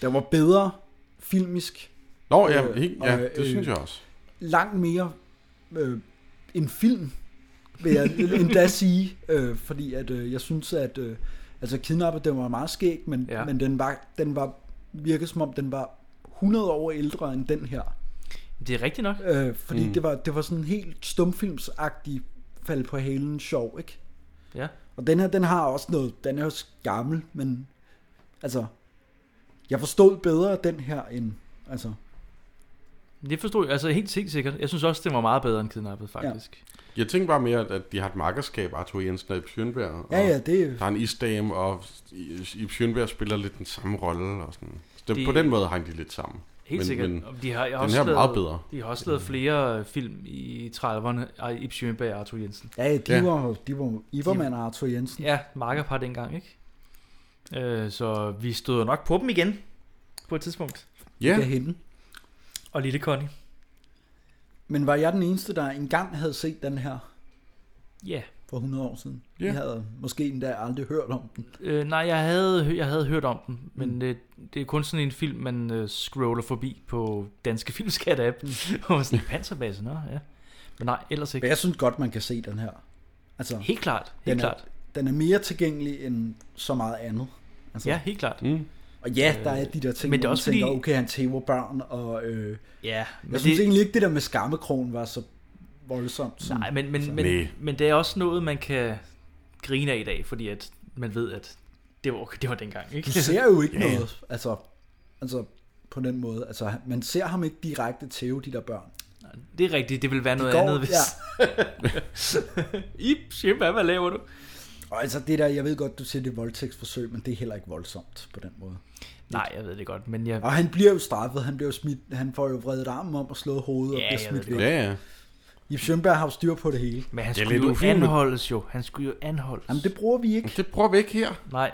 S3: der var bedre filmisk.
S4: Nå, ja,
S3: Øh,
S4: helt- ja, det synes jeg også.
S3: Langt mere øh, en film, vil jeg endda sige. Øh, fordi at, øh, jeg synes, at øh, altså, kidnappet, den var meget skæg, men, ja. men den var, den var virkede som om, den var 100 år ældre end den her.
S2: Det er rigtigt nok.
S3: Øh, fordi mm.
S2: Mm.
S3: det, var, det var sådan helt stumfilmsagtig fald på halen sjov, ikke?
S2: Ja.
S3: Og den her, den har også noget, den er jo gammel, men altså, jeg forstod bedre den her end, altså,
S2: Det forstod jeg, altså helt helt sikkert. Jeg synes også, det var meget bedre end kidnappet, faktisk.
S4: Jeg tænker bare mere, at de har et makkerskab, Arthur Jensen og Ib Schønberg. og
S3: Ja, ja, det-
S4: Der er en isdame, og Ib Schønberg spiller lidt den samme rolle. Og sådan. Så
S2: De-
S4: det, på den måde hang de lidt sammen.
S2: Helt
S4: men,
S2: sikkert.
S4: Men
S2: Og de har, jeg har
S4: den
S2: også
S4: her er
S2: lavet,
S4: meget bedre.
S2: De har også lavet flere øh, film i 30'erne, af Ib Schønberg og Arthur Jensen.
S3: ja, de, Var, de var Iverman og Arthur Jensen.
S2: Ja, makkerpar dengang, ikke? Øh, så vi stod nok på dem igen på et tidspunkt.
S3: Ja. Hende.
S2: Og Lille Connie.
S3: Men var jeg den eneste, der engang havde set den her
S2: Ja.
S3: for 100 år siden?
S2: Ja.
S3: Jeg havde måske endda aldrig hørt om den.
S2: Øh, nej, jeg havde, jeg havde hørt om den, men mm. det, det er kun sådan en film, man øh, scroller forbi på Danske Filmskat-app. Og sådan en panserbase, nå ja. Men nej, ellers ikke.
S3: Men jeg synes godt, man kan se den her. Altså,
S2: Helt klart, helt
S3: den er,
S2: klart.
S3: Den er mere tilgængelig end så meget andet. Altså,
S2: Ja, helt klart.
S4: Mm.
S3: Og ja, der er de der ting,
S2: Øh, men det er
S3: hvor man
S2: også
S3: tænker,
S2: fordi-
S3: okay, han tæver børn, og øh,
S2: Ja, men
S3: jeg synes
S2: det-
S3: egentlig ikke, det der med skammekrogen var så voldsomt. Som,
S2: Nej, men, men,
S3: som-
S2: men, men det er også noget, man kan grine af i dag, fordi at man ved, at det var, det var dengang. Ikke?
S3: Du ser jo ikke yeah. noget, altså, altså på den måde. Altså, han- man ser ham ikke direkte tæve de der børn.
S2: Det er rigtigt, det vil være
S3: De
S2: noget
S3: går-
S2: andet, hvis... Ip, Shimba, hvad laver du?
S3: Og altså det der, jeg ved godt, du siger, det er voldtægtsforsøg, men det er heller ikke voldsomt på den måde.
S2: Nej, jeg ved det godt, men jeg...
S3: Og han bliver jo straffet, han, bliver jo smidt, han får jo vredet armen om og slået hovedet
S2: Ja,
S3: og
S2: jeg
S3: bliver smidt
S2: ved
S3: væk.
S2: det godt.
S4: Ja, ja.
S3: Ip Schønberg har jo styr på det hele.
S2: Men han
S4: Det er
S2: skulle
S4: lidt
S2: jo
S4: ufint.
S2: anholdes jo. Han skulle jo anholdes.
S3: Jamen, det bruger vi ikke.
S4: Det bruger vi ikke her.
S2: Nej.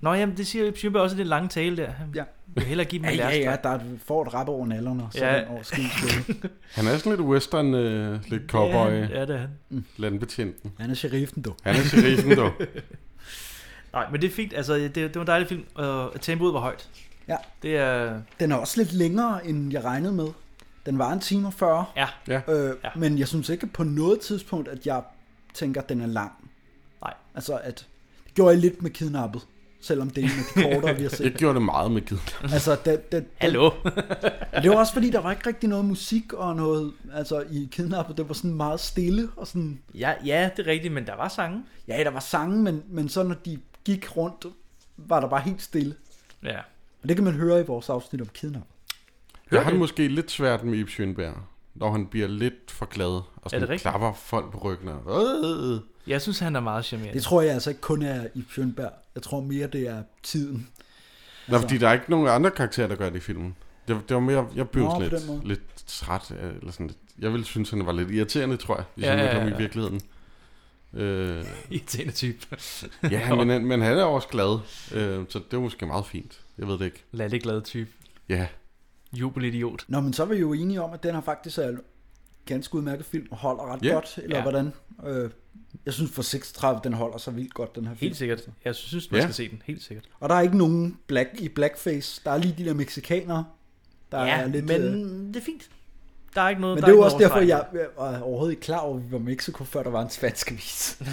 S2: Nå, jamen, det siger Ip Schønberg også i den lange tale der. Han
S3: ja.
S2: vil hellere give dem
S3: Ja,
S2: en
S3: ja, ja,
S2: lærestraf.
S3: der er- får et rap over nallerne, og så
S2: Ja.
S3: ja. over skidskole.
S4: Han er sådan lidt western, øh, lidt cowboy.
S2: Ja, ja, det er han.
S4: Landbetjenten.
S3: Han er sheriffen, du.
S4: Han er sheriffen, du.
S2: Nej, men det er fint. Altså, det, det var en dejlig film, og tempoet var højt.
S3: Ja.
S2: Det er...
S3: Den er også lidt længere, end jeg regnede med. Den var en time og 40.
S2: Ja.
S4: ja.
S3: Øh, ja. Men jeg synes ikke på noget tidspunkt, at jeg tænker, at den er lang.
S2: Nej.
S3: Altså, at det gjorde jeg lidt med kidnappet. Selvom det er en af de kortere, vi har set.
S4: Jeg gjorde det meget med kidnappet.
S3: Altså, da, da, da,
S4: Hallo?
S3: Men det var også fordi, der var ikke rigtig noget musik og noget, altså i kidnappet, det var sådan meget stille og sådan...
S2: Ja, ja, det er rigtigt, men der var sange.
S3: Ja, der var sange, men, men så når de gik rundt, var der bare helt stille.
S2: Ja.
S3: Og det kan man høre i vores afsnit om kidnappet.
S4: Jeg har det måske lidt svært med Ib Schønberg, når han bliver lidt for glad og
S2: det
S4: sådan
S2: rigtigt?
S4: klapper folk på ryggen. Og, øh,
S2: Jeg synes, han er meget charmerende.
S3: Det tror jeg altså ikke kun er i Fjernberg. Jeg tror mere, det er tiden.
S4: Nå, fordi der er ikke nogen andre karakterer, der gør det i filmen. Det, det var mere, jeg blev
S3: Nå,
S4: sådan
S3: på den måde.
S4: lidt, lidt træt. af- Eller sådan lidt. Jeg ville synes, han var lidt irriterende, tror jeg, hvis
S2: Ja,
S4: ja, han
S2: ja,
S4: ja, kom
S2: ja.
S4: i virkeligheden. Øh,
S2: Irriterende type.
S4: ja, men, han- men han er også glad, øh, så det var måske meget fint. Jeg ved det ikke.
S2: Lad det glade type.
S4: Ja.
S2: Jubelidiot.
S3: Nå, men så er vi jo enige om, at den her faktisk er en ganske udmærket film, og holder ret
S2: Ja.
S3: godt, eller
S2: Ja.
S3: hvordan? Øh, jeg synes for 36, den holder sig vildt godt, den her film.
S2: Helt sikkert. Jeg synes, man
S3: Ja.
S2: skal se den. Helt sikkert.
S3: Og der er ikke nogen black i blackface. Der er lige de der mexikanere. Der
S2: Ja,
S3: er lidt,
S2: men
S3: øh,
S2: det er fint. Der er ikke noget,
S3: men
S2: der
S3: det er jo
S2: ikke
S3: også
S2: noget
S3: derfor, jeg jeg var overhovedet ikke klar over, at vi var i Mexico, før der var en spansk avis.
S4: Men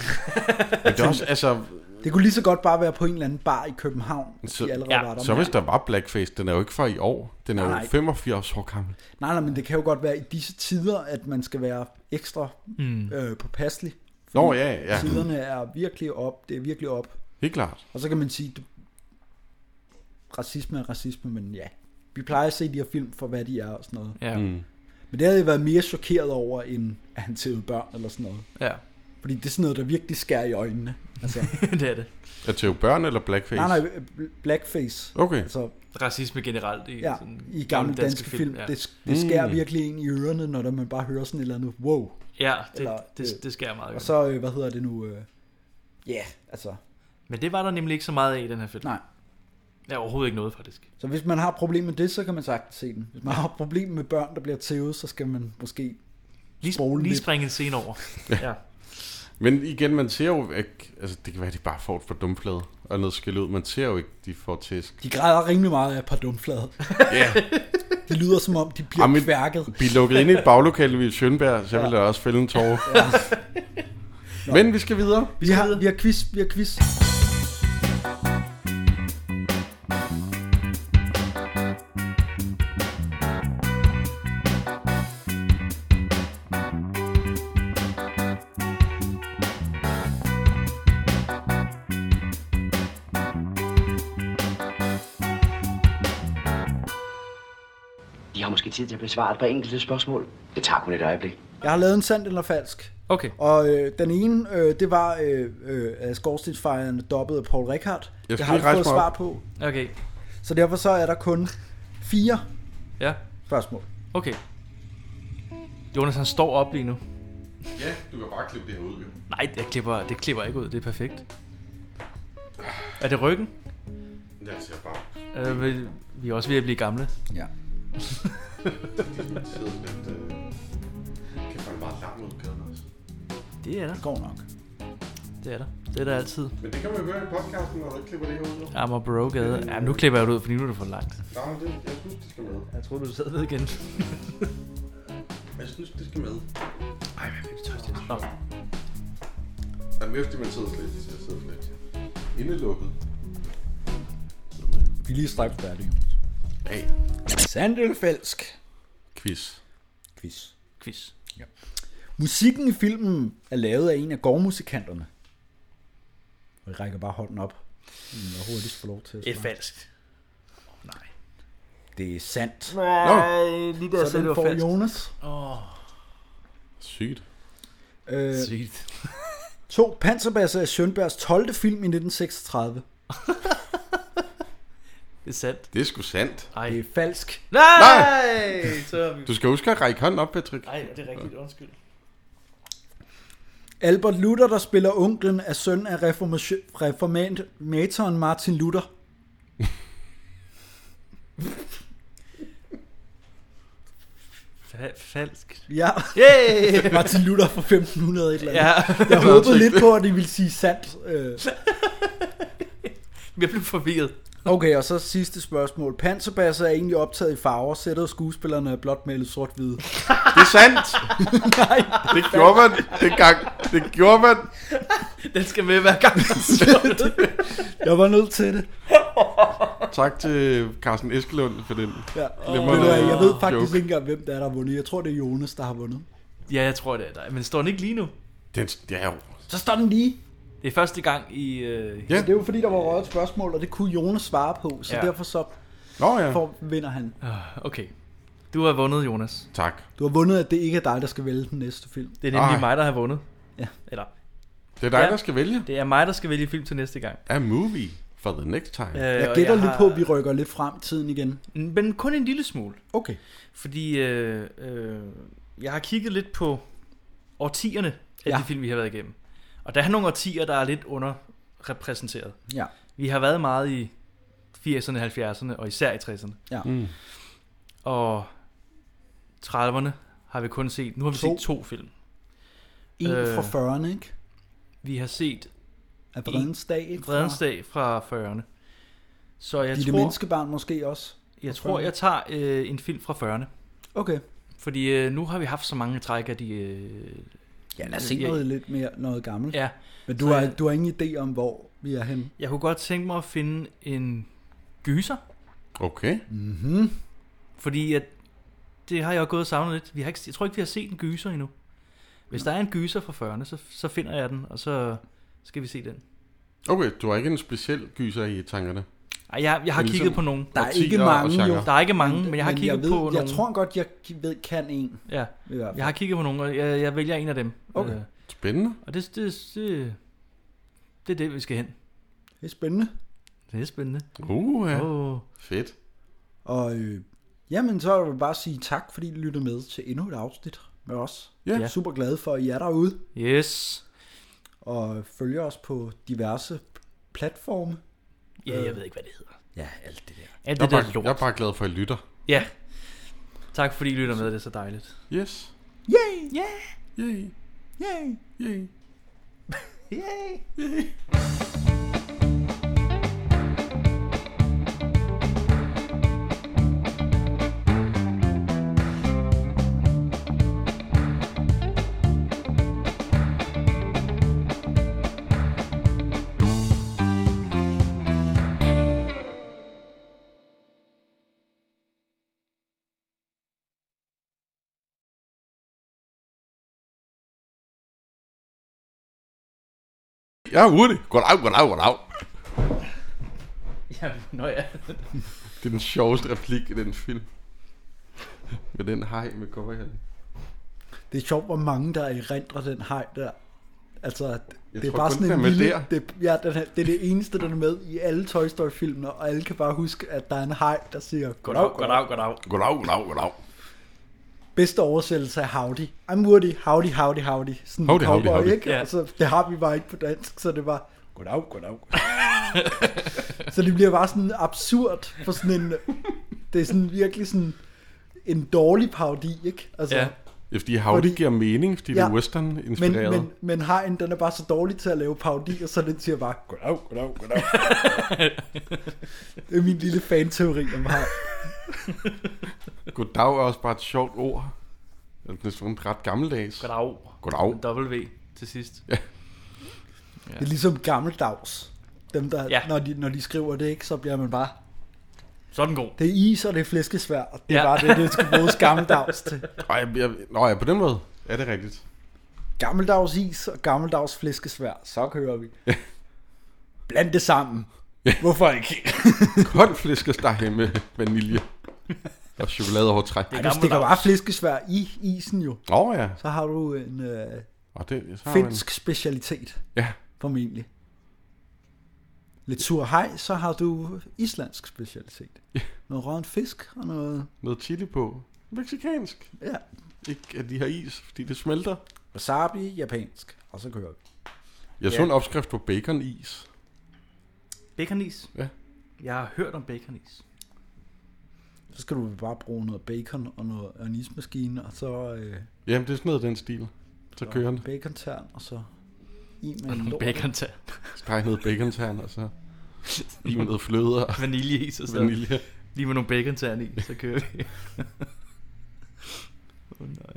S4: det er også, altså...
S3: Det kunne lige så godt bare være på en eller anden bar i København, at
S4: Så,
S3: de allerede var
S4: ja,
S3: der.
S4: så hvis der var Blackface, den er jo ikke fra i år. Den er
S3: Nej,
S4: jo
S3: nej.
S4: 85 år gammel.
S3: Nej, nej, men det kan jo godt være i disse tider, at man skal være ekstra
S4: Mm.
S3: mm. øh, påpasselig.
S4: Nå,
S3: Fordi
S4: ja, ja.
S3: Tiderne er virkelig op. Det er virkelig op.
S4: Helt klart.
S3: Og så kan man sige, det, racisme er racisme, men ja. Vi plejer at se de her film for, hvad de er og sådan noget.
S2: Ja.
S4: Mm.
S3: Men det havde jeg været mere chokeret over, end at han tævede børn eller sådan noget.
S2: Ja.
S3: Fordi det er sådan noget, der virkelig skærer i øjnene. Altså,
S2: det er det.
S4: Er til børn eller Blackface?
S3: nej, nej, blackface.
S4: Okay.
S3: Altså,
S2: Racisme generelt i,
S3: ja,
S2: sådan,
S3: i gamle danske, film. film. Ja. Det, det skærer
S2: Mm.
S3: mm. virkelig ind i ørerne, når der man bare hører sådan et eller andet, wow.
S2: Ja, det,
S3: Eller,
S2: det, det skærer meget. i
S3: og
S2: øjnene.
S3: så, øh, hvad hedder det nu? øh, Ja, yeah, altså.
S2: Men det var der nemlig ikke så meget af i den her film.
S3: Nej.
S2: Ja, overhovedet ikke noget, faktisk.
S3: Så hvis man har et problem med det, så kan man sagtens se den. Hvis man har et problem med børn, der bliver tævet, så skal man måske lige,
S2: Lige springe en scene over. ja.
S4: Men igen, man ser jo ikke... Altså, det kan være, at de bare får et for dumflade og noget skæld ud. Man ser jo ikke, de får tæsk.
S3: De græder rimelig meget af et par dumflader.
S4: Ja.
S3: Det lyder som om, de bliver
S4: Jamen,
S3: kværket.
S4: Vi er lukket ind i et baglokale i Sjønberg, så jeg ja. ville da også fælde en tårer. Ja. Men vi skal videre.
S3: Vi har, vi har quiz, vi har quiz.
S18: De har måske tid til at besvare et par enkelte spørgsmål. Det tager kun et øjeblik.
S3: Jeg har lavet en sand eller falsk.
S2: Okay.
S3: Og øh, den ene, øh, det var øh, øh, at skorstensfejeren dobbet af Paul Rickard.
S4: Jeg
S3: det
S4: skal
S3: har
S4: lige
S3: jeg fået
S4: rejse mig
S3: svar
S4: op.
S3: på.
S2: Okay.
S3: Så derfor så er der kun fire
S2: Ja.
S3: spørgsmål.
S2: Okay. Jonas, han står op lige nu.
S4: Ja, du kan bare klippe det her ud. jo.
S2: Nej, det klipper, det klipper ikke ud. Det er perfekt. Er det ryggen?
S4: Jeg ser bare...
S2: Øh, vi, vi er også ved at blive gamle.
S3: Ja.
S4: Det sidder lidt... Øh... Kan få en meget lang udgave også.
S2: Det er der. Det
S3: går nok.
S2: Det er der. Det er der altid.
S4: Men det kan man jo gøre i podcasten, når du ikke klipper det her ud. jo.
S2: Amager Brogade. Ja, nu klipper jeg det ud, fordi nu er det for langt.
S4: Nej, det, jeg synes, det skal med.
S2: Jeg tror, du sad ved igen.
S4: Jeg synes, det skal med. Ej, hvad fik tøjst det? Nå. Jamen, efter man sidder slet, så jeg sidder slet. Indelukket.
S3: Vi er lige straks færdige.
S4: Hey.
S3: Sand eller falsk?
S4: Quiz.
S3: Quiz.
S2: Quiz.
S3: Ja. Musikken i filmen er lavet af en af gårdmusikanterne. Og jeg rækker bare hånden op. Jeg hurtigt får lov til at
S2: Det er
S3: svare.
S2: falsk.
S3: Det er sandt.
S2: Nej, lige der
S3: Så
S2: sagde
S3: den
S2: du
S3: får
S2: falsk.
S3: Jonas.
S2: Åh.
S4: Sygt.
S3: Øh,
S2: Sygt.
S3: to panserbasser af Sjønbergs 12. film i 1936.
S2: Det er sandt.
S4: Det er sgu sandt.
S2: Ej.
S3: Det er falsk.
S2: Nej!
S4: Nej!
S2: Så er vi...
S4: Du skal huske at række hånden op, Patrick.
S2: Nej, det er rigtigt. Undskyld.
S3: Albert Luther, der spiller onklen, er søn af reformation- reformatoren Martin Luther.
S2: Fa- falsk.
S3: Ja.
S2: Yay!
S3: Martin Luther fra 1500 et eller andet.
S2: Ja. Nå,
S3: Jeg håbede
S2: tænk
S3: lidt
S2: det.
S3: på, at de ville sige sandt. Øh,
S2: Jeg blev forvirret.
S3: Okay, og så sidste spørgsmål. Panserbasser er egentlig optaget i farver. Sættet skuespillerne er blot malet sort-hvide.
S4: Det er sandt!
S3: Nej.
S4: Det gjorde man dengang. Det gjorde man.
S2: Den skal med hver gang.
S3: Jeg var nødt til det.
S4: Tak til Carsten Eskelund for den.
S3: Ja.
S4: glimrende
S3: Ved du hvad, jeg ved faktisk
S4: Ah, joke.
S3: ikke engang, hvem der er, der har vundet. Jeg tror, det er Jonas, der har vundet.
S2: Ja, jeg tror det er dig. Men står den ikke lige nu?
S4: Den, ja, jo.
S3: Så står den lige.
S2: Det er første gang i... Øh,
S3: Ja. Så det er jo fordi, der var røget et spørgsmål, og det kunne Jonas svare på. Så
S2: Ja.
S3: ja. derfor så
S4: Nå, ja.
S3: får, vinder han.
S2: Ah, Okay. Du har vundet, Jonas.
S4: Tak.
S3: Du har vundet, at det ikke er dig, der skal vælge den næste film.
S2: Det er nemlig
S4: Ej.
S2: mig, der har vundet.
S3: Ah. Ja.
S2: Eller...
S4: Det er dig, der skal vælge.
S2: Det er mig, der skal vælge film til næste gang. Øh,
S4: A movie For the next time.
S3: Jeg gætter lige på, at vi rykker lidt frem i tiden igen.
S2: Men kun en lille smule.
S3: Okay.
S2: Fordi øh, øh, jeg har kigget lidt på årtierne af ja.
S3: Ja.
S2: de film, vi har været igennem. Og der er nogle årtier, der er lidt underrepræsenteret.
S3: Ja.
S2: Vi har været meget i 80'erne, 70'erne og især i 60'erne.
S3: Ja.
S4: Mm.
S2: Og 30'erne har vi kun set. Nu har vi
S3: To.
S2: set to film.
S3: En
S2: Øh,
S3: fra 40'erne, ikke?
S2: Vi har set...
S3: Af Vredens Dag, ikke? Fra-
S2: Vredens dag fra 40'erne. Så jeg
S3: Ditte
S2: tror...
S3: Menneskebarn måske også.
S2: Jeg tror, jeg tager øh, en film fra 40'erne.
S3: Okay.
S2: Fordi øh, nu har vi haft så mange træk af de... Øh,
S3: Ja, lad os se noget lidt mere noget gammelt.
S2: Ja.
S3: Men du
S2: Så
S3: har,
S2: jeg-
S3: du har ingen idé om, hvor vi er henne.
S2: Jeg kunne godt tænke mig at finde en gyser.
S4: Okay.
S3: Mm-hmm.
S2: Fordi at, det har jeg jo gået og savnet lidt. Vi har ikke, jeg tror ikke, vi har set en gyser endnu. Hvis der er en gyser fra 40'erne, så, så finder jeg den, og så skal vi se den.
S4: Okay, du har ikke en speciel gyser i tankerne?
S2: Ej, jeg, jeg har
S4: Men
S2: kigget
S4: ligesom
S2: på nogen.
S3: Der er
S4: årtier
S3: ikke
S4: og
S3: mange jo.
S4: genre.
S2: Der er ikke mange, men jeg har kigget
S3: jeg ved,
S2: på
S3: Jeg
S2: nogle.
S3: tror godt, jeg ved, kan en.
S2: Ja,
S3: I hvert fald.
S2: jeg har kigget på nogen, og jeg, jeg vælger en af dem. Øh,
S3: Okay.
S4: Spændende.
S2: Og det, det, det, det er det, vi skal hen.
S3: Det er spændende.
S2: Det er spændende.
S4: Uh, ja.
S2: Åh.
S4: Fedt.
S3: Og øh, jamen, så vil jeg bare sige tak, fordi I lyttede med til endnu et afsnit med os.
S2: Ja.
S3: Jeg er super glad for, at I er derude.
S2: Yes.
S3: Og følger os på diverse platforme.
S2: Ja, jeg
S3: Øh,
S2: ved ikke, hvad det hedder.
S3: Ja, alt det der.
S2: Alt
S4: jeg,
S2: det
S4: er
S2: der
S4: bare,
S2: lort.
S4: jeg er bare glad for, at I lytter.
S2: Ja. Tak fordi I lytter med, det er så dejligt.
S4: Yes.
S3: Yay!
S2: Yeah!
S4: Yay!
S3: Yay!
S4: Yay!
S3: Yay!
S4: Jeg er hurtig. Goddag, goddag, goddag.
S2: Ja, nå ja.
S4: Det er den sjoveste replik i den film. Med den hej med cowboyhatten.
S3: Det er sjovt, hvor mange der erindrer den hej der. Altså, at
S4: Jeg
S3: det er
S4: tror
S3: bare
S4: kun,
S3: sådan en
S4: den er med
S3: lille...
S4: der.
S3: Det, ja, den er, det er det eneste, der er med i alle Toy Story-filmene, og alle kan bare huske, at der er en hej, der siger...
S2: Goddag, goddag, goddag.
S4: Goddag, goddag, goddag.
S3: Bedste oversættelse af howdy. I'm Woody, howdy, howdy, howdy. Sådan
S4: Howdy,
S3: howdy,
S4: howdy,
S3: cowboy,
S4: howdy.
S3: Ikke?
S4: Ja.
S3: Ja. Altså, det har vi bare ikke på dansk, så det var... Goddag, goddag. så det bliver bare sådan absurd for sådan en... Det er sådan virkelig sådan en dårlig parodi, ikke? Altså,
S4: Ja. Ja, fordi Howdy giver mening, fordi det er western-inspireret.
S3: Men, men, men Hein, den er bare så dårlig til at lave parodier, så den siger bare, goddag, goddag, goddag. det er min lille fanteori om Hein.
S4: Goddag er også bare et sjovt ord. Altså, Det er sådan ret gammeldags.
S2: Goddag.
S4: Goddag.
S2: W til sidst.
S4: Ja.
S3: Det er ligesom gammeldags. Dem, der,
S2: Ja.
S3: ja. når, de, når de skriver det, ikke, så bliver man bare...
S2: Sådan god.
S3: Det er is, og det er flæskesvær, og det er
S4: Ja.
S3: ja. bare det, det skal bruges gammeldags til.
S4: Nå, jeg, jeg, nå, ja, på den måde er det rigtigt.
S3: Gammeldags is og gammeldags flæskesvær, så kører vi. Bland det sammen. Hvorfor ikke?
S4: Kold flæskesteg med vanilje og chokoladehårdtræk.
S3: Ej, du stikker bare flæskesvær i isen jo.
S4: Åh oh, ja.
S3: Så har du en øh,
S4: Og det, så har man-
S3: finsk specialitet.
S4: Ja.
S3: Formentlig. Lidt sur hej, så har du islandsk specialitet. Ja. Noget røven fisk og noget...
S4: Noget chili på. Mexikansk.
S3: Ja.
S4: Ikke at de har is, fordi det smelter.
S3: Wasabi, japansk. Og så kører vi.
S4: Jeg så en opskrift på baconis.
S2: Baconis?
S4: Ja.
S2: Jeg har hørt om baconis.
S3: Så skal du bare bruge noget bacon og noget og en ismaskine, og så... Øh,
S4: Jamen, det er sådan noget i den stil. Så kører den.
S3: Bacontern, og så... I med
S2: Og
S3: en
S2: nogle
S3: lort.
S2: bacontern.
S4: Skrej noget bacontern, og så i altså. med noget fløde og
S2: Vaniljeis og så.
S4: Vanilje.
S2: Lige med nogle bacontern i, så kører vi. Åh oh, nej.